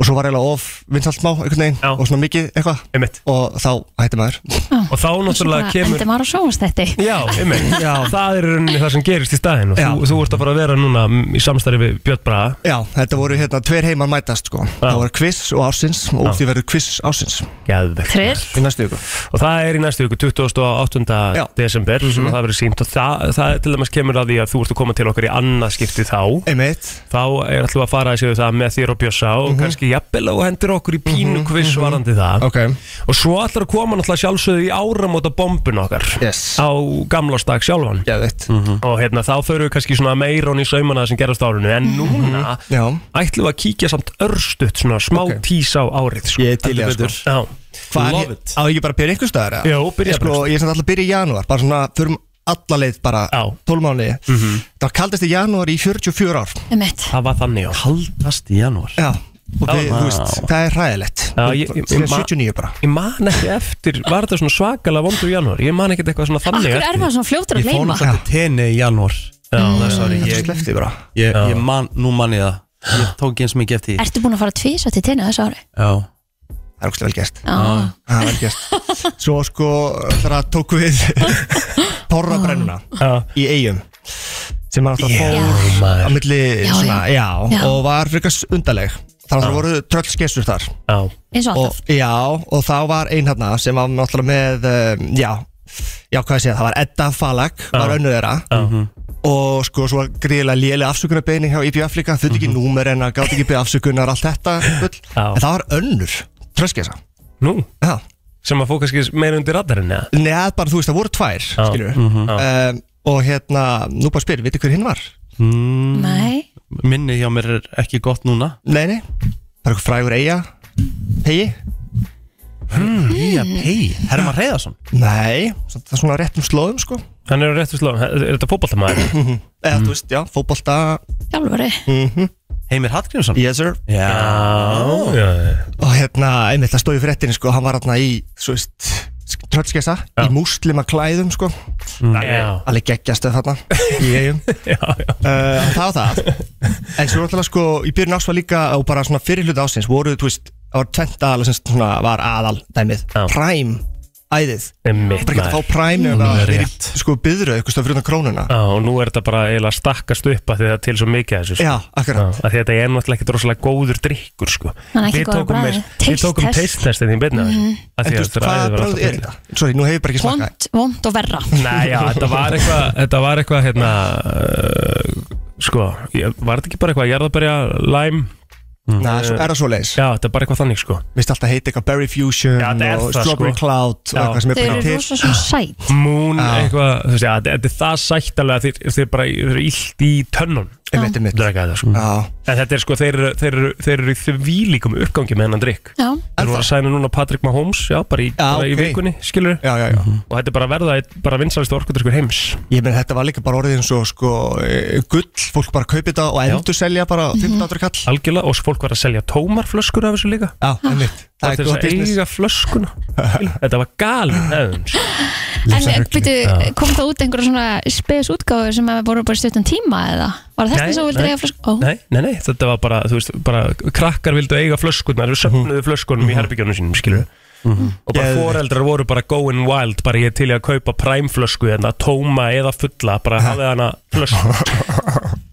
[SPEAKER 11] Og svo var eiginlega of vinsælt má einhvern veginn
[SPEAKER 3] Já.
[SPEAKER 11] og svona mikið eitthvað
[SPEAKER 3] Einmitt.
[SPEAKER 11] Og þá hætti maður
[SPEAKER 3] og þá náttúrulega kemur
[SPEAKER 2] Endi maður að sjóast þetta
[SPEAKER 3] Já, einmitt,
[SPEAKER 11] Já.
[SPEAKER 3] það er í rauninni það sem gerist í staðin og
[SPEAKER 11] Já.
[SPEAKER 3] þú, þú ert að fara að vera núna mm, í samstarfi við Björn Braga
[SPEAKER 11] Já, þetta voru hérna tveir heimar mætast sko Það voru quiz og ársins og úr því verður quiz ársins
[SPEAKER 3] Geðvegt
[SPEAKER 2] Trill
[SPEAKER 11] Í næstu viku
[SPEAKER 3] og það er í næstu viku 28.
[SPEAKER 11] Já. Mhm.
[SPEAKER 3] desember sem það verður sínt og það, það til dæmis kemur að því að þú ert að koma til okkar í annað skipti þá
[SPEAKER 11] Einmitt
[SPEAKER 3] þá er alltaf að fara að séu það með þér og Bjössa og kannski jafnvel og hendur okkur í pínu kviss varandi það
[SPEAKER 11] Mhm. Ok
[SPEAKER 3] og svo allar að koma náttúrulega sjálfsögðu í áramóta bombun okkar
[SPEAKER 11] Yes. Mhm.
[SPEAKER 3] á gamlástak sjálfan
[SPEAKER 11] Geðvitt
[SPEAKER 1] Mm.
[SPEAKER 3] og hérna þá förum við kannski svona meira onni í saumana sem gerast á árinu en
[SPEAKER 11] Mhm.
[SPEAKER 3] núna
[SPEAKER 11] Já
[SPEAKER 3] ætlum við að kíkja samt örstutt svona smá
[SPEAKER 11] Ok.
[SPEAKER 3] tís á árið sko.
[SPEAKER 11] Ég er til í það, sko.
[SPEAKER 3] Já.
[SPEAKER 11] Hvað
[SPEAKER 1] Love
[SPEAKER 11] er,
[SPEAKER 1] it.
[SPEAKER 11] á ekki bara að byrja einhvers staðar? eða?
[SPEAKER 3] Jó, byrja
[SPEAKER 11] Ég sko,
[SPEAKER 3] bara.
[SPEAKER 11] Ég er samt alltaf að byrja í janúar, bara svona, þurfum alla leið bara
[SPEAKER 3] Já.
[SPEAKER 11] 12 mánuði
[SPEAKER 1] Mhm.
[SPEAKER 11] Það var kaldast í janúar í 44 ár
[SPEAKER 2] Emmett
[SPEAKER 3] það var þannig já
[SPEAKER 1] Haldast í janúar
[SPEAKER 11] Já, og við, þú veist, það er ræðilegt
[SPEAKER 3] Já, ég- ég-
[SPEAKER 11] Síðan
[SPEAKER 3] ég-
[SPEAKER 11] 79 bara
[SPEAKER 3] Ég man ekki eftir, var þetta svona svakalega vondur í janúar? Ég man ekki eitthvað svona þannig
[SPEAKER 2] Akkur er maður svona fljótur
[SPEAKER 1] Ég
[SPEAKER 2] að
[SPEAKER 1] fór
[SPEAKER 2] gleyma
[SPEAKER 1] náttúrulega til tenni í janúar Mm.
[SPEAKER 3] Já, það er
[SPEAKER 11] Það
[SPEAKER 3] sorry
[SPEAKER 11] er
[SPEAKER 3] ég,
[SPEAKER 11] slefti bara
[SPEAKER 1] Ég, ég man, nú man ég það Ég tók ekki eins mikið eftir því.
[SPEAKER 2] Ertu búin að fara tvísa til tenni þessu ári?
[SPEAKER 1] Já
[SPEAKER 11] Það er ógstlega vel gert
[SPEAKER 2] Já
[SPEAKER 11] Það er vel gert Svo sko, þar að tók við Porrabrennuna
[SPEAKER 3] Já.
[SPEAKER 11] í eigum sem var alltaf fór
[SPEAKER 3] maður.
[SPEAKER 11] á milli
[SPEAKER 2] Já,
[SPEAKER 11] svona, já,
[SPEAKER 2] Já.
[SPEAKER 11] og var frekar undarleg þannig að það voru tröllskessur þar
[SPEAKER 3] Já,
[SPEAKER 2] Eins og
[SPEAKER 11] og,
[SPEAKER 2] alltaf
[SPEAKER 11] já, og þá var ein hérna sem var náttúrulega með um, já, já, hvað ég segja, það var Edda Falag var önnu þeirra og sko svo gríðilega léli afsökunarbeini hjá IPF líka, þau ekki númer en að gátt ekki beða afsökunar, allt þetta bull.
[SPEAKER 3] Mhm. Já.
[SPEAKER 11] en það var önnur, tröskesa
[SPEAKER 3] nú,
[SPEAKER 11] já,
[SPEAKER 3] sem að fók kannski meira undir radarinn eða?
[SPEAKER 11] neða bara þú veist, það voru tvær skilur
[SPEAKER 3] Mhm.
[SPEAKER 1] Mhm.
[SPEAKER 11] um, og hérna, nú bara spyr, veitir hver hinn var?
[SPEAKER 2] Nei
[SPEAKER 1] Minni hjá mér er ekki gott núna
[SPEAKER 11] Nei, nei, það er eitthvað frægur eiga hegi?
[SPEAKER 1] Nýja pei Herman Reyðarsson
[SPEAKER 11] Nei, samt það er svona á réttum slóðum sko
[SPEAKER 3] Hann er á réttu slóðum, er er þetta fótballtamaður?
[SPEAKER 11] eða þú veist, já, fótbolta
[SPEAKER 2] Hjálfari
[SPEAKER 1] Heimir Hallgrímsson
[SPEAKER 11] yes sir
[SPEAKER 3] Já, já, já.
[SPEAKER 11] og hérna, einmitt það stóði fréttinni sko, hann var hérna í, svo veist tröllskessa, í múslima klæðum sko
[SPEAKER 3] já.
[SPEAKER 11] alveg geggjastu þarna í eigum uh,
[SPEAKER 4] Eh,
[SPEAKER 11] það var það en svo náttúrulega sko, í byrjun ás var líka og bara svona fyrir hluta ásins, voru þú veist það var tvent aðal sem svona var aðal dæmið,
[SPEAKER 3] Já.
[SPEAKER 11] Prime, æðið
[SPEAKER 3] Einmitt,
[SPEAKER 11] bara geta
[SPEAKER 3] maður.
[SPEAKER 11] að fá Prime nema
[SPEAKER 3] Númer
[SPEAKER 11] að vera í,
[SPEAKER 3] rétt.
[SPEAKER 11] sko byðru eitthvað stöð fyrir utan krónuna
[SPEAKER 3] Já, og nú er þetta bara eiginlega stakkast upp að því það er til svo mikið af þessu sko.
[SPEAKER 11] já,
[SPEAKER 3] Já,
[SPEAKER 11] akkurat,
[SPEAKER 3] af því þetta er náttúrulega ekkert rosalega góður drikkur sko.
[SPEAKER 2] Hann er ekki
[SPEAKER 3] Við
[SPEAKER 2] góður á
[SPEAKER 3] tókum
[SPEAKER 2] bragðið.
[SPEAKER 3] meir- Við
[SPEAKER 2] Taste
[SPEAKER 3] tókum
[SPEAKER 2] test. Mhm.
[SPEAKER 3] teistnestin í beinna mm -hmm.
[SPEAKER 11] en þú veist, hvað bráð er þetta? sorry, nú hefur bara ekki smakað
[SPEAKER 2] Vond, vond og verra
[SPEAKER 3] Nei, já, þetta var eitthvað, þetta var eitthvað, hérna, uh, sko, ég, var þetta ekki bara eitthvað jarðabæja, lime? Uh,
[SPEAKER 11] Nei, svo- er það svo leiðis?
[SPEAKER 3] Já, þetta er bara eitthvað þannig, sko.
[SPEAKER 11] Mér finnst alltaf að heita eitthvað Berry Fusion
[SPEAKER 3] Já, þetta er
[SPEAKER 11] og
[SPEAKER 3] það,
[SPEAKER 11] Strawberry
[SPEAKER 3] sko.
[SPEAKER 11] Cloud og
[SPEAKER 3] Já.
[SPEAKER 11] eitthvað sem er
[SPEAKER 2] Þau eru
[SPEAKER 11] bara til
[SPEAKER 2] rosa svona sæt
[SPEAKER 3] Moon, eitthvað, þú veist, já, þetta þetta er það sættalega, þeir, þeir bara, þeir eru illt í tönnun.
[SPEAKER 4] einmitt, einmitt
[SPEAKER 3] Drega þetta sko
[SPEAKER 4] Já,
[SPEAKER 3] En þetta er sko, þeir, eru- þeir, eru- þeir eru í því líkum uppgangi með hennan drikk
[SPEAKER 2] Já,
[SPEAKER 3] Þeir voru að sæna núna Patrick Mahomes, já, bara í,
[SPEAKER 4] Já,
[SPEAKER 3] bara í
[SPEAKER 4] ok.
[SPEAKER 3] vikunni, skilur
[SPEAKER 4] já, já, já.
[SPEAKER 3] Og þetta er bara að verða einn- bara vinsalistu orkudrykkur heims
[SPEAKER 4] Ég menn þetta var líka bara orðið eins og sko eh, gull, fólk bara kaupið þetta og endur selja bara 1500 kall
[SPEAKER 3] Algjörlega, og svo fólk var að selja tómar flöskur af þessu líka
[SPEAKER 4] Já, einmitt
[SPEAKER 3] Það er
[SPEAKER 4] gott
[SPEAKER 3] þess að
[SPEAKER 4] business.
[SPEAKER 3] eiga flöskuna Þetta var galin hefðum sko.
[SPEAKER 2] en byrju, kom það út einhverja svona spes útgáður sem að voru bara í stuttan tíma eða? Var þetta
[SPEAKER 3] Nei,
[SPEAKER 2] þess að þú vildir
[SPEAKER 3] nei.
[SPEAKER 2] eiga flösku? Ó,
[SPEAKER 3] Nei, nei, nei, þetta var bara, þú veist, bara krakkar vildu eiga flöskunar, við söfnuðu flöskunum í herbyggjónum sínum, skilur Og bara
[SPEAKER 4] Geðveikt.
[SPEAKER 3] foreldrar voru bara going wild, bara ég er til í að kaupa præmflösku, þetta tóma eða fulla, bara hafið hana flösku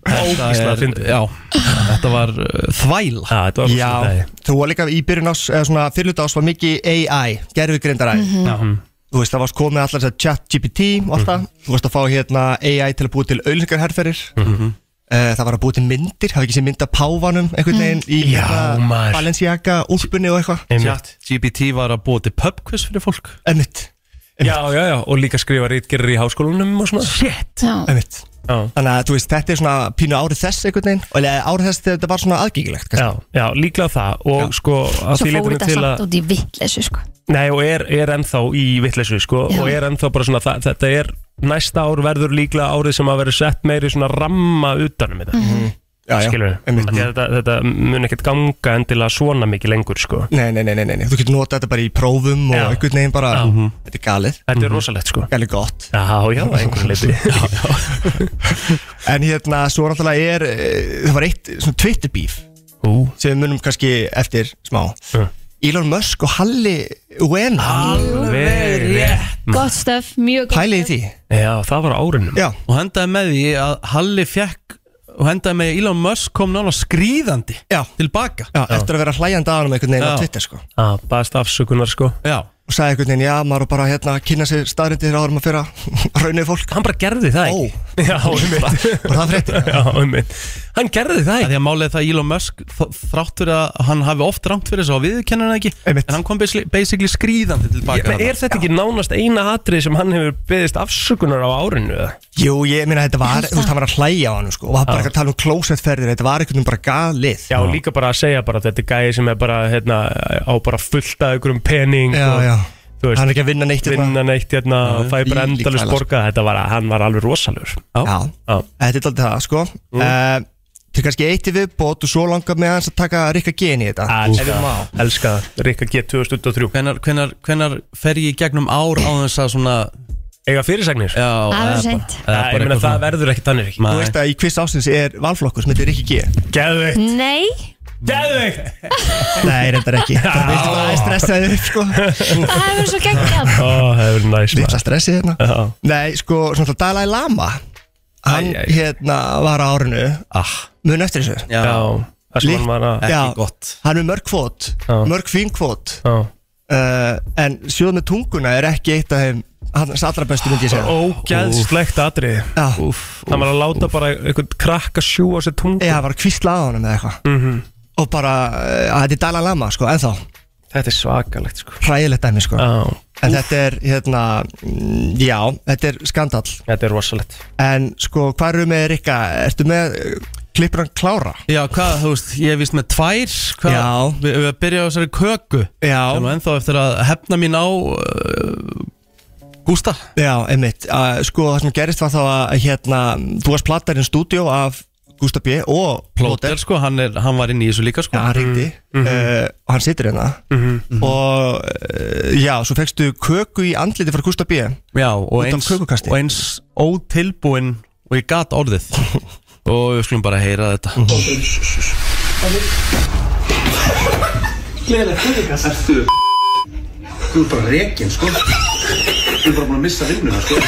[SPEAKER 3] Ógísla að fyndi
[SPEAKER 1] Já, þetta var uh, þvæla
[SPEAKER 3] Já, þetta var
[SPEAKER 4] Já,
[SPEAKER 3] svona dagi.
[SPEAKER 4] þú var líka í byrjun ás, eða svona fyrirluta ás var mikið AI, gerfugrindaræ
[SPEAKER 3] Mhm.
[SPEAKER 4] Þú veist, það varst komið allar þess að chat GPT og allt það Þú veist að fá hérna AI til að búa til auðlingarherferir
[SPEAKER 3] Mhm.
[SPEAKER 4] Eh, Það var að búa til myndir, hafði ekki sér mynd af páfanum einhvern veginn í
[SPEAKER 3] Mhm. Já, maður.
[SPEAKER 4] Balenciaga, úlpunni og eitthvað
[SPEAKER 3] Einmitt.
[SPEAKER 1] Chat GPT var að búa til pubquiz fyrir fólk
[SPEAKER 4] Einmitt,
[SPEAKER 3] Já, já, já, og líka skrifa rítgerir í háskólanum og svona Shit
[SPEAKER 2] Já,
[SPEAKER 4] einmitt
[SPEAKER 3] Já,
[SPEAKER 4] Þannig að þú veist, þetta er svona pínu árið þess einhvern veginn Og eða árið þess þegar þetta var svona aðgengilegt kannski.
[SPEAKER 3] já, já líklega það og sko að
[SPEAKER 2] svo
[SPEAKER 3] því
[SPEAKER 2] fór
[SPEAKER 3] leytinu
[SPEAKER 2] þetta
[SPEAKER 3] til
[SPEAKER 2] samt
[SPEAKER 3] að Mm.
[SPEAKER 2] út í vittleysu sko.
[SPEAKER 3] Nei, og er, er ennþá í vitleysu sko,
[SPEAKER 2] Já.
[SPEAKER 3] og er ennþá bara svona það, þetta er næsta ár verður líklega árið sem að verður sett meiri svona ramma utanum þetta,
[SPEAKER 4] Mhm.
[SPEAKER 3] mm -hmm.
[SPEAKER 4] já, já,
[SPEAKER 3] skilur við
[SPEAKER 4] einmitt.
[SPEAKER 3] þetta, þetta mun ekkert ganga endilega svona mikið lengur sko
[SPEAKER 4] Nei, nei, nei, nei, nei, nei, þú getur notað þetta bara í prófum og
[SPEAKER 3] Já.
[SPEAKER 4] einhvern veginn bara,
[SPEAKER 3] Já. Mhm.
[SPEAKER 4] þetta er galið,
[SPEAKER 3] Þetta er rosalegt sko
[SPEAKER 4] galið gott
[SPEAKER 3] Já, já, að einhvern leiti
[SPEAKER 4] En hérna, svo náttúrulega er, eh, það var eitt svona Twitter beef
[SPEAKER 3] Ú,
[SPEAKER 4] sem við munum kannski eftir smá
[SPEAKER 3] Mm.
[SPEAKER 4] Elon Musk og Halli Uena,
[SPEAKER 3] alveg rétt
[SPEAKER 2] Gott stöf, mjög gott
[SPEAKER 4] pælið í því
[SPEAKER 3] Já, það var á árunum
[SPEAKER 4] Já,
[SPEAKER 1] Og hendaði með því að Halli fekk og hendaði með því að Elon Musk kom nána skrýðandi
[SPEAKER 4] já,
[SPEAKER 1] tilbaka
[SPEAKER 4] já, eftir að vera hlægjandi að hann einhvern veginn á
[SPEAKER 1] Já.
[SPEAKER 4] Twitter sko
[SPEAKER 3] Já, baðast Ah, afsökunar sko
[SPEAKER 1] Já,
[SPEAKER 4] og sagði einhvern veginn, já, maður á bara hérna að kynna sér staðrindir árum að fyrra raunnið fólk
[SPEAKER 3] Hann bara gerði það
[SPEAKER 4] Ó.
[SPEAKER 3] ekki Já, um
[SPEAKER 4] og það fréttir
[SPEAKER 3] Já, um Hann gerði það
[SPEAKER 1] að
[SPEAKER 3] ekki
[SPEAKER 1] því að málið er það að Elon Musk þ- þrátt fyrir að hann hafi oft rangt fyrir þessu og viðurkennir hann ekki
[SPEAKER 4] Einmitt.
[SPEAKER 1] en hann kom basically, basically skrýðandi tilbaka
[SPEAKER 3] Men er þetta ekki nánast eina atrið sem hann hefur beðist afsökunar á árinu? eða?
[SPEAKER 4] Jú, ég meina þetta var, þú veist, hann var að hlæja á hann sko, og var bara
[SPEAKER 3] Já.
[SPEAKER 4] ekki að tala um klósettferðir, þetta var einhvern veginn bara galið
[SPEAKER 3] Já, og líka bara að segja bara að þetta er gæði sem er bara hérna, á bara fullt af einhverjum pening
[SPEAKER 4] já,
[SPEAKER 3] og
[SPEAKER 4] já.
[SPEAKER 3] þú veist,
[SPEAKER 4] hann er ekki að vinna neitt hérna.
[SPEAKER 3] vinna neitt hérna og fæ bara
[SPEAKER 4] þvílík
[SPEAKER 3] endalust
[SPEAKER 4] þvæla,
[SPEAKER 3] borga þetta var, hann var alveg rosalur
[SPEAKER 4] Já,
[SPEAKER 3] Já.
[SPEAKER 4] þetta er alltaf það, sko mm. Til kannski eitt í viðbót og svo langar með hans að taka Rikka Geni í þetta
[SPEAKER 3] Elska, það, elska það. Rikka G 2023
[SPEAKER 1] Hvenar, hvenar, hvenar fer ég í gegnum ár á þess að svona
[SPEAKER 3] Eiga fyrirsagnir?
[SPEAKER 1] já,
[SPEAKER 2] Það
[SPEAKER 1] eða
[SPEAKER 2] er
[SPEAKER 1] bara-
[SPEAKER 2] seint
[SPEAKER 1] eða
[SPEAKER 3] Ég
[SPEAKER 1] bara
[SPEAKER 3] meina
[SPEAKER 1] eitthvað
[SPEAKER 3] það
[SPEAKER 1] svona-
[SPEAKER 3] verður ekkert þannig ekki
[SPEAKER 4] Þú
[SPEAKER 1] Nei.
[SPEAKER 4] veist að í kvist ásins er valflokkur sem heitir Rikki G
[SPEAKER 3] Geðveikt,
[SPEAKER 2] Nei,
[SPEAKER 3] geðveikt
[SPEAKER 4] Nei, reyndar ekki Það viltu bara að stressa þið upp, sko
[SPEAKER 2] það hefur svo geggjað
[SPEAKER 3] Ó, það er verið næs
[SPEAKER 4] Lilla
[SPEAKER 3] maður.
[SPEAKER 4] stressið hérna
[SPEAKER 3] Já.
[SPEAKER 4] Nei, sko, svona alltaf Dalai Lama Hann
[SPEAKER 3] Æ, æ, æ.
[SPEAKER 4] hérna var á árinu
[SPEAKER 1] ah,
[SPEAKER 4] Mun eftir þessu
[SPEAKER 1] já,
[SPEAKER 3] Já, það sem
[SPEAKER 4] Líkt-
[SPEAKER 3] hann var að
[SPEAKER 1] ekki
[SPEAKER 4] Já.
[SPEAKER 1] gott
[SPEAKER 4] Hann er mörg kvót,
[SPEAKER 3] Já.
[SPEAKER 4] mörg fín kvót
[SPEAKER 3] Já.
[SPEAKER 4] uh, En sjóð með tunguna er ekki eitt af þeim Hans allra bestu myndi ég segja
[SPEAKER 3] Ógeðslegt atrið
[SPEAKER 4] Já.
[SPEAKER 3] Það var að láta bara einhvern krakka sjú á sér tungu
[SPEAKER 4] eða var að kvísla á honum eða eitthvað og bara eh, að þetta er Dalai Lama sko ennþá
[SPEAKER 3] Þetta er svakalegt sko
[SPEAKER 4] hræðilegt dæmi sko
[SPEAKER 3] Já,
[SPEAKER 4] en þetta er hérna mm, já þetta er skandall
[SPEAKER 3] þetta er rosalegt
[SPEAKER 4] en sko hvað eru með Rikka ertu með eh, klippur hann klára
[SPEAKER 1] Já, hvað, þú veist, ég er vist með tvær hvað,
[SPEAKER 4] Já.
[SPEAKER 1] Við við að byrja á þessari köku sem
[SPEAKER 4] já
[SPEAKER 1] er ennþá eftir að hefna mín á uh, Gústa
[SPEAKER 4] já einmitt uh, sko það sem gerist var þá að hérna þú varst platarinn stúdíó af Gustaf B og
[SPEAKER 1] Plóter,
[SPEAKER 4] Plóter
[SPEAKER 1] sko, hann, er, hann var inn í þessu líka, sko
[SPEAKER 4] Já, hann ringdi uh, og hann situr hérna og uh, já, svo fegstu köku í andliti frá Gustaf B
[SPEAKER 1] Já, og
[SPEAKER 4] Út af
[SPEAKER 1] eins,
[SPEAKER 4] kökukasti.
[SPEAKER 1] og eins ótilbúin og ég gat orðið og við skulum bara heyra þetta
[SPEAKER 4] Mhm.
[SPEAKER 12] Þú er bara rekin, sko Þú er bara búin að missa vinnuna, sko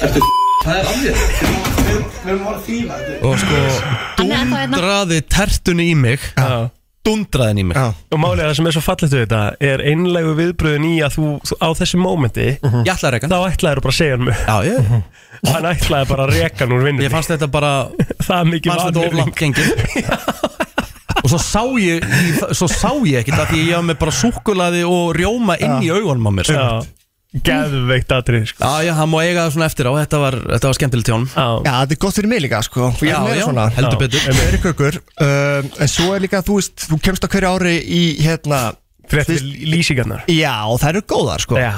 [SPEAKER 12] Ertu Það er aflýðið
[SPEAKER 1] og sko
[SPEAKER 2] Hann er ennþá hérna.
[SPEAKER 1] dundraði tertunni í mig
[SPEAKER 3] Já.
[SPEAKER 1] dundraði henni í mig
[SPEAKER 4] Já.
[SPEAKER 3] Og málið að það sem er svo fallegt við þetta er einlegu viðbröðin í að þú, þú á þessi mómenti
[SPEAKER 1] ég ætlaði að reka
[SPEAKER 3] þá ætlaðir bara að segja hann mig
[SPEAKER 1] hann. já, ég,
[SPEAKER 3] hann ætlaði bara að reka hann úr vinnu
[SPEAKER 1] ég fannst þetta bara
[SPEAKER 3] það er mikið
[SPEAKER 1] fannst þetta
[SPEAKER 3] vanvirðing.
[SPEAKER 1] oflant gengið og svo sá ég svo sá ég ekkert að því ég hafði með bara súkkulaði og rjóma inn í augunum á mér sko.
[SPEAKER 3] Já. geðveikt atrið sko.
[SPEAKER 1] Já, já, hann má eiga það svona eftir á Þetta var, þetta var skemmtilegt hjá hann
[SPEAKER 3] Já,
[SPEAKER 4] Já, þetta er gott fyrir mig líka, sko Ég er meira svona
[SPEAKER 1] heldur betur
[SPEAKER 4] Það eru kökur um, En svo er líka, þú veist, þú kemst á hverju ári í, hérna
[SPEAKER 3] fyrir eftir lýsingarnar
[SPEAKER 4] Já, og það eru góðar, sko
[SPEAKER 3] Já,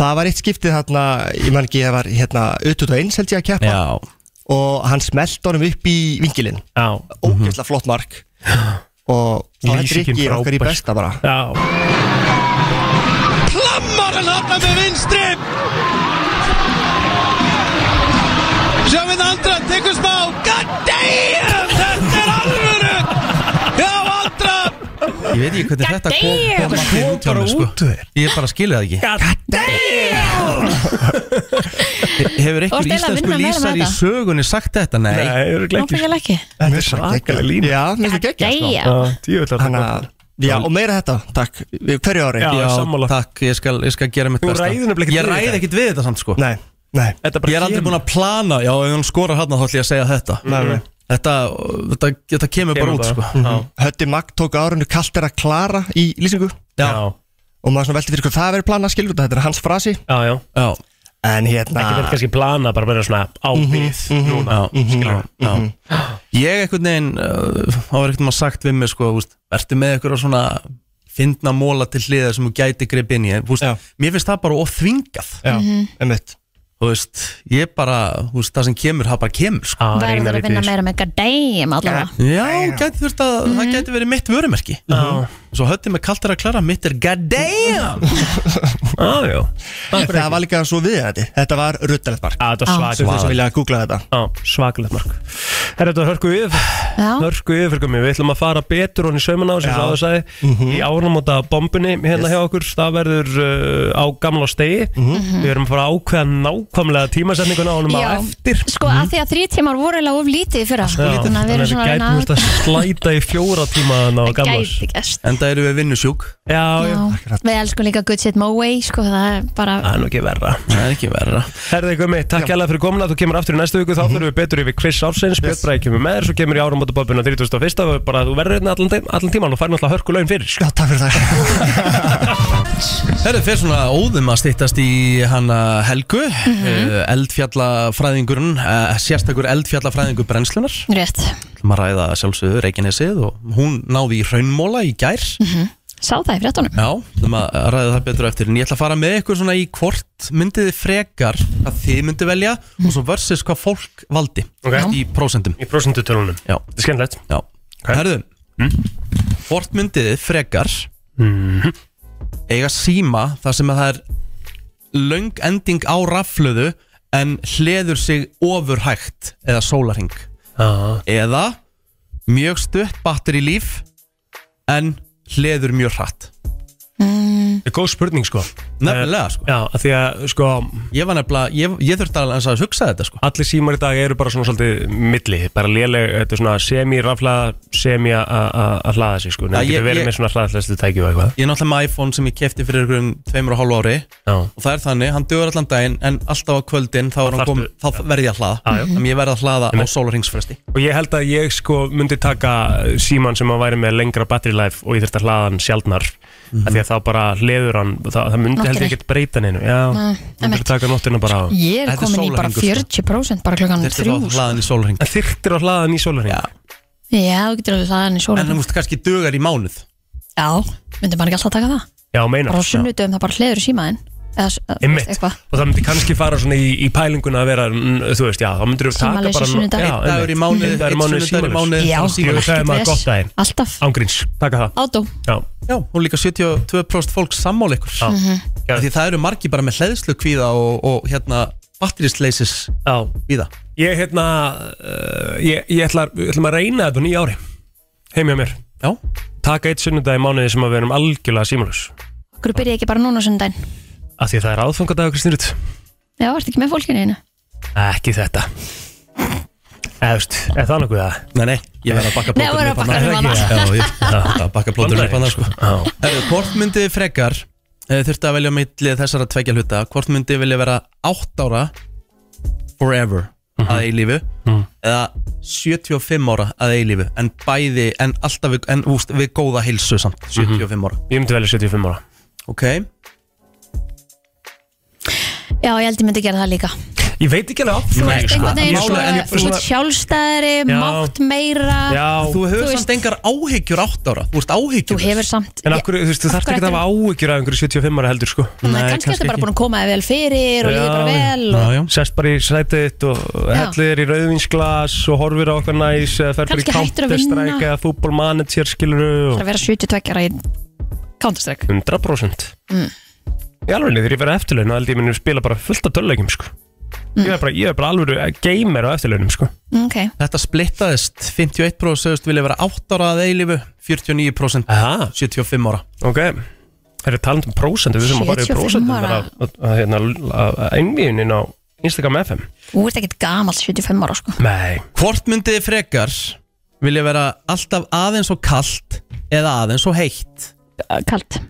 [SPEAKER 4] Það var eitt skiptið þarna, ég man ekki, ég var, hérna, auðvitað eins held ég að keppa
[SPEAKER 1] Já,
[SPEAKER 4] Og hann smelt honum upp í vingilinn
[SPEAKER 3] já,
[SPEAKER 4] Ógeðslega flott mark Og þá hendur
[SPEAKER 3] Lýsingin
[SPEAKER 4] ekki okkar í
[SPEAKER 3] frábær, sko.
[SPEAKER 4] besta bara
[SPEAKER 3] já
[SPEAKER 1] ég veit ekki hvernig þetta kom,
[SPEAKER 2] damn!
[SPEAKER 1] kom allt í út hjá mér sko. Ég bara skilja það ekki He- Hefur einhver
[SPEAKER 2] Þú ert eiginlega að
[SPEAKER 1] íslensku
[SPEAKER 2] vinna meira með
[SPEAKER 1] lýsar í
[SPEAKER 2] þetta.
[SPEAKER 1] sögunni sagt þetta? Nei,
[SPEAKER 3] Nei, eru
[SPEAKER 2] Nú
[SPEAKER 3] ekki
[SPEAKER 2] fyrir ekki
[SPEAKER 4] Þetta er
[SPEAKER 3] svakaleg
[SPEAKER 4] geggjað.
[SPEAKER 3] lína.
[SPEAKER 4] Já, minnst það geggja, sko
[SPEAKER 2] Jæja.
[SPEAKER 3] Djöfull að
[SPEAKER 4] Hanna, já, og meira þetta, takk Við hverju ári
[SPEAKER 3] Já.
[SPEAKER 1] Já,
[SPEAKER 3] sammála.
[SPEAKER 1] takk, ég skal, ég skal gera mitt
[SPEAKER 3] Þú
[SPEAKER 1] besta
[SPEAKER 3] ræður nefnilega
[SPEAKER 1] Ég
[SPEAKER 3] ekkert við
[SPEAKER 1] ræð
[SPEAKER 3] þetta.
[SPEAKER 1] ekkert við þetta samt sko
[SPEAKER 4] Nei, nei
[SPEAKER 1] Ég er aldrei búin að plana, já, ef hann skorar hann þá ætlum ég að segja þetta
[SPEAKER 4] nei.
[SPEAKER 1] Þetta, þetta, þetta kemur, bara
[SPEAKER 3] Kemur
[SPEAKER 1] út
[SPEAKER 3] bara.
[SPEAKER 1] sko
[SPEAKER 3] Já.
[SPEAKER 4] Hötti Magg tók á árinu kalt er að klara í lýsingu
[SPEAKER 1] Já,
[SPEAKER 3] Já,
[SPEAKER 4] og maður svona velti fyrir hvað það verið planað skilur þetta þetta er hans frasi
[SPEAKER 3] já, já
[SPEAKER 1] já,
[SPEAKER 4] en hérna
[SPEAKER 3] Ekki verið kannski plana, bara verið svona
[SPEAKER 1] Mhm,
[SPEAKER 3] á við Núna, skilur
[SPEAKER 1] já Ég einhvern veginn, uh, þá var einhvern veginn sagt við mig sko, úst, Ertu með einhverja svona fyndna móla til hliða sem þú gæti grip inn í úst,
[SPEAKER 4] Já.
[SPEAKER 1] Mér finnst það bara óþvingað
[SPEAKER 4] já, einmitt
[SPEAKER 1] Þú veist, ég bara, þú veist, það sem kemur, það bara kemur sko
[SPEAKER 3] Það
[SPEAKER 2] verður að vinna meira með goddamn allavega
[SPEAKER 1] Já, gæti þurft að, það gæti verið mitt vörumerki Svo hötti með kallt er að klara, mitt er goddamn
[SPEAKER 3] Já, já
[SPEAKER 4] það var líka svo við þetta þetta var ruttalegt mark
[SPEAKER 3] Já, þetta var
[SPEAKER 4] Þú
[SPEAKER 3] svakalegt
[SPEAKER 4] þess að vilja að googla þetta
[SPEAKER 3] Já, svakalegt mark Herra, þetta var hörku yfir
[SPEAKER 2] Já,
[SPEAKER 3] Hörku yfir, fyrir mig Við ætlum að fara betur honni sauman á sem
[SPEAKER 4] Já.
[SPEAKER 3] það var sagði Í árumóta bombunni hérna hjá okkur Það verður uh, á gamla stegi Við erum að fara að ákveða nákvæmlega tímasetninguna á honum á
[SPEAKER 2] Mhm. Já.
[SPEAKER 3] eftir
[SPEAKER 2] sko að því að þrý tímar voru eiginlega of lítið fyrir
[SPEAKER 3] Já,
[SPEAKER 2] þannig að við erum svona að
[SPEAKER 3] gætum
[SPEAKER 2] vinna
[SPEAKER 3] þetta slæta í fjóra tímaðan á gamla
[SPEAKER 2] gæti gæst
[SPEAKER 1] En það eru við vinnusjúk
[SPEAKER 3] Já, já
[SPEAKER 2] Já, við elskum líka Good Shit Moway sko, það er bara
[SPEAKER 3] Það er nú ekki verra
[SPEAKER 1] Það er ekki verra Mhm.
[SPEAKER 3] Herði Gumi, takk hérlega fyrir komuna, þú kemur aftur í næstu viku þá fyrir við betur yfir Chris Ársins, Björn Bræði kemur með þér, svo kemur í áramótabobbin á 31. og bara þú verður hérna allan, tei- allan tíman og fær náttúrulega hörku laun fyrir sko.
[SPEAKER 4] já, takk fyrir það
[SPEAKER 1] Herðu fyrir svona óðum að stýttast í hana Helgu mm Eldfjallafræðingurinn uh, Sérstakur eldfjallafræðingur brennslunar
[SPEAKER 2] rétt
[SPEAKER 1] Maður ræða sjálfsögðu Reykjanesið og hún náði í raunmóla í gær
[SPEAKER 2] sá það í fréttunum
[SPEAKER 1] Já, þannig að ræða það betur á eftir En ég ætla að fara með ykkur svona í hvort myndið þið frekar að þið myndið velja og svo versus hvað fólk valdi
[SPEAKER 3] Ok.
[SPEAKER 1] í prósentum
[SPEAKER 3] Í prosentutölunum
[SPEAKER 1] Já,
[SPEAKER 3] Það er skemmtilegt
[SPEAKER 1] já Herðu, hvort myndið þið frekar eiga síma þar sem að það er löng ending á raflöðu en hleður sig ofur hægt eða sólarhing eða mjög stutt batteri líf en hleður mjög hratt
[SPEAKER 3] Það er góð spurning sko
[SPEAKER 1] Nefnilega sko
[SPEAKER 3] Já, af því að sko
[SPEAKER 1] Ég var nefnilega, ég, ég þurfti alveg eins að hugsa þetta sko
[SPEAKER 3] allir símar í dag eru bara svona svolítið milli, bara léleg, þetta er svona semi-raflaða, semi að- að að hlaða sig sko,
[SPEAKER 1] Já,
[SPEAKER 3] nefnir
[SPEAKER 1] ég-
[SPEAKER 3] getur verið
[SPEAKER 1] ég-
[SPEAKER 3] með svona hlaðhlestu tæki og eitthvað
[SPEAKER 1] Ég er náttúrulega með iPhone sem ég kefti fyrir ykkur um tveimur og hálfu ári
[SPEAKER 3] Já,
[SPEAKER 1] og það er þannig, hann dugur allan daginn en alltaf á kvöldin þá, Ah, er hann
[SPEAKER 3] þarftu-
[SPEAKER 1] kom, þá verð ég að hlaða
[SPEAKER 3] Já, já.
[SPEAKER 1] Þannig ég verð að hlaða á
[SPEAKER 3] Einmitt.
[SPEAKER 1] sólarhingsfresti
[SPEAKER 3] og ég held að ég sko myndi taka síman sem að væri með lengra battery life og ég þurfti að hlaða hann sjaldnar af því að þá bara hleður hann það, það myndi held
[SPEAKER 2] Nóttinni.
[SPEAKER 3] ég ekkert breyta hann já,
[SPEAKER 2] Nei,
[SPEAKER 3] myndi
[SPEAKER 2] einmitt. Sko,
[SPEAKER 3] að taka nóttina bara á
[SPEAKER 2] ég er
[SPEAKER 1] Þetta er
[SPEAKER 2] komin í bara
[SPEAKER 1] sólarhringur, sko.
[SPEAKER 2] 40% bara klokkan
[SPEAKER 1] Þetta er
[SPEAKER 2] þrjú
[SPEAKER 1] þá
[SPEAKER 2] sko.
[SPEAKER 1] hlaðan í sólarhing
[SPEAKER 3] en þyrftir að hlaða hann í sólarinn
[SPEAKER 1] Já.
[SPEAKER 2] já, þú getur alveg hlaðan í
[SPEAKER 1] En um-
[SPEAKER 2] sólarhring
[SPEAKER 1] þú veist kannski dugar í mánuð
[SPEAKER 2] já, myndi maður ekki alltaf taka það
[SPEAKER 3] já meinar
[SPEAKER 2] bara á
[SPEAKER 3] já.
[SPEAKER 2] sunnudum það bara hleður í símaðinn eða s- eða, þú veist,
[SPEAKER 3] Einmitt.
[SPEAKER 2] eitthvað
[SPEAKER 3] og það myndi kannski fara svona í, í pælinguna að vera mm, þú veist, já, þá myndir við taka
[SPEAKER 2] Símaleysi
[SPEAKER 3] bara
[SPEAKER 2] sunnudag.
[SPEAKER 3] já,
[SPEAKER 2] Einn
[SPEAKER 1] Einn dagur í
[SPEAKER 3] einmitt.
[SPEAKER 1] mánuð,
[SPEAKER 3] Einn dagur í
[SPEAKER 1] einn
[SPEAKER 3] mánuð
[SPEAKER 1] sunnudag í mánuð
[SPEAKER 2] Já.
[SPEAKER 1] bara síma.
[SPEAKER 3] Jú, það er maður
[SPEAKER 2] Ekkert
[SPEAKER 3] gott
[SPEAKER 2] vesen.
[SPEAKER 3] daginn
[SPEAKER 2] alltaf
[SPEAKER 3] ángríns, taka það
[SPEAKER 2] ádó
[SPEAKER 3] já,
[SPEAKER 1] Já, og líka 72% fólk sammála ykkur
[SPEAKER 3] já,
[SPEAKER 2] Mhm.
[SPEAKER 1] Af Því það eru margi bara með hleðslu kvíða og, og hérna batterisleysis
[SPEAKER 3] já.
[SPEAKER 1] kvíða
[SPEAKER 3] Ég, hérna, uh, ég, ég ætla, við ætlum að reyna þetta á nýja ári Heim hjá mér
[SPEAKER 1] Já,
[SPEAKER 3] Taka eitt sunnudag í mánuði sem að við erum algjörlega símalus
[SPEAKER 2] hverju byrja ekki bara núna á sunnudaginn
[SPEAKER 3] Af því að það er aðfangadagur Kristín Rut
[SPEAKER 2] já, ertu ekki með fólkinu einu
[SPEAKER 3] Ekki þetta Eðust, er það nokkuð það?
[SPEAKER 1] nei nei, ég verð að bakka
[SPEAKER 2] Nei, verð að
[SPEAKER 1] plótunum
[SPEAKER 2] bakka
[SPEAKER 1] hana.
[SPEAKER 2] honum hana.
[SPEAKER 1] Já, ég verð að bakka plótunum upp hann sko
[SPEAKER 3] Já,
[SPEAKER 1] Herru, hvort myndið þið frekar eh, þurfti að velja millið þessara tvekja hluta hvort myndið þið vilja vera 8 ára forever
[SPEAKER 2] Mhm.
[SPEAKER 1] að eilífu eða 75 ára að eilífu en bæði, en alltaf við, en, úst, við góða
[SPEAKER 2] Mhm.
[SPEAKER 1] heilsu samt 75 ára
[SPEAKER 3] ég myndi velja 75 ára
[SPEAKER 1] ok,
[SPEAKER 2] Já, ég held ég myndi gera það líka
[SPEAKER 3] Ég veit ekki alveg af
[SPEAKER 2] Þú
[SPEAKER 3] hverju,
[SPEAKER 2] ert
[SPEAKER 3] sko.
[SPEAKER 2] einhvern veginn
[SPEAKER 3] Ég-
[SPEAKER 2] svo
[SPEAKER 3] en ég-
[SPEAKER 2] Þú ert sjálfstæðari, mátt meira
[SPEAKER 3] Já,
[SPEAKER 1] Þú hefur
[SPEAKER 2] Þú veist-
[SPEAKER 1] samt engar áhyggjur átt ára Þú ert áhyggjur
[SPEAKER 2] Þú hefur samt
[SPEAKER 3] En af hverju, þú veist, þú
[SPEAKER 2] Af
[SPEAKER 3] þarft
[SPEAKER 2] hverju
[SPEAKER 3] ekki að hafa áhyggjur af einhverju 75 ára heldur, sko
[SPEAKER 2] Þannig að kannski ertu bara búin að koma þér vel fyrir og líður bara vel og
[SPEAKER 1] Já, já
[SPEAKER 3] Sest bara í sætið og hellir í rauðvinsglas og horfir á okkar næs eða fer bara í
[SPEAKER 2] Kannski hættur að vinna.
[SPEAKER 3] Counter-Strike eða Football Manager,
[SPEAKER 2] Það er
[SPEAKER 3] skilur
[SPEAKER 2] að vera 72 ára í Counter-Strike
[SPEAKER 3] 100%
[SPEAKER 2] Mm.
[SPEAKER 3] Í alveg, þegar ég verið eftirlaun þá held ég minni spila bara fullt af tölulegjum, sko
[SPEAKER 2] Mm.
[SPEAKER 3] Ég er bara, ég er bara alveg gamer á eftirlaunum, sko
[SPEAKER 2] Ok,
[SPEAKER 1] Þetta splittaðist 51% sögust vilja vera 8 ára að eilifu 49%
[SPEAKER 2] Ah.
[SPEAKER 3] Aha,
[SPEAKER 1] 75 ára
[SPEAKER 3] ok Það eru talandi um prósentu, við sem að fara í
[SPEAKER 2] 75
[SPEAKER 3] prósentu
[SPEAKER 2] ára.
[SPEAKER 3] að hérna, að- að einvíunin á Instagram FM
[SPEAKER 2] þú ert ekkert gamall 75 ára sko
[SPEAKER 3] Nei,
[SPEAKER 1] Hvort myndið þið frekar vilja vera alltaf aðeins og kalt eða aðeins og heitt
[SPEAKER 2] Kalt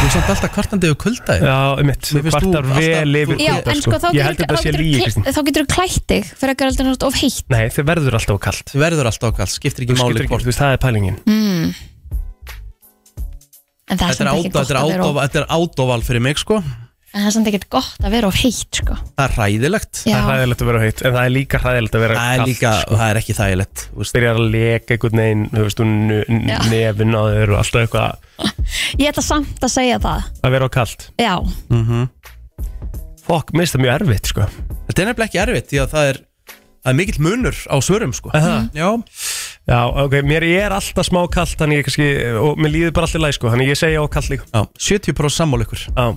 [SPEAKER 1] Þú er samt alltaf kvartandi og kuldaði
[SPEAKER 3] já, um mitt,
[SPEAKER 1] Mér finnst þú
[SPEAKER 3] kvartar vel
[SPEAKER 1] alltaf-
[SPEAKER 3] yfir
[SPEAKER 1] þú-
[SPEAKER 2] Já,
[SPEAKER 3] kulda,
[SPEAKER 2] en sko þá
[SPEAKER 3] Ég held að þetta sé
[SPEAKER 2] getur
[SPEAKER 3] lígi, Kristín
[SPEAKER 2] þú klætt þig fyrir að gera alltaf náttúrulega of heitt
[SPEAKER 3] Nei, þau verður alltaf kallt
[SPEAKER 1] Þú verður alltaf kalt, skiptir ekki
[SPEAKER 3] Þú skiptir
[SPEAKER 1] máli
[SPEAKER 3] ekki,
[SPEAKER 1] hvort
[SPEAKER 3] þú veist, það er pælingin
[SPEAKER 2] En það
[SPEAKER 1] Þetta
[SPEAKER 2] er
[SPEAKER 1] er
[SPEAKER 2] samt ekkert
[SPEAKER 1] ádó-
[SPEAKER 2] gott
[SPEAKER 1] þetta er
[SPEAKER 2] að vera
[SPEAKER 1] ádó-
[SPEAKER 2] of
[SPEAKER 1] þetta er ádoval fyrir mig sko
[SPEAKER 2] En það er samt ekkert gott að vera of heitt sko
[SPEAKER 1] Það er hræðilegt
[SPEAKER 3] Það er
[SPEAKER 2] Já,
[SPEAKER 3] hræðilegt að vera heitt, en það er líka hræðilegt að vera
[SPEAKER 1] Það er
[SPEAKER 3] kalt,
[SPEAKER 1] líka,
[SPEAKER 3] sko.
[SPEAKER 1] það er ekki þægilegt þú veist.
[SPEAKER 3] byrjar að leka einhvern veginn, þú veist, hún
[SPEAKER 2] Já.
[SPEAKER 3] nefin á þau og alltaf eitthvað
[SPEAKER 2] ég ætla samt að segja það
[SPEAKER 3] að vera á kallt.
[SPEAKER 2] Já,
[SPEAKER 3] Fokk, minnst það mjög erfitt, sko.
[SPEAKER 1] Þetta er nefnilega ekki erfitt Því að það er, það er mikill munur á svörum sko
[SPEAKER 3] Mhm.
[SPEAKER 1] Já,
[SPEAKER 3] Já, ok, mér er alltaf smá kallt, þannig ég kannski, og mér líður bara alltaf læg, sko, þannig ég segja á kallt líka.
[SPEAKER 1] já 70% sammál ykkur
[SPEAKER 3] Já,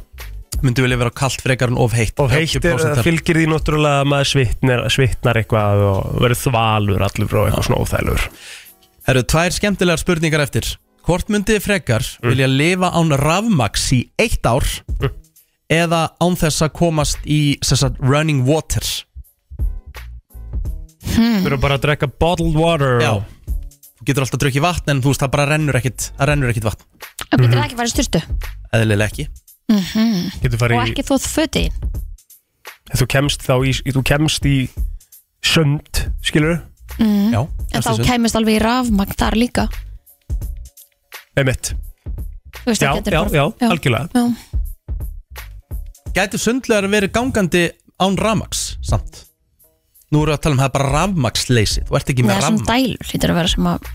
[SPEAKER 1] Myndu vilja vera kalt frekar en of heitt
[SPEAKER 3] og heitt er,
[SPEAKER 1] 80%
[SPEAKER 3] það fylgir því náttúrulega að maður svitnar, svitnar eitthvað og verður þvalur allur frá eitthvað svona óþælur.
[SPEAKER 1] Það eru tvær skemmtilegar spurningar eftir Hvort myndið þið frekar vilja lifa án rafmaks í eitt ár eða án þess að komast í sem sagt, running water
[SPEAKER 2] Mhm.
[SPEAKER 3] Við erum bara að drekka bottled water.
[SPEAKER 1] Já Þú getur alltaf að drukja vatn en þú veist það bara rennur ekkit það rennur ekkit vatn
[SPEAKER 2] það getur
[SPEAKER 3] Mhm.
[SPEAKER 2] ekki að fara í styrtu
[SPEAKER 1] eðlilega ekki
[SPEAKER 3] Getur farið
[SPEAKER 2] Og
[SPEAKER 3] í-
[SPEAKER 2] ekki þóð fötin
[SPEAKER 3] þú kemst þá í, þú kemst í sönd, skilur
[SPEAKER 1] Já
[SPEAKER 2] Mm. En þá
[SPEAKER 1] þessu.
[SPEAKER 2] kæmist alveg í rafmagn þar líka
[SPEAKER 3] emitt,
[SPEAKER 2] Þú veist,
[SPEAKER 3] já,
[SPEAKER 2] það getur
[SPEAKER 3] já,
[SPEAKER 2] bara-
[SPEAKER 3] já, algjörlega
[SPEAKER 2] Já.
[SPEAKER 1] Gætu sundlegar verið gangandi án rafmaks samt Nú erum við að tala um það er bara rafmaksleysi Þú ert ekki
[SPEAKER 2] Nei,
[SPEAKER 1] með
[SPEAKER 2] sem
[SPEAKER 1] rafmaks
[SPEAKER 2] dælu hlýtur að vera sem að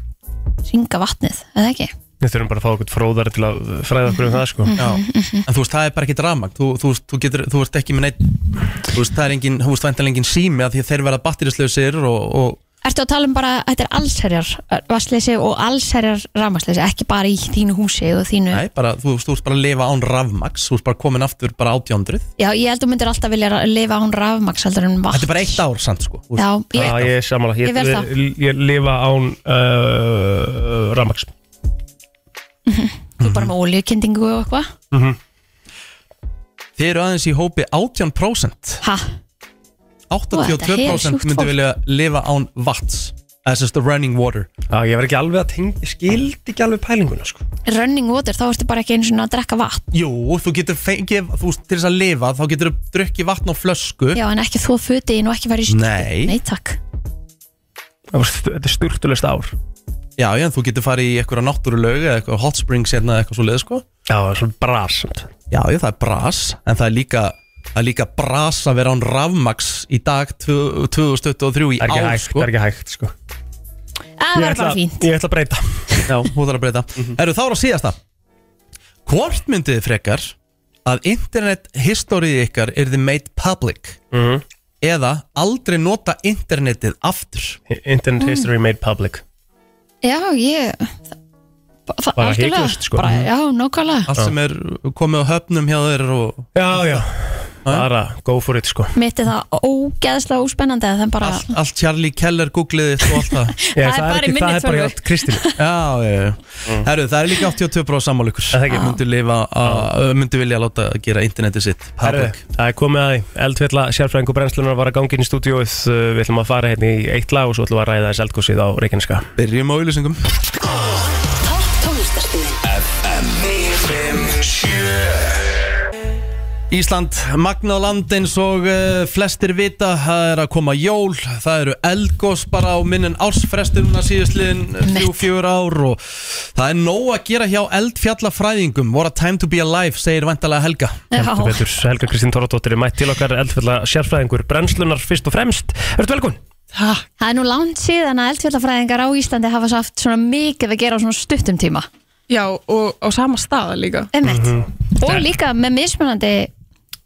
[SPEAKER 2] ringa vatnið, eða ekki?
[SPEAKER 3] við þurfum bara að fá okkur fróðar til að fræða okkur um það
[SPEAKER 2] Mhm.
[SPEAKER 3] sko
[SPEAKER 1] Já, en þú veist, það er bara ekkert rafmagn þú, þú, veist, þú, getur, þú ert ekki með neitt Þú veist, það er engin, þú veist, væntanlega engin sími af Því að þeir verða batterislausir og, og
[SPEAKER 2] Ertu að tala um bara, þetta er allsherjar vassleysi og allsherjar rafmagsleysi, ekki bara í þínu húsi og þínu
[SPEAKER 1] Nei, bara, þú, þú ert bara að lifa án rafmaks Þú ert bara komin aftur bara 800
[SPEAKER 2] Já, ég held að þú myndir alltaf vilja ra- lifa án rafmags heldur en vatn
[SPEAKER 1] Þetta er bara eitt ár samt sko Þú veist,
[SPEAKER 2] Já,
[SPEAKER 3] Já,
[SPEAKER 2] ég,
[SPEAKER 3] ég er samanlega, ég,
[SPEAKER 2] Ég vel það.
[SPEAKER 3] ég, ég lifa án uh, rafmaks
[SPEAKER 2] þú er bara með oljukendingu og eitthvað
[SPEAKER 1] Þið eru aðeins í hópi 18%
[SPEAKER 2] Ha,
[SPEAKER 1] 82%
[SPEAKER 2] heilsjúkt
[SPEAKER 1] myndi
[SPEAKER 2] fólk.
[SPEAKER 1] vilja lifa án vatns As is the running water
[SPEAKER 3] Já, ég var ekki alveg að tengja, skildi ekki alveg pælinguna sko
[SPEAKER 2] running water, þá ertu bara ekki einu svona að drekka vatn
[SPEAKER 1] Jú, þú getur fengið, þú veist, til þess að lifa Þá getur þú drukkið vatn á flösku
[SPEAKER 2] Já, en ekki þú fötin og ekki verið í
[SPEAKER 1] Nei.
[SPEAKER 2] Nei, takk
[SPEAKER 3] Það var stu- Þetta er styrtulegst ár
[SPEAKER 1] Já, já, en þú getur farið í eitthvað náttúrulög eða eitthvað hot springs hérna eða eitthvað svo leið, sko
[SPEAKER 3] Já, það er svona bras
[SPEAKER 1] Já, já, það er bras, en það er líka það er líka bras að vera án rafmaks í dag 2023 í
[SPEAKER 3] Það er ekki
[SPEAKER 1] ár,
[SPEAKER 3] hægt,
[SPEAKER 1] sko
[SPEAKER 3] það er ekki hægt sko
[SPEAKER 2] Það
[SPEAKER 3] Ég
[SPEAKER 2] var
[SPEAKER 3] ætla,
[SPEAKER 2] bara fínt
[SPEAKER 3] ég ætla að breyta
[SPEAKER 1] Já, hún þarf að breyta mm
[SPEAKER 3] Mhm.
[SPEAKER 1] Eru þá er að síðasta Hvort myndið þið frekar að internet historið ykkar er þið made public
[SPEAKER 3] Mhm.
[SPEAKER 1] eða aldrei nota internetið aftur
[SPEAKER 3] Internet
[SPEAKER 2] Mm.
[SPEAKER 3] history made public
[SPEAKER 2] Já, ég það- það-
[SPEAKER 3] Bara
[SPEAKER 2] algjörlega.
[SPEAKER 3] hiklaust, sko.
[SPEAKER 2] bara, Já, nákvæmlega
[SPEAKER 1] allt sem er komið á höfnum hjá þeir og
[SPEAKER 3] Já, já, bara go for it sko
[SPEAKER 2] Mitt er það ógeðslega óspennandi að það bara
[SPEAKER 1] allt, allt Charlie Keller googliði og allt það
[SPEAKER 3] Já,
[SPEAKER 2] Það er bara í
[SPEAKER 3] ekki-
[SPEAKER 2] minni
[SPEAKER 3] Það er bara
[SPEAKER 2] tölvu.
[SPEAKER 3] hjá Kristín
[SPEAKER 1] Já, já, já. Herru, það er líka 82% sammál ykkur
[SPEAKER 3] það ekki?
[SPEAKER 1] myndu, lifa, að, myndu vilja láta gera internetið sitt
[SPEAKER 3] Herru,
[SPEAKER 1] public
[SPEAKER 3] það er komið að því. eldfjalla sérfræðingu brennslunar var að gangi inn í stúdíóið Uh, við ætlum að fara hérna í eitt lag og svo ætlum við að ræða þess eldgósið á Reykjaneska
[SPEAKER 1] Byrjum á auðlýsingum Ísland, magna á land eins og uh, flestir vita, það er að koma jól, það eru eldgós bara á minnum ársfrestununa síðustliðin
[SPEAKER 2] Mitt.
[SPEAKER 1] 3-4 ár og það er nóg að gera hjá eldfjallafræðingum, what a time to be alive, segir vantalega Helga.
[SPEAKER 2] Já,
[SPEAKER 3] Heldur betur, Helga Kristín Tóradóttir er mætt til okkar eldfjalla sérfræðingur brennslunar fyrst og fremst Ertu velkomin?
[SPEAKER 2] það er nú langt síðan að eldfjallafræðingar á Íslandi hafa svo haft svona mikið að gera á svona stuttum tíma
[SPEAKER 11] Já, og á sama stað líka
[SPEAKER 2] Einmitt.
[SPEAKER 11] Mhm.
[SPEAKER 2] og líka með mismunandi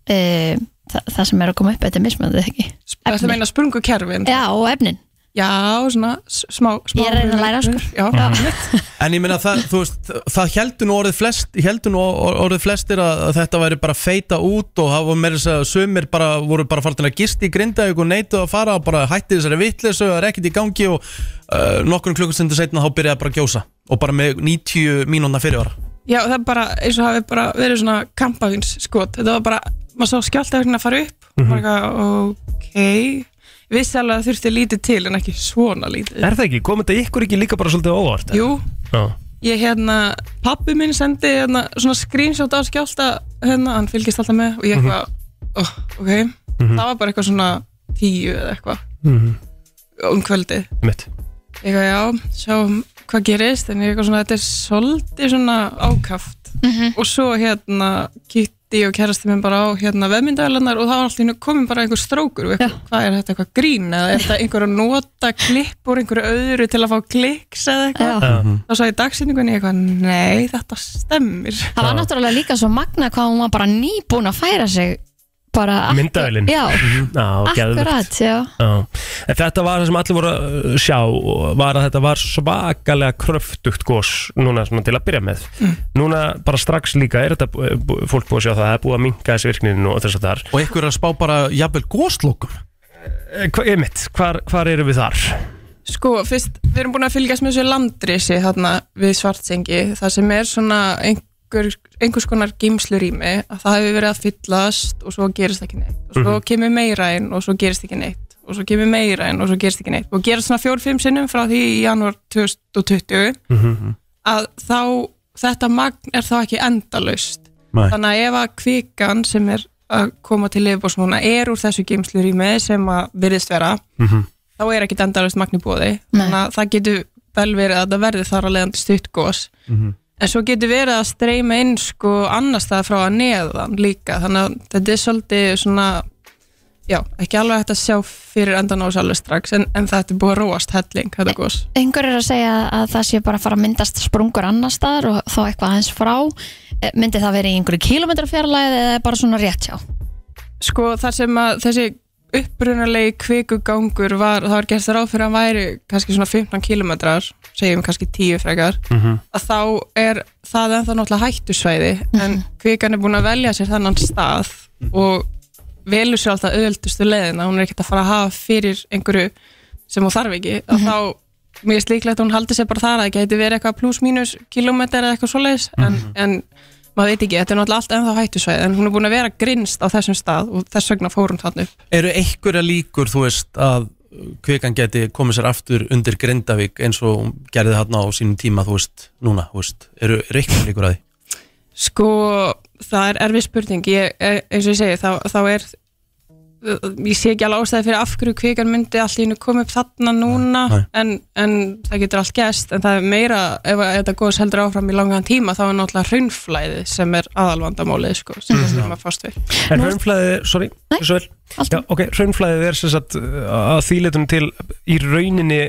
[SPEAKER 2] uh, það, það sem er að koma upp þetta er mismunandi er það ekki
[SPEAKER 11] Það er að meina sprungu kerfin
[SPEAKER 2] Já, og efnin
[SPEAKER 11] Já, svona s- smá, smá
[SPEAKER 2] Ég er að reyna að læra, sko.
[SPEAKER 11] Já,
[SPEAKER 1] En ég meina það, þú veist, það heldur nú orðið, flest, heldur nú orðið flestir að, að þetta væri bara feita út og það var meira þess að sumir bara, voru bara fartin að gista í grindaug og neituð að fara og bara hætti þessari vitleysu og það er ekkert í gangi og uh, nokkrum klukkustundu setna þá byrjaði bara að gjósa og bara með 90 mínúna fyrirvara.
[SPEAKER 11] Já, það er bara eins og hafi bara verið svona kampavins skot, þetta var bara maður sá skjáltaverknin að fara upp og maður eitthvað, ok ég vissi alveg að þurfti lítið til en ekki svona lítið
[SPEAKER 3] Er það ekki? Komið þetta ykkur ekki líka bara svolítið óvart?
[SPEAKER 11] Jú,
[SPEAKER 3] Já.
[SPEAKER 11] ég hérna pappi minn sendi hérna svona screenshot af skjálta hérna, hann fylgist alltaf með og ég eitthvað, oh, ok það var bara eitthvað svona tíu eða eitthvað um kvöldið
[SPEAKER 3] Mitt
[SPEAKER 11] Ég eitthvað, já, sjáum hvað gerist en ég eitthvað svona, þetta er svolítið svona ákaft og svo hérna kitti og kærasti minn bara á hérna vefmyndavelarnar og það var alltaf komin bara einhver strókur og eitthvað, hvað er þetta eitthvað grín eða er þetta einhver að nota klipp úr einhverju öðru til að fá kliks eða eitthvað
[SPEAKER 2] Já.
[SPEAKER 11] þá svo í dagsinningunni eitthvað, nei, þetta stemmir
[SPEAKER 2] það var náttúrulega líka svo magna hvað hún var bara nýbúin að færa sig bara akkur-
[SPEAKER 3] Myndavélin?
[SPEAKER 2] Já,
[SPEAKER 3] Já, geðvögt
[SPEAKER 2] akkurat, já
[SPEAKER 3] En þetta var það sem allir voru að uh, sjá og var að þetta var svakalega kröftugt gos núna svona til að byrja með
[SPEAKER 2] Mm.
[SPEAKER 3] Núna bara strax líka er þetta bú- bú- fólk búið að sjá það, það er búið að minka þessi virknin og þess að þar
[SPEAKER 1] Og ykkur er að spá bara jafnvel góslokum.
[SPEAKER 3] Eh, hva- Einmitt, hvar, hvar eru við þar?
[SPEAKER 11] Sko, fyrst, við erum búin að fylgjast með þessu landrisi þarna við svartsengi, það sem er svona einhver, einhvers konar gímslurými, að það hefur verið að fyllast og svo gerist ekki neitt, og svo kemur meira inn og svo gerist ekki neitt, og svo kemur meira inn og svo gerist ekki neitt, og gerist svona fjór-fimm sinnum frá því í janúar 2020 að þá þetta magn er þá ekki endalaust
[SPEAKER 1] Nei.
[SPEAKER 11] þannig að ef að kvikan sem er að koma til yfirbórs núna er úr þessu gímslurými sem að virðist vera þá er ekkit endalaust magni bóði
[SPEAKER 2] Nei.
[SPEAKER 11] þannig að það getur vel verið að það verði þar að leiðandi stutt gos en svo getur verið að streyma inn sko annars það frá að neðan líka þannig að þetta er svolítið svona já, ekki alveg hægt að sjá fyrir endan á þessu alveg strax en, en þetta er búið að róast helling þetta gos
[SPEAKER 2] einhver er að segja að það sé bara að fara að myndast sprungur annar staðar og þá eitthvað aðeins frá Eh, myndi það verið í einhverju kílómetra fjarlæði eða bara svona rétt hjá
[SPEAKER 11] sko þar sem að þessi upprunalegi kvikugangur var, það var gerst ráð fyrir að hann væri kannski svona 15 kilometrar, segjum kannski 10 frekar, að þá er það ennþá náttúrulega hættusvæði en kvikan er búin að velja sér þannan stað og velur sér alltaf öðuldustu leiðina, hún er ekkert að fara að hafa fyrir einhverju sem hún þarf ekki að þá, mér er slíklegt að hún haldi sér bara þar að það gæti verið eitthvað pluss mínus kilometrar eða eitthvað svoleiðis en, en maður veit ekki, þetta er náttúrulega allt ennþá hættusvæði en hún er búin að vera grinnst á þessum stað og þess vegna fór hún þannig upp
[SPEAKER 1] Eru einhverja líkur, þú veist, að kvikan geti komið sér aftur undir Grindavík eins og hún gerði þarna á sínum tíma, þú veist, núna, þú veist, eru reiknir líkur að því?
[SPEAKER 11] Sko, það er erfið spurning ég, eh, eins og ég segi, þá, þá er ég sé ekki alveg ástæði fyrir af hverju kvikan myndi allt í hennu koma upp þarna núna
[SPEAKER 1] Nei.
[SPEAKER 11] en, en það getur allt gæst en það er meira, ef að- ef þetta góðs heldur áfram í langan tíma, þá er náttúrulega hraunflæði sem er aðalvandamálið, sko sem
[SPEAKER 1] Mhm.
[SPEAKER 11] við þurfum að fást við
[SPEAKER 3] En raunflæðið, sorry,
[SPEAKER 2] Nei,
[SPEAKER 3] svo vel
[SPEAKER 2] allt
[SPEAKER 3] Já, ok, raunflæðið er sem sagt uh, að þýleitunum til í rauninni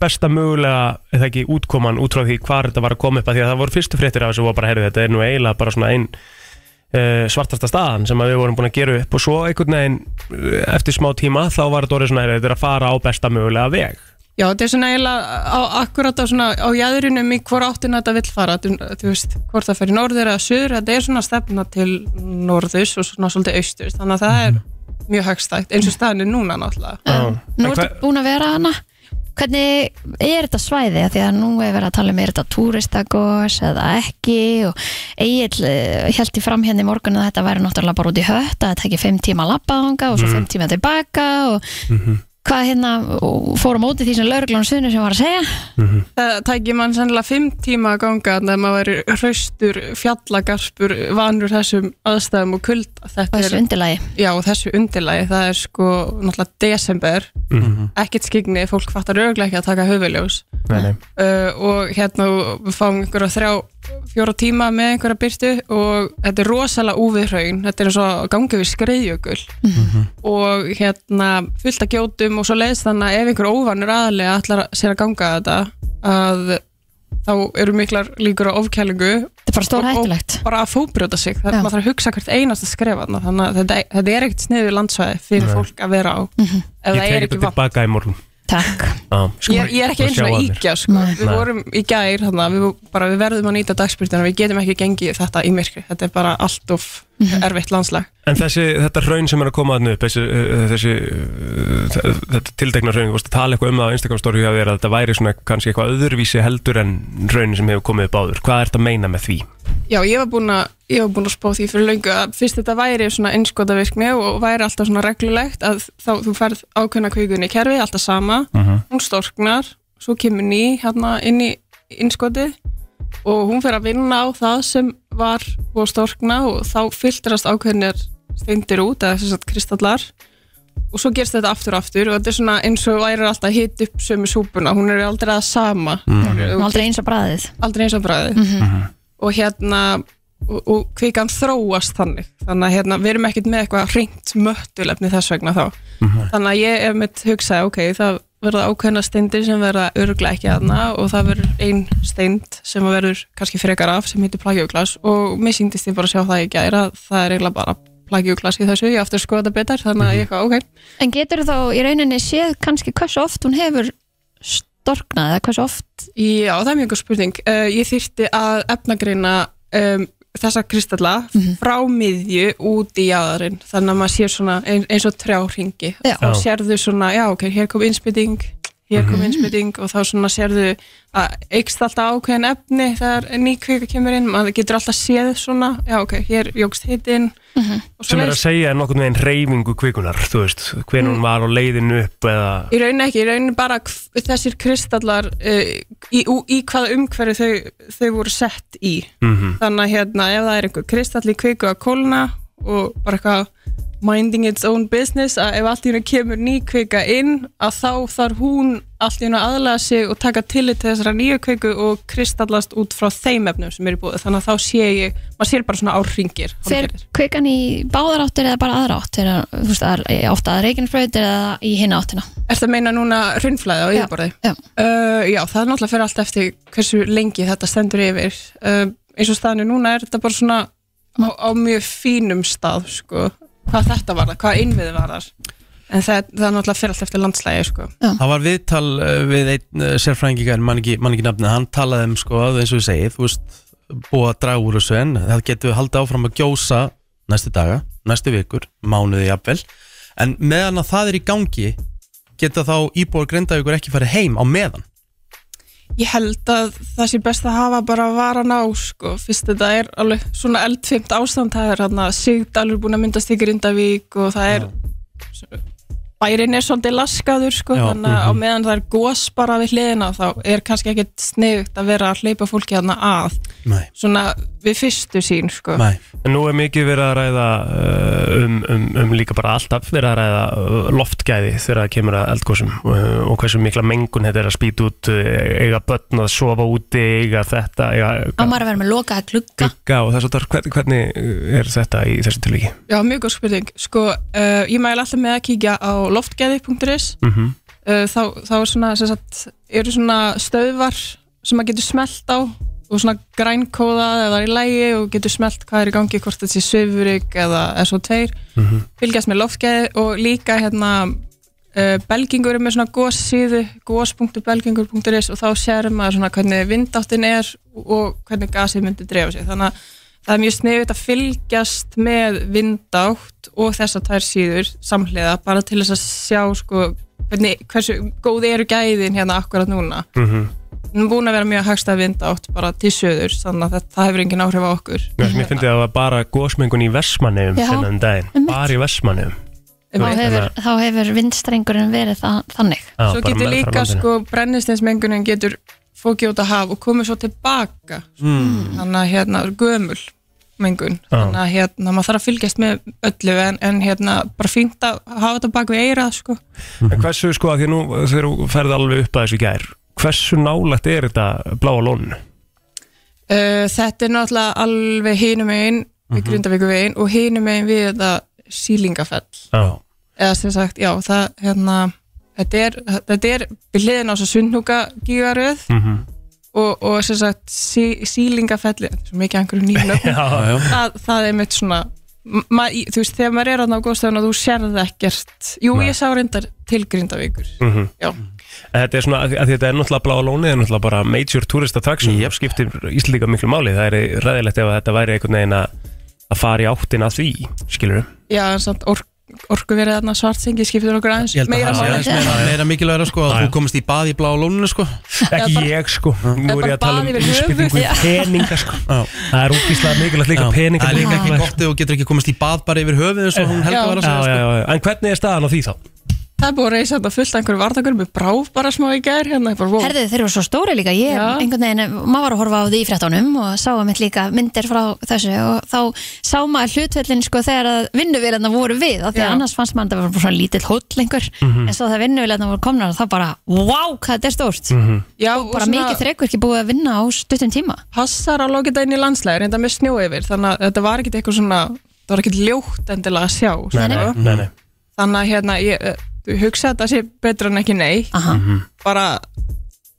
[SPEAKER 3] besta mögulega, eða ekki, útkoman út frá því hvar þetta var að koma upp að því að það voru fyrstu fréttir af þessu og bara, heyrðu, þetta er nú eiginlega bara svona einn uh, svartasta staðan sem að við vorum búin að gera upp og svo einhvern veginn uh, eftir smá tíma þá var þetta orðið svona, heyrðu, þetta er að fara á besta mögulega veg
[SPEAKER 11] Já, þetta er svona eiginlega á, akkurat á, svona, á jæðrinum í hvora áttina þetta vill fara, þú, þú veist, hvort það fer í norður eða söður, þetta er svona stefna til norðus og svona svolítið austur, þannig að það er mjög hagstækt, eins og staðinu núna náttúrulega.
[SPEAKER 3] Já.
[SPEAKER 2] Nú
[SPEAKER 3] En
[SPEAKER 2] ertu búin að vera hana Hvernig er þetta svæði? Af Því að nú er verið að tala um er þetta túristagos eða ekki og Egil held í fram hérna í morgun
[SPEAKER 3] Mhm.
[SPEAKER 2] að þetta væri náttúrulega bara út í hött að þetta ekki fimm tíma að labba þanga og svo fimm tíma tilbaka og hvað hérna og fór á móti því sem lauruglun sunni sem var að segja
[SPEAKER 11] Það tækir mann sennilega fimm tíma að ganga þegar maður væri hraustur, fjallagarpur, vanur þessum aðstæðum og kulda.
[SPEAKER 2] og
[SPEAKER 11] Þetta
[SPEAKER 2] þessu undirlagi
[SPEAKER 11] Já, og þessu undirlagi, það er sko náttúrulega desember, ekkert skigni, fólk fattar örglega ekki að taka höfuljós.
[SPEAKER 3] Mhm. Nei, nei.
[SPEAKER 11] Uh, og hérna og við fáum einhverja þrjá, fjóra tíma með einhverja byrtu og þetta er rosalega úviðhraun, þetta er eins og að ganga við skreiðjökul
[SPEAKER 3] Mhm.
[SPEAKER 11] og hérna fullt að gjótum og svo leiðist þannig að ef einhver óvanur aðalega ætlar að- sér að ganga þetta að þá eru miklar líkur á ofkælingu
[SPEAKER 2] þetta er bara stór
[SPEAKER 11] og-
[SPEAKER 2] hættulegt
[SPEAKER 11] bara að fóbrjóta sig það
[SPEAKER 2] Já.
[SPEAKER 11] er maður þarf að hugsa hvert einasta skref þarna, þannig að þetta, þetta er ekkert sniður landsvæði fyrir fólk að vera á ef
[SPEAKER 3] Ég
[SPEAKER 11] það er
[SPEAKER 3] tek
[SPEAKER 11] ekki
[SPEAKER 3] þetta
[SPEAKER 11] vatn
[SPEAKER 3] tilbaka í morgun
[SPEAKER 2] takk,
[SPEAKER 3] Já,
[SPEAKER 11] Ég, ég er ekki
[SPEAKER 3] bara
[SPEAKER 11] eins
[SPEAKER 3] sjá
[SPEAKER 11] og
[SPEAKER 3] að mér.
[SPEAKER 11] íkja sko.
[SPEAKER 2] Nei.
[SPEAKER 11] við
[SPEAKER 3] Nei.
[SPEAKER 11] vorum í gær þannig, við, bara, við verðum að nýta dagspyrtuna við getum ekki gengið þetta í myrkri þetta er bara allt of erfitt landslag
[SPEAKER 3] En þessi, þetta raun sem er að koma þannig upp þessi, uh, þessi uh, þ- þetta tiltekna raun, þú veist að tala eitthvað um það á Instagram story hjá þér að þetta væri svona kannski eitthvað öðruvísi heldur en raun sem hefur komið upp áður Hvað ert að meina með því?
[SPEAKER 11] já, ég var búin að ég var búin að spá því fyrir löngu að fyrst þetta væri svona einskotavirkni og væri alltaf svona reglulegt að þá þú færð ákveðna kvíkun í kerfi, alltaf sama hún storknar, svo kemur ný hérna inn í einskotið og hún fer að vinna á það sem var búið að storkna og þá filtrast ákveðnir steindir út eða sem sagt kristallar og svo gerst þetta aftur og aftur og þetta er svona eins og væri alltaf hitt upp sömu súpuna, hún er aldrei að sama
[SPEAKER 2] Hún er aldrei eins og bræðið
[SPEAKER 11] aldrei eins og bræði og hérna og, og kvikan þróast þannig þannig að hérna, við erum ekkert með eitthvað hreint möttulefni þess vegna þá þannig að ég er mitt hugsaði ok, það verða ákveðna steindir sem verða örglega ekki aðna og það verður ein steind sem að verður kannski frekar af sem heitir plagjóklas og mér síndist ég bara að sjá það í gæra það er eiginlega bara plagjóklas í þessu ég aftur skoða þetta betur þannig að ég eitthvað ok
[SPEAKER 2] en getur þá í rauninni séð kannski hversu oft hún hefur storknað eða hversu oft
[SPEAKER 11] Já, það er mjög góð spurning. Uh, ég þýrti að efnagreina um, þessa kristalla frá miðju út í jaðarinn. Þannig að maður sér svona ein, eins og trjáringi.
[SPEAKER 2] Já.
[SPEAKER 11] Þá sérðu svona, já ok, hér kom innspyting, hér kom
[SPEAKER 3] Mhm.
[SPEAKER 11] innspyting og þá svona sérðu að eikst alltaf ákveðin efni þegar ný kvika kemur inn. Maður getur alltaf séð svona, já ok, hér jógst hitinn. og
[SPEAKER 3] Sem er að
[SPEAKER 11] svoleiðis.
[SPEAKER 3] segja er nokkurn veginn reyfingu kvikunar, þú veist, hvernig hún var á leiðinu upp eða
[SPEAKER 11] Í rauninni ekki, í rauninni bara hv- þessir kristallar uh, í, í, í hvaða umhverfi þau, þau voru sett í.
[SPEAKER 3] Mhm.
[SPEAKER 11] Þannig að hérna, ef það er einhver kristall í kviku að kólna og bara eitthvað minding its own business, að ef allt í hennu kemur ný kvika inn, að þá þarf hún allt í hennu aðlaða sig og taka tillit til þessara nýju kviku og kristallast út frá þeim efnum sem eru búið. Þannig að þá sé ég, maður sér bara svona árringir.
[SPEAKER 2] fer
[SPEAKER 11] hálfgerðir.
[SPEAKER 2] kvikan í báðar áttir eða bara aðra átt er, þú veist, að, ofta að reikinsbröð eða í hinna áttina
[SPEAKER 11] Ertu að meina núna hrunflæði á yfirborði?
[SPEAKER 2] já,
[SPEAKER 11] Uh, já, það er náttúrulega fyrir allt eftir hversu lengi þetta stendur yfir uh, eins og staðinu núna er þetta bara svona á, á mjög fínum stað sko. hvað þetta var það, hvað innviði var þar en það, það er náttúrulega fyrir allt eftir landslægi sko.
[SPEAKER 1] Það var viðtal uh, við einn uh, sérfræðingingar, mann ekki, man ekki nafnið, hann talaði um sko, eins og ég segi, þú veist, búa að draga úr þessu en það getur haldið áfram að gjósa næstu daga, næstu vikur, mánuði jafnvel, en meðan að það er í gangi, geta þá íbúar grindavíkur ekki farið heim á meðan.
[SPEAKER 11] ég held að það sé best að hafa bara varan á sko. fyrst þetta er alveg svona eldfimt ástand það er hérna Sigdalur búin að myndast í Grindavík og það er bærin er svolítið laskaður sko,
[SPEAKER 1] Já, Mhm.
[SPEAKER 11] þannig að á meðan það er gos bara við hliðina þá er kannski ekkert sniðugt að vera að hleypa fólki hérna að
[SPEAKER 1] Nei,
[SPEAKER 11] svona við fyrstu sín sko.
[SPEAKER 1] nei.
[SPEAKER 3] En nú er mikið verið að ræða uh, um, um, um líka bara alltaf verið að ræða uh, loftgæði þegar það kemur að eldgósum uh, og hversu mikla mengun þetta er að spýta út uh, eiga börn að sofa úti, eiga þetta eiga
[SPEAKER 2] á maður að vera með lokaða glugga
[SPEAKER 3] gugga og þess að hvernig, hvernig er þetta í þessu tilviki?
[SPEAKER 11] Já, mjög góð spurning sko, uh, ég mæla alltaf með að kíkja á loftgeði.is
[SPEAKER 3] Mm -hmm.
[SPEAKER 11] uh, þá, þá er svona, sem sagt, eru svona stöðvar sem maður getur smelt á og svona grænkóðað eða í lægi og getur smelt hvað er í gangi hvort þetta sé söfurik eða SO2 fylgjast með loftgæði og líka hérna uh, belgingur er með svona góssíðu gós.belgingur.is og þá sér maður svona hvernig vindáttin er og hvernig gasið myndi drefa sig þannig að það er mjög sniðið að fylgjast með vindátt og þess að það er síður samhliða bara til þess að sjá sko hvernig, hversu góð eru gæðin hérna akkurat núna mm -hmm. búin að vera mjög hagstað vindátt bara til söður þannig að þetta, það hefur engin áhrif á okkur
[SPEAKER 3] Mér finnst þetta að það var bara gósmengun í Vestmanneum
[SPEAKER 2] Já,
[SPEAKER 3] þennan daginn,
[SPEAKER 2] einmitt.
[SPEAKER 3] bara í Vestmanneum
[SPEAKER 2] þá hefur, þá hefur vindstrengurinn verið það, þannig
[SPEAKER 3] Já,
[SPEAKER 11] svo
[SPEAKER 3] bara
[SPEAKER 11] getur
[SPEAKER 3] meðfram
[SPEAKER 11] líka
[SPEAKER 3] landinu.
[SPEAKER 11] sko brennisteinsmengunin getur fókið út að haf og komið svo tilbaka sko.
[SPEAKER 3] Mm.
[SPEAKER 11] þannig að hérna er gömul mengun,
[SPEAKER 3] Já.
[SPEAKER 11] þannig að hérna maður þarf að fylgjast með öllu en, en hérna bara fínt að hafa þetta bak við eira sko.
[SPEAKER 3] En hversu sko að því nú þegar þú ferði alveg upp að þessu í gær Hversu nálægt er þetta bláa lónu?
[SPEAKER 11] uh, þetta er náttúrulega alveg hinum einn
[SPEAKER 3] Mhm.
[SPEAKER 11] við Grindavíku veginn og hinum einn við þetta sílingafell
[SPEAKER 3] Já
[SPEAKER 11] eða sem sagt, já, það hérna þetta er, þetta er við hliðin á svo sundnúka gígaröð
[SPEAKER 1] Mhm.
[SPEAKER 11] og, og sem sagt sí, sílingafelli, þetta er svo mikið einhverju nýjum nöfnum
[SPEAKER 3] Já, já.
[SPEAKER 11] það, það er mitt svona m- ma, í, þú veist, þegar maður er aðna á góðstæðan og þú sérði ekkert, jú
[SPEAKER 3] Nei.
[SPEAKER 11] ég sá reyndar til Grindavíkur,
[SPEAKER 3] Mhm.
[SPEAKER 11] já
[SPEAKER 3] En Þetta er svona, að að þetta er náttúrulega bláa lónið er náttúrulega bara major tourist attraction yep. skiptir Íslandíka miklu máli, það er ræðilegt ef að þetta væri einhvern veginn að að fara í áttin að því, skilur
[SPEAKER 11] já, en samt ork, orku verið aðna svartsengi skiptur okkur aðeins
[SPEAKER 1] Ég held að
[SPEAKER 11] meira
[SPEAKER 1] það sé
[SPEAKER 11] máli
[SPEAKER 1] aðeins meira, meira mikilvægur sko, að þú komist í bað í blá lóninu sko.
[SPEAKER 3] Ekki ég sko, nú er ég
[SPEAKER 11] bara
[SPEAKER 3] að tala um
[SPEAKER 11] baðið yfir höfuð.
[SPEAKER 3] útspilningu
[SPEAKER 11] Já.
[SPEAKER 3] peninga sko Það er útgíslega mikilvægt líka peninga
[SPEAKER 1] Það er líka ekki
[SPEAKER 3] mikilvægt.
[SPEAKER 1] gott ef þú getur ekki komist í bað bara yfir höfuð eins og hún helga
[SPEAKER 11] Já.
[SPEAKER 1] var að
[SPEAKER 3] Já,
[SPEAKER 1] segja
[SPEAKER 3] já,
[SPEAKER 1] sko.
[SPEAKER 3] já, en hvernig er staðan á því þá?
[SPEAKER 11] það er búið að reysa þetta fullt af einhverju vardagur með bráf bara smá í gær hérna, bara, wow.
[SPEAKER 2] Herðu þeir eru svo stóri líka, ég
[SPEAKER 11] Já.
[SPEAKER 2] einhvern veginn, maður var að horfa á því í fréttunum og sá að mitt líka myndir frá þessu og þá sá maður hlutveldin sko þegar að vinnuvélarna voru við af því
[SPEAKER 11] Já.
[SPEAKER 2] að annars fannst maður að það var bara svona lítill hóll einhver, en svo þegar vinnuvélarna voru komnar þá bara, wow, hvað þetta er stórt
[SPEAKER 11] já,
[SPEAKER 2] bara mikið þreikur ekki búið að vinna á stuttum tíma
[SPEAKER 11] passar að lóka þetta inn í landslæðir reynda með snjó yfir, þannig að þetta var ekkit eitthvað svona, það var ekkit ljótt endilega að sjá sko.
[SPEAKER 3] Nei, nei,
[SPEAKER 11] þannig að hérna, ég eh, hugsa að þetta sé betra en ekki nei
[SPEAKER 2] Aha, Mm,
[SPEAKER 11] bara,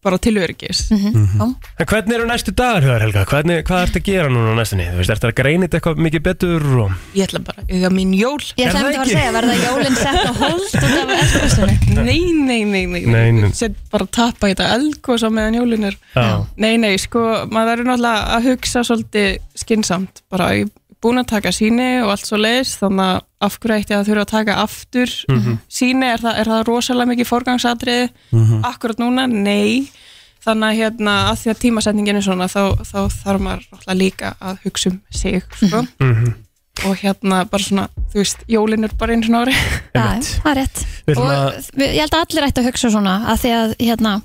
[SPEAKER 11] bara tilverkis
[SPEAKER 3] Mhm. En hvernig eru næstu dagar, Hjóðar Helga? Hvernig, hvað ertu að gera núna á næstunni? Þú veist, ertu að greina þetta eitthvað mikið betur og...
[SPEAKER 11] ég ætla bara, ég það mín jól
[SPEAKER 2] Ég
[SPEAKER 3] Er
[SPEAKER 2] ætlaði að fara
[SPEAKER 3] það
[SPEAKER 2] að
[SPEAKER 3] ekki?
[SPEAKER 2] segja, verða jólinn sett á hold út af eldgóðstunni
[SPEAKER 11] nei, nei, nei, nei,
[SPEAKER 3] Nei, nei.
[SPEAKER 11] Set bara að tappa í þetta eldgóðs á meðan jólin er
[SPEAKER 3] Já,
[SPEAKER 11] nei, nei, sko, maður verður náttúrulega að hugsa svolítið skinsamt bara ég er búin að taka síni og allt svo leis þannig að af hverju ætti ég að þurfa að taka aftur síni, er, það, er það rosalega mikið forgangsatriði akkurat núna, nei þannig að hérna, að því að tímasetningin er svona þá, þá þarf maður náttúrulega líka að hugsa um sig, sko og hérna bara svona, þú veist, jólin er bara einu svona ári
[SPEAKER 2] Já, það er rétt
[SPEAKER 3] Við ætlum
[SPEAKER 2] og
[SPEAKER 3] að-
[SPEAKER 2] við, ég held að allir ættu að hugsa svona að því að hérna,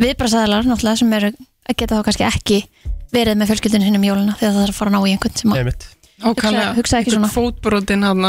[SPEAKER 2] viðbrasaðalar náttúrulega sem eru að geta þá kannski ekki verið með fjölskyldinu sinni um jóluna því að það þarf að fara að ná í einhvern sem að
[SPEAKER 3] einmitt
[SPEAKER 11] Ókvæmlega,
[SPEAKER 2] hugsa ekki svona.
[SPEAKER 11] fótbrotin hann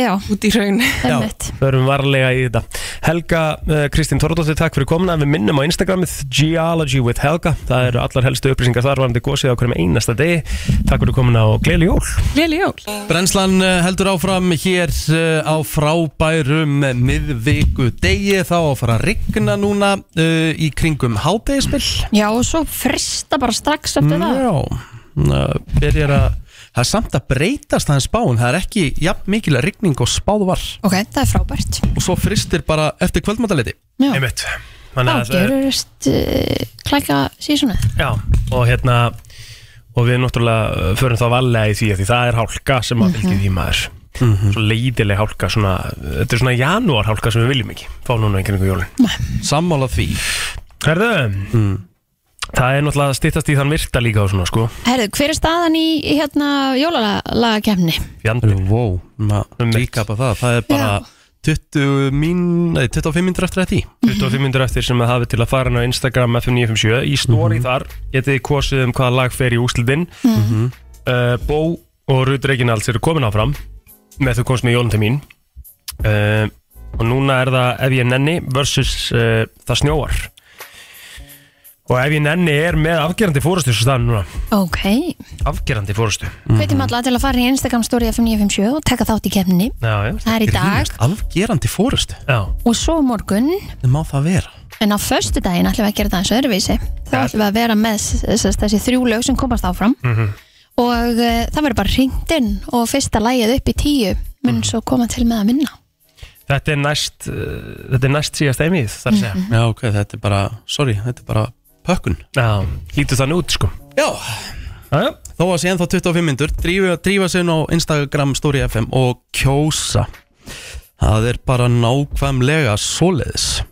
[SPEAKER 2] já,
[SPEAKER 11] út í raun
[SPEAKER 2] það er mitt
[SPEAKER 3] Förum varlega í þetta Helga, uh, Kristín Þorðóttir, takk fyrir komuna Við minnum á Instagramið Geology with Helga Það eru allar helstu upplýsingar þar varandi gósið á hverjum einasta degi Takk fyrir komuna og gleyli jól
[SPEAKER 11] Léli jól
[SPEAKER 1] Brennslan eh, heldur áfram hér eh, á frábærum miðviku degi þá að fara að rigna núna eh, í kringum hádegispill
[SPEAKER 2] já, og svo frista bara strax eftir
[SPEAKER 3] Mm,
[SPEAKER 2] það
[SPEAKER 1] Já, það byrjar að það er samt að breytast aðeins spáin það er ekki jafn mikilega rigning og spáð var
[SPEAKER 2] ok, það er frábært
[SPEAKER 1] og svo fristir bara eftir kvöldmáttaliti
[SPEAKER 2] já,
[SPEAKER 3] Einmitt
[SPEAKER 2] þá
[SPEAKER 3] Þannig að það er-
[SPEAKER 2] gerur uh, klæka sísunnið
[SPEAKER 3] Já, og hérna Og við náttúrulega uh, förum þá varlega í því af Því það er hálka sem að fylgja
[SPEAKER 1] Mhm.
[SPEAKER 3] því maður Svo leiðileg hálka svona, Þetta er svona janúar hálka sem við viljum ekki Fá núna einhvern veginn jólin
[SPEAKER 1] sammála því
[SPEAKER 3] Herðu
[SPEAKER 1] Mm.
[SPEAKER 3] Það er náttúrulega að styttast í þann virta líka og svona sko
[SPEAKER 2] herðu, hver er staðan í í, hérna jólalagakefni?
[SPEAKER 3] Fjandi
[SPEAKER 1] wow,
[SPEAKER 3] Um
[SPEAKER 1] maður líka bara það það er bara 20 mín, nei, 25 minnir eftir þetta í
[SPEAKER 3] 25 minnur eftir sem það hafi til að fara inn á Instagram FM957 í story
[SPEAKER 1] Mhm.
[SPEAKER 3] þar getið þið kosið um hvaða lag fer í úslitinn
[SPEAKER 1] Mhm.
[SPEAKER 3] uh, Bó og Rut Reginalds eru komin áfram með þú komst með jólum til mín uh, og núna er það Ef ég nenni versus uh, Það snjóar og Ef ég nenni er með afgerandi fórustu svo staðan núna,
[SPEAKER 2] ok,
[SPEAKER 3] afgerandi fórustu
[SPEAKER 2] hvetjum alla til að fara í Instagram story F957 og taka þátt í kefni
[SPEAKER 3] Já, já,
[SPEAKER 2] það er í dag
[SPEAKER 1] afgerandi fórustu,
[SPEAKER 3] já
[SPEAKER 2] og svo á morgun
[SPEAKER 1] það má það vera
[SPEAKER 2] En á föstu daginn ætlum við að gera það eins öðruvísi Þá
[SPEAKER 3] Ja.
[SPEAKER 2] ætlum við að vera með s- s- þessi þrjú lög sem komast áfram Og uh, það verður bara hringt inn Og fyrsta lægið upp í tíu Mun svo koma til með að vinna
[SPEAKER 3] Þetta er næst, uh, þetta er næst síðast einmið þar
[SPEAKER 2] Mhm.
[SPEAKER 3] að segja.
[SPEAKER 1] já, ok, þetta er bara, sorry, þetta er bara pökkun
[SPEAKER 3] Já, hýtu þannig út sko.
[SPEAKER 1] já,
[SPEAKER 3] Já, já.
[SPEAKER 1] þó að sé ennþá 25 minnur drífa, drífa sig inn á Instagram Story FM og kjósa það er bara nákvæmlega svoleiðis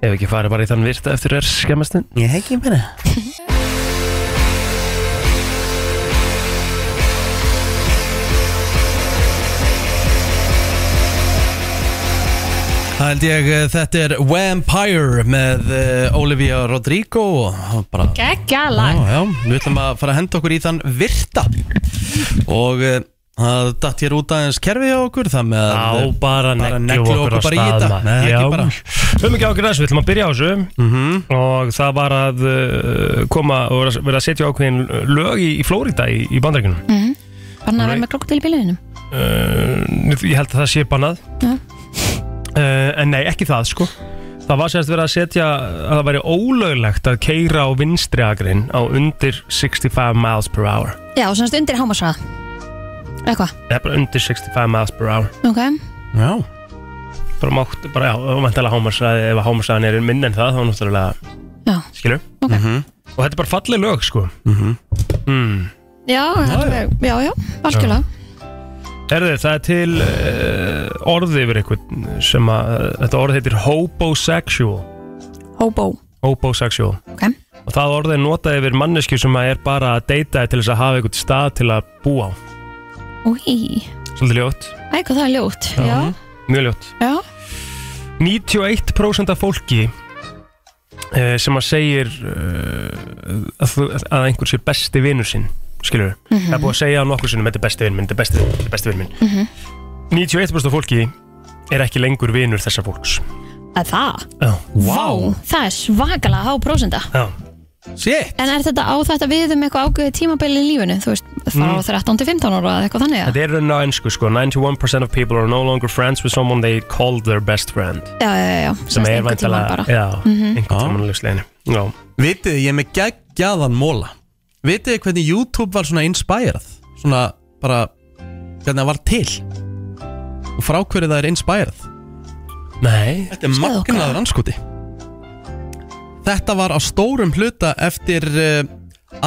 [SPEAKER 3] Ef ekki farið bara í þann virta eftir er skemmastinn.
[SPEAKER 1] Ég hef ekki meina Það held ég, eh, þetta er Vampire með eh, Olivia Rodrigo og og bara
[SPEAKER 2] Gekkja
[SPEAKER 1] Já,
[SPEAKER 2] lag
[SPEAKER 1] já, við ætlum að fara að henda okkur í þann virta og eh, það datt hér út aðeins kerfið á okkur það með að
[SPEAKER 3] Já,
[SPEAKER 1] bara
[SPEAKER 3] bara neglu
[SPEAKER 1] neglu
[SPEAKER 3] okkur
[SPEAKER 1] okkur
[SPEAKER 3] á
[SPEAKER 1] bara í
[SPEAKER 3] stað,
[SPEAKER 1] þetta.
[SPEAKER 3] maður.
[SPEAKER 1] Nei, ekki
[SPEAKER 3] Já.
[SPEAKER 1] bara.
[SPEAKER 3] Höfum ekki ákveð þessu, við ætlum að byrja á þessu og það var að uh, koma og vera- vera að setja ákveðin lög í, í Flórida í, í bandaríkunum
[SPEAKER 2] Banna að vera með klokkdil í bílunum
[SPEAKER 3] uh, Ég held að það sé bannað
[SPEAKER 2] Já.
[SPEAKER 3] uh, En nei, ekki það sko Það var semst verið að setja að það væri ólöglegt að keira á vinstri agrinn á undir 65 miles per hour
[SPEAKER 2] Já, og semst undir hámasrað Eitthvað,
[SPEAKER 3] Það er bara undir 65 miles per hour
[SPEAKER 2] ok
[SPEAKER 1] Já,
[SPEAKER 3] bara mátt, bara já, umvæntalega hámarsraði ef hámarsraðin er minn en það, þá náttúrulega
[SPEAKER 2] Já.
[SPEAKER 3] skilur
[SPEAKER 2] Ok.
[SPEAKER 3] og þetta er bara falleg lög, sko mm.
[SPEAKER 2] Já, þetta er- já, já, algjörlega
[SPEAKER 3] Herðu, það er til uh, orði yfir eitthvað sem að, þetta orð heitir hobosexual
[SPEAKER 2] Hobo,
[SPEAKER 3] hobosexual
[SPEAKER 2] ok
[SPEAKER 3] og það orðið er notað yfir mannesku sem að er bara að deyta til þess að hafa eitthvað stað til að búa á
[SPEAKER 2] Úi,
[SPEAKER 3] svolítið ljótt,
[SPEAKER 2] eitthvað það er ljótt Já,
[SPEAKER 3] mjög ljótt
[SPEAKER 2] já,
[SPEAKER 3] 91% af fólki uh, sem að segir uh, að, þú- að einhver sé besti vinnur sinn skilur það er búið að segja á nokkur sinnum þetta er besti vinn minn, þetta er besti vinn, þetta er besti vinn minn 91% af fólki er ekki lengur vinnur þessar fólks
[SPEAKER 2] að það
[SPEAKER 3] Já.
[SPEAKER 2] Vá, það er svakalega há prósenda
[SPEAKER 3] Já.
[SPEAKER 1] shit
[SPEAKER 2] En er þetta á þetta við um eitthvað ágöðu tímabili í lífinu? Þú veist, frá 13 til 15 ára eða eitthvað þannig að
[SPEAKER 3] Mm. þetta er raun á ennsku sko 91% of people are no longer friends with someone they call their best friend
[SPEAKER 2] Já, já, já, já,
[SPEAKER 3] sem
[SPEAKER 2] semst
[SPEAKER 3] er
[SPEAKER 2] einhvern tímann
[SPEAKER 3] væntanlega
[SPEAKER 2] bara.
[SPEAKER 3] já, einhvern
[SPEAKER 1] Já.
[SPEAKER 3] tíman lögsleginu já,
[SPEAKER 1] Vitið, þið, ég er með geggjaðan móla Vitið þið hvernig YouTube var svona inspirað Svona bara Hvernig það var til Og frá hverju það er inspirað
[SPEAKER 3] nei
[SPEAKER 1] Þetta er
[SPEAKER 2] Segðu okkur.
[SPEAKER 1] magnaður anskoti Þetta var á stórum hluta Eftir uh,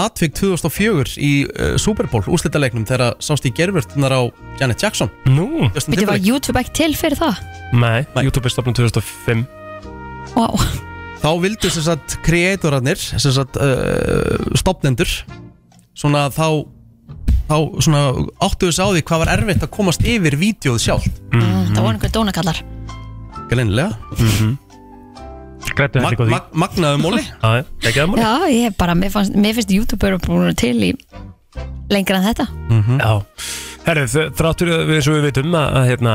[SPEAKER 1] Atvík 2004 í uh, Super Bowl Úslitaleiknum þegar sást í gerfurtunar á Janet Jackson
[SPEAKER 3] nú,
[SPEAKER 1] Justin
[SPEAKER 2] Veitir, var
[SPEAKER 1] Timberlake.
[SPEAKER 2] YouTube ekki til fyrir það?
[SPEAKER 3] nei,
[SPEAKER 1] Nei.
[SPEAKER 3] YouTube er stopnum 2005
[SPEAKER 2] Vá,
[SPEAKER 1] Þá vildu sem sagt kreatorarnir sem sagt uh, stopnendur svona þá þá svona áttuðu þess á því hvað var erfitt að komast yfir vídjóð sjálf
[SPEAKER 3] Mm.
[SPEAKER 2] það Ah, voru einhver dónakallar
[SPEAKER 1] Gleinilega
[SPEAKER 3] grættu þetta
[SPEAKER 1] mag,
[SPEAKER 3] eitthvað því
[SPEAKER 1] mag, Magnaðu móli
[SPEAKER 3] Já, já, ekki það máli
[SPEAKER 2] Já, ég er bara, mér, fannst, mér finnst YouTube eru búin að vera til í lengra en þetta
[SPEAKER 1] Mhm.
[SPEAKER 3] Já, herrið, þ- þráttur að við eins og við vitum að, að hérna,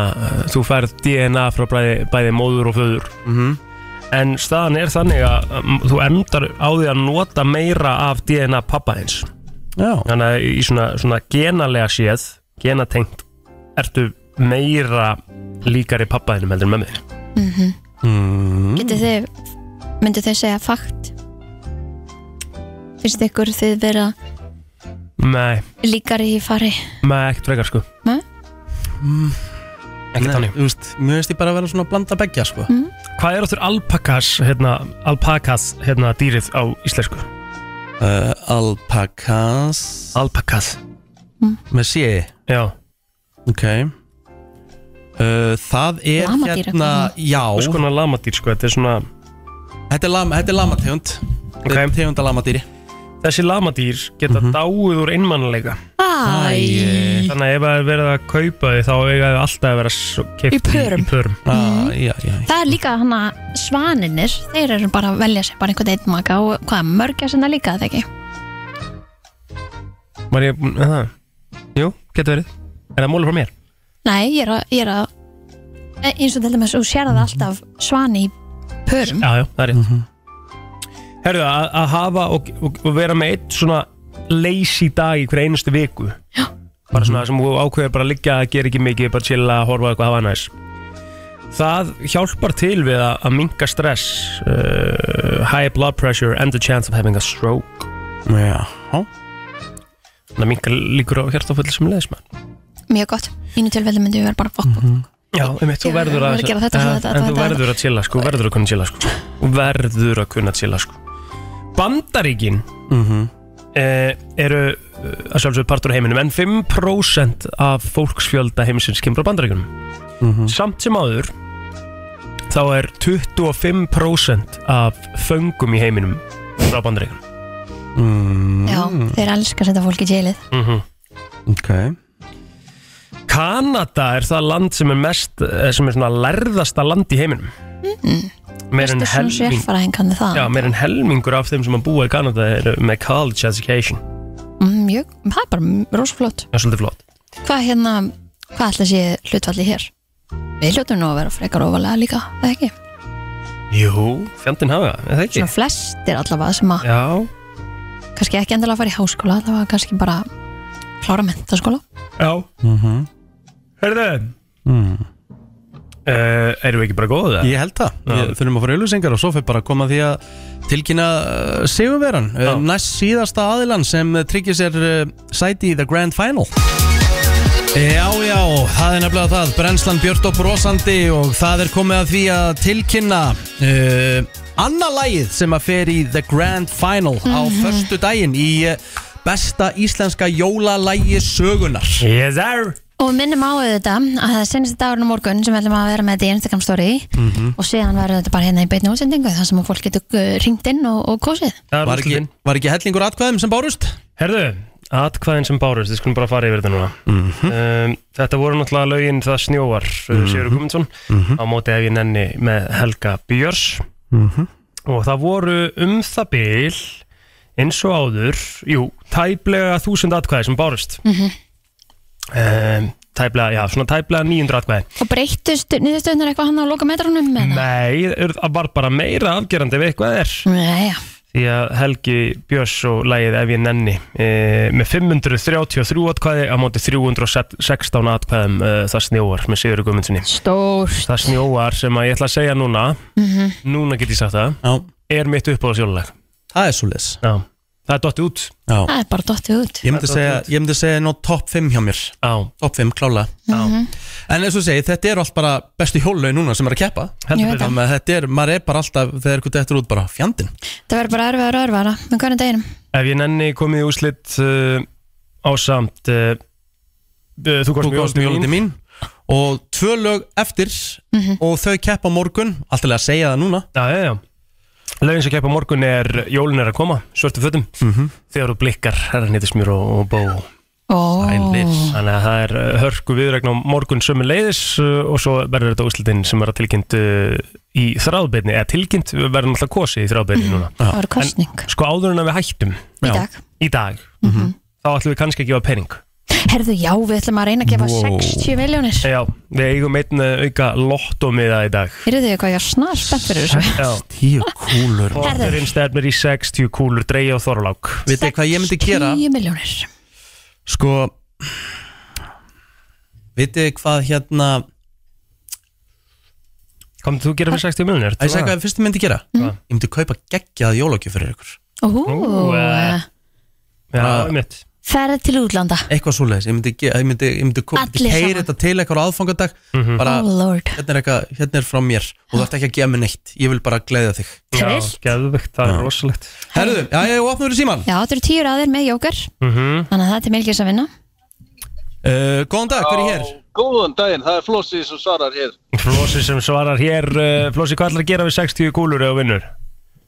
[SPEAKER 3] þú færð DNA frá bæði, bæði móður og föður
[SPEAKER 1] Mhm.
[SPEAKER 3] En staðan er þannig að um, þú endar á því að nota meira af DNA pappa eins
[SPEAKER 1] Já
[SPEAKER 3] Þannig að í svona, svona genalega séð, genatengt, ertu meira líkari pappaðinum heldur en mömmu þinni.
[SPEAKER 1] mm.
[SPEAKER 2] Getið þið, myndu þið segja fakt? Finnst ykkur þið vera
[SPEAKER 3] Nei,
[SPEAKER 2] líkari í fari?
[SPEAKER 3] með ekkert frekar sko
[SPEAKER 2] Nei.
[SPEAKER 1] Mm.
[SPEAKER 3] Ekkert
[SPEAKER 1] Nei,
[SPEAKER 3] þannig
[SPEAKER 1] Þú veist, mjög veist ég bara að vera svona að blanda begja sko
[SPEAKER 2] Mm.
[SPEAKER 3] Hvað er áttur alpakas, hérna, alpakas, hérna, dýrið á íslensku?
[SPEAKER 1] uh, Alpakas
[SPEAKER 3] Alpakas
[SPEAKER 1] Með sé
[SPEAKER 3] Já,
[SPEAKER 1] Ok uh, Það er
[SPEAKER 2] Lamadýr,
[SPEAKER 1] hérna
[SPEAKER 2] eitthvað.
[SPEAKER 1] Já
[SPEAKER 3] og skona lamadýr sko, þetta er svona
[SPEAKER 1] Þetta er, lam, þetta er lamategund Þetta er
[SPEAKER 3] Ok.
[SPEAKER 1] tegund að lamadýri
[SPEAKER 3] þessi lamadýr geta dáið úr einmannleika
[SPEAKER 2] Æ,
[SPEAKER 3] þannig að ef það er verið að kaupa því þá eiga þau alltaf að vera s- keypt
[SPEAKER 2] Í pörum.
[SPEAKER 3] í, í pörum.
[SPEAKER 1] ah, já, já, já.
[SPEAKER 2] Það er líka hann að svaninir, þeir eru bara að velja sér bara einhvern einn maka og hvað, mörgja sinna líka, eða ekki?
[SPEAKER 3] Var ég, búinn- er það? Jú, geta verið Er það múlið frá mér?
[SPEAKER 2] Nei, ég er að, ég er að e- eins og til dæmis, þú sér það alltaf svani í pörum
[SPEAKER 3] Já, já, það er rétt Herðu, að, að hafa og, og, og vera með eitt svona lazy dag í hver einustu viku
[SPEAKER 2] Já.
[SPEAKER 3] bara svona sem þú ákveður bara að liggja að gera ekki mikið, bara chilla, horfa á eitthvað hafa næs Það hjálpar til við að, að minka stress uh, high blood pressure and the chance of having a stroke
[SPEAKER 1] Já,
[SPEAKER 3] þannig að minka líkur á hjartaföll sem leðismann
[SPEAKER 2] Mjög gott, mínu tilfelli myndi ég vera bara fokk, fokk, fokk
[SPEAKER 3] Já, um eitt, þú
[SPEAKER 2] Ég
[SPEAKER 3] verður
[SPEAKER 2] verður
[SPEAKER 3] að
[SPEAKER 2] að gera þetta,
[SPEAKER 3] Já,
[SPEAKER 2] þetta,
[SPEAKER 3] En
[SPEAKER 2] þetta,
[SPEAKER 3] þú
[SPEAKER 2] þetta.
[SPEAKER 3] verður að chilla, sko, verður að kunna chilla, sko Þú Verður að kunna chilla, sko Bandaríkin eh, eru eh, að sjálfsögðu partur af heiminum en 5% af fólksfjölda heimisins kemur á bandaríkunum samt sem áður þá er 25% af föngum í heiminum frá bandaríkunum
[SPEAKER 1] mm,
[SPEAKER 2] Já, þeir elska að setja fólk í jælið
[SPEAKER 3] mm -hmm.
[SPEAKER 1] Ok
[SPEAKER 3] Ka Kanada er það land sem er mest eh, sem er svona lærðasta land í heiminum meir
[SPEAKER 2] Ertu
[SPEAKER 3] en
[SPEAKER 2] Mm. svona
[SPEAKER 3] helming
[SPEAKER 2] sérfræðingandi það?
[SPEAKER 3] já, meir en helmingur af þeim sem að búa í Kanada eru með college education
[SPEAKER 2] Mm, Mjög, það er bara rosa flott
[SPEAKER 3] það er svolítið flott
[SPEAKER 2] Hvað hérna, hvað ætla sé hlutvalli hér? Við hljótum nú að vera frekar ofalega líka, eða ekki?
[SPEAKER 3] jú, fjandinn hafa, er það ekki
[SPEAKER 2] Svona flestir allavega sem að
[SPEAKER 3] já,
[SPEAKER 2] kannski ekki endilega að fara í háskóla það var kannski bara klára mentaskóla
[SPEAKER 3] já mm
[SPEAKER 1] Mhm.
[SPEAKER 3] -hmm. herðu Uh, erum við ekki bara góðið það?
[SPEAKER 1] Ég held það, Við þurfum að fara auðlýsingar og svo fyrir bara að koma að því að tilkynna uh, sigurveran, uh, næst síðasta aðilan sem uh, tryggir sér uh, sæti í The Grand Final Eh, Já, já, það er nefnilega það Brennslan Björn og Brosandi og það er komið að því að tilkynna uh, annað lagið sem að fer í The Grand Final á förstu daginn í uh, besta íslenska jólalægi sögunar
[SPEAKER 3] Yes sir
[SPEAKER 2] og við minnum á þetta að það er senast dagurinn á morgun sem við ætlum að vera með þetta í Instagram story
[SPEAKER 1] Mhm.
[SPEAKER 2] og síðan verður þetta bara hérna í beinni útsendingu þar sem að fólk getur ringt inn og, og kosið
[SPEAKER 3] Það er
[SPEAKER 1] Var ekki,
[SPEAKER 3] úrslitin.
[SPEAKER 1] var ekki hellingur atkvæðum sem bárust?
[SPEAKER 3] Herðu, atkvæðin sem bárust, við skulum bara fara yfir þetta núna um, Þetta voru náttúrulega lögin Það snjóvar, mm Sigur Gumundsson á móti ef ég nenni með Helga Björs og það voru um það bil eins og áður, jú, tæplega þúsund atkvæði sem bárust mm um, tæplega, já, svona tæplega 900 atkvæði
[SPEAKER 2] og breyttust niðurstöðunar eitthvað hann á loka metrunum með
[SPEAKER 3] Nei, það var bara meira afgerandi við eitthvað er
[SPEAKER 2] Nei, já.
[SPEAKER 3] því að Helgi Björns og lægið Ef ég nenni e, með 533 atkvæði á móti 316 atkvæðum e, það snjóar með Sigur Guðmundssoni
[SPEAKER 2] stórt
[SPEAKER 3] það snjóar sem að ég ætla að segja núna
[SPEAKER 2] Mhm.
[SPEAKER 3] núna get ég sagt það
[SPEAKER 1] Já,
[SPEAKER 3] er mitt upp á sjóluleg
[SPEAKER 1] það er svo les
[SPEAKER 3] Já. það er dottið út
[SPEAKER 1] Já
[SPEAKER 2] það er bara dottið út
[SPEAKER 1] Ég myndi segja, ég myndi segja ná top 5 hjá mér
[SPEAKER 3] Já,
[SPEAKER 1] Top 5 klálega
[SPEAKER 3] Já.
[SPEAKER 1] En eins og segi, þetta er allt bara bestu hjólau núna sem er að keppa
[SPEAKER 2] Ég veit
[SPEAKER 3] heldur
[SPEAKER 2] það.
[SPEAKER 3] betur
[SPEAKER 1] Þannig að þetta er, maður er bara alltaf þegar eitthvað þetta er út bara fjandinn
[SPEAKER 2] það verður bara erfiðar og erfiðara með hvernig deginum
[SPEAKER 3] Ef ég nenni komið í úslit uh, á samt uh, þú
[SPEAKER 1] Þú
[SPEAKER 3] komst
[SPEAKER 1] góðst
[SPEAKER 3] mjög
[SPEAKER 1] mjög lítið mín Og tvö lög eftir og þau keppa á morgun Alltaf að segja það núna
[SPEAKER 3] Já, já, já Lögin sem keppa morgun er Jólin er að koma, svörtu fötum Þegar þú blikkar, herra nýttis mér og, og bó
[SPEAKER 2] Ó,
[SPEAKER 3] Þannig að það er uh, hörku viðregn á morgun sömu leiðis uh, Og svo verður þetta úslitin sem er að tilkynnt uh, í þráðbeinni Eða tilkynnt verður náttúrulega kosi í þráðbeinni núna
[SPEAKER 2] það verður kostning
[SPEAKER 3] Sko áður en að við hættum
[SPEAKER 2] í dag Mhm.
[SPEAKER 3] í dag Þá ætlum við kannski að gefa pening
[SPEAKER 2] Herðu, já, við ætlum að reyna að gefa 60 miljónir
[SPEAKER 3] Já, við eigum einn uh, auka lottómiða í dag
[SPEAKER 2] Eru þið eitthvað, ég er snar spennt fyrir þessu
[SPEAKER 3] Já,
[SPEAKER 1] Tíu kúlur
[SPEAKER 3] Þorðurinn stefnir í 60 kúlur, dreigja og þorlák
[SPEAKER 1] Vitið þið hvað ég myndi gera?
[SPEAKER 2] 10 miljónir
[SPEAKER 1] Sko Vitið þið hvað hérna
[SPEAKER 3] Kom, þú gerir fyrir 60 miljonir
[SPEAKER 1] Það ég segja hvað ég fyrst myndi gera Ég myndi kaupa geggjað jólagjöf fyrir ykkur
[SPEAKER 2] Ó,
[SPEAKER 3] eh. Já, mitt
[SPEAKER 2] Ferð til útlanda
[SPEAKER 1] Eitthvað svoleiðis, ég myndi, ge- ég myndi, ég myndi, ko- myndi
[SPEAKER 2] Allir
[SPEAKER 1] keyra
[SPEAKER 2] saman.
[SPEAKER 1] þetta til eitthvað á aðfangadag
[SPEAKER 3] Mhm.
[SPEAKER 1] bara,
[SPEAKER 3] Ah.
[SPEAKER 2] Oh lord
[SPEAKER 1] hérna er, eitthvað, hérna er frá mér og þú ert ekki að gefa mér neitt, ég vil bara gleyða þig
[SPEAKER 3] Já,
[SPEAKER 2] Trillt.
[SPEAKER 3] geðvögt, það er rosalegt
[SPEAKER 1] Herðu, já, ég opna fyrir síman
[SPEAKER 2] Já, þetta eru tíu raðir með jókar
[SPEAKER 3] Mm. Mhm.
[SPEAKER 2] Þannig að það er til milgis að vinna
[SPEAKER 1] uh, Góðan dag, hver er hér?
[SPEAKER 5] Góðan daginn, það er Flossi sem svarar hér.
[SPEAKER 3] Flósi sem svarar hér uh, Flósi, hvað ætlar að gera við 60 kúlur eða vinnur?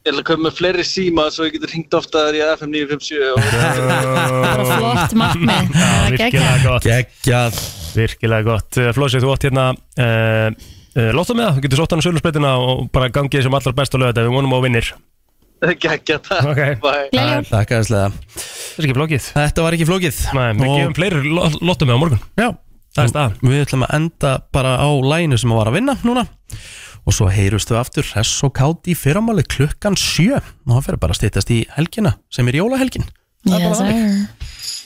[SPEAKER 5] Ég ætla að koma með fleiri síma svo ég getur hringt ofta þegar ég er FM 957 og
[SPEAKER 2] Bara flott markmið Það er geggjað.
[SPEAKER 3] Ah. Virkilega gott,
[SPEAKER 1] Geggjað
[SPEAKER 3] virkilega gott Uh, Flósi, þú átt hérna uh, uh, Lóttum með það, þú getur sótt hann á sölusbreytina og bara gangið sem allar best á lögða við vonum á vinnir
[SPEAKER 5] geggja það.
[SPEAKER 3] Ok.
[SPEAKER 5] Bye.
[SPEAKER 2] Gleðileg jól.
[SPEAKER 1] Takk aðeinslega
[SPEAKER 3] Það er ekki flókið
[SPEAKER 1] Þetta var ekki flókið
[SPEAKER 3] Nei, við
[SPEAKER 1] Og-
[SPEAKER 3] gefum fleiri lóttum með á morgun
[SPEAKER 1] Já
[SPEAKER 3] Það er staðan.
[SPEAKER 1] Við ætlum að enda bara á læginu sem að var að vinna núna og svo heyrust við aftur hress og kátt í fyrramáli klukkan sjö og það fyrir bara að stýttast í helgina sem er jólahelgin
[SPEAKER 2] Yes, sir.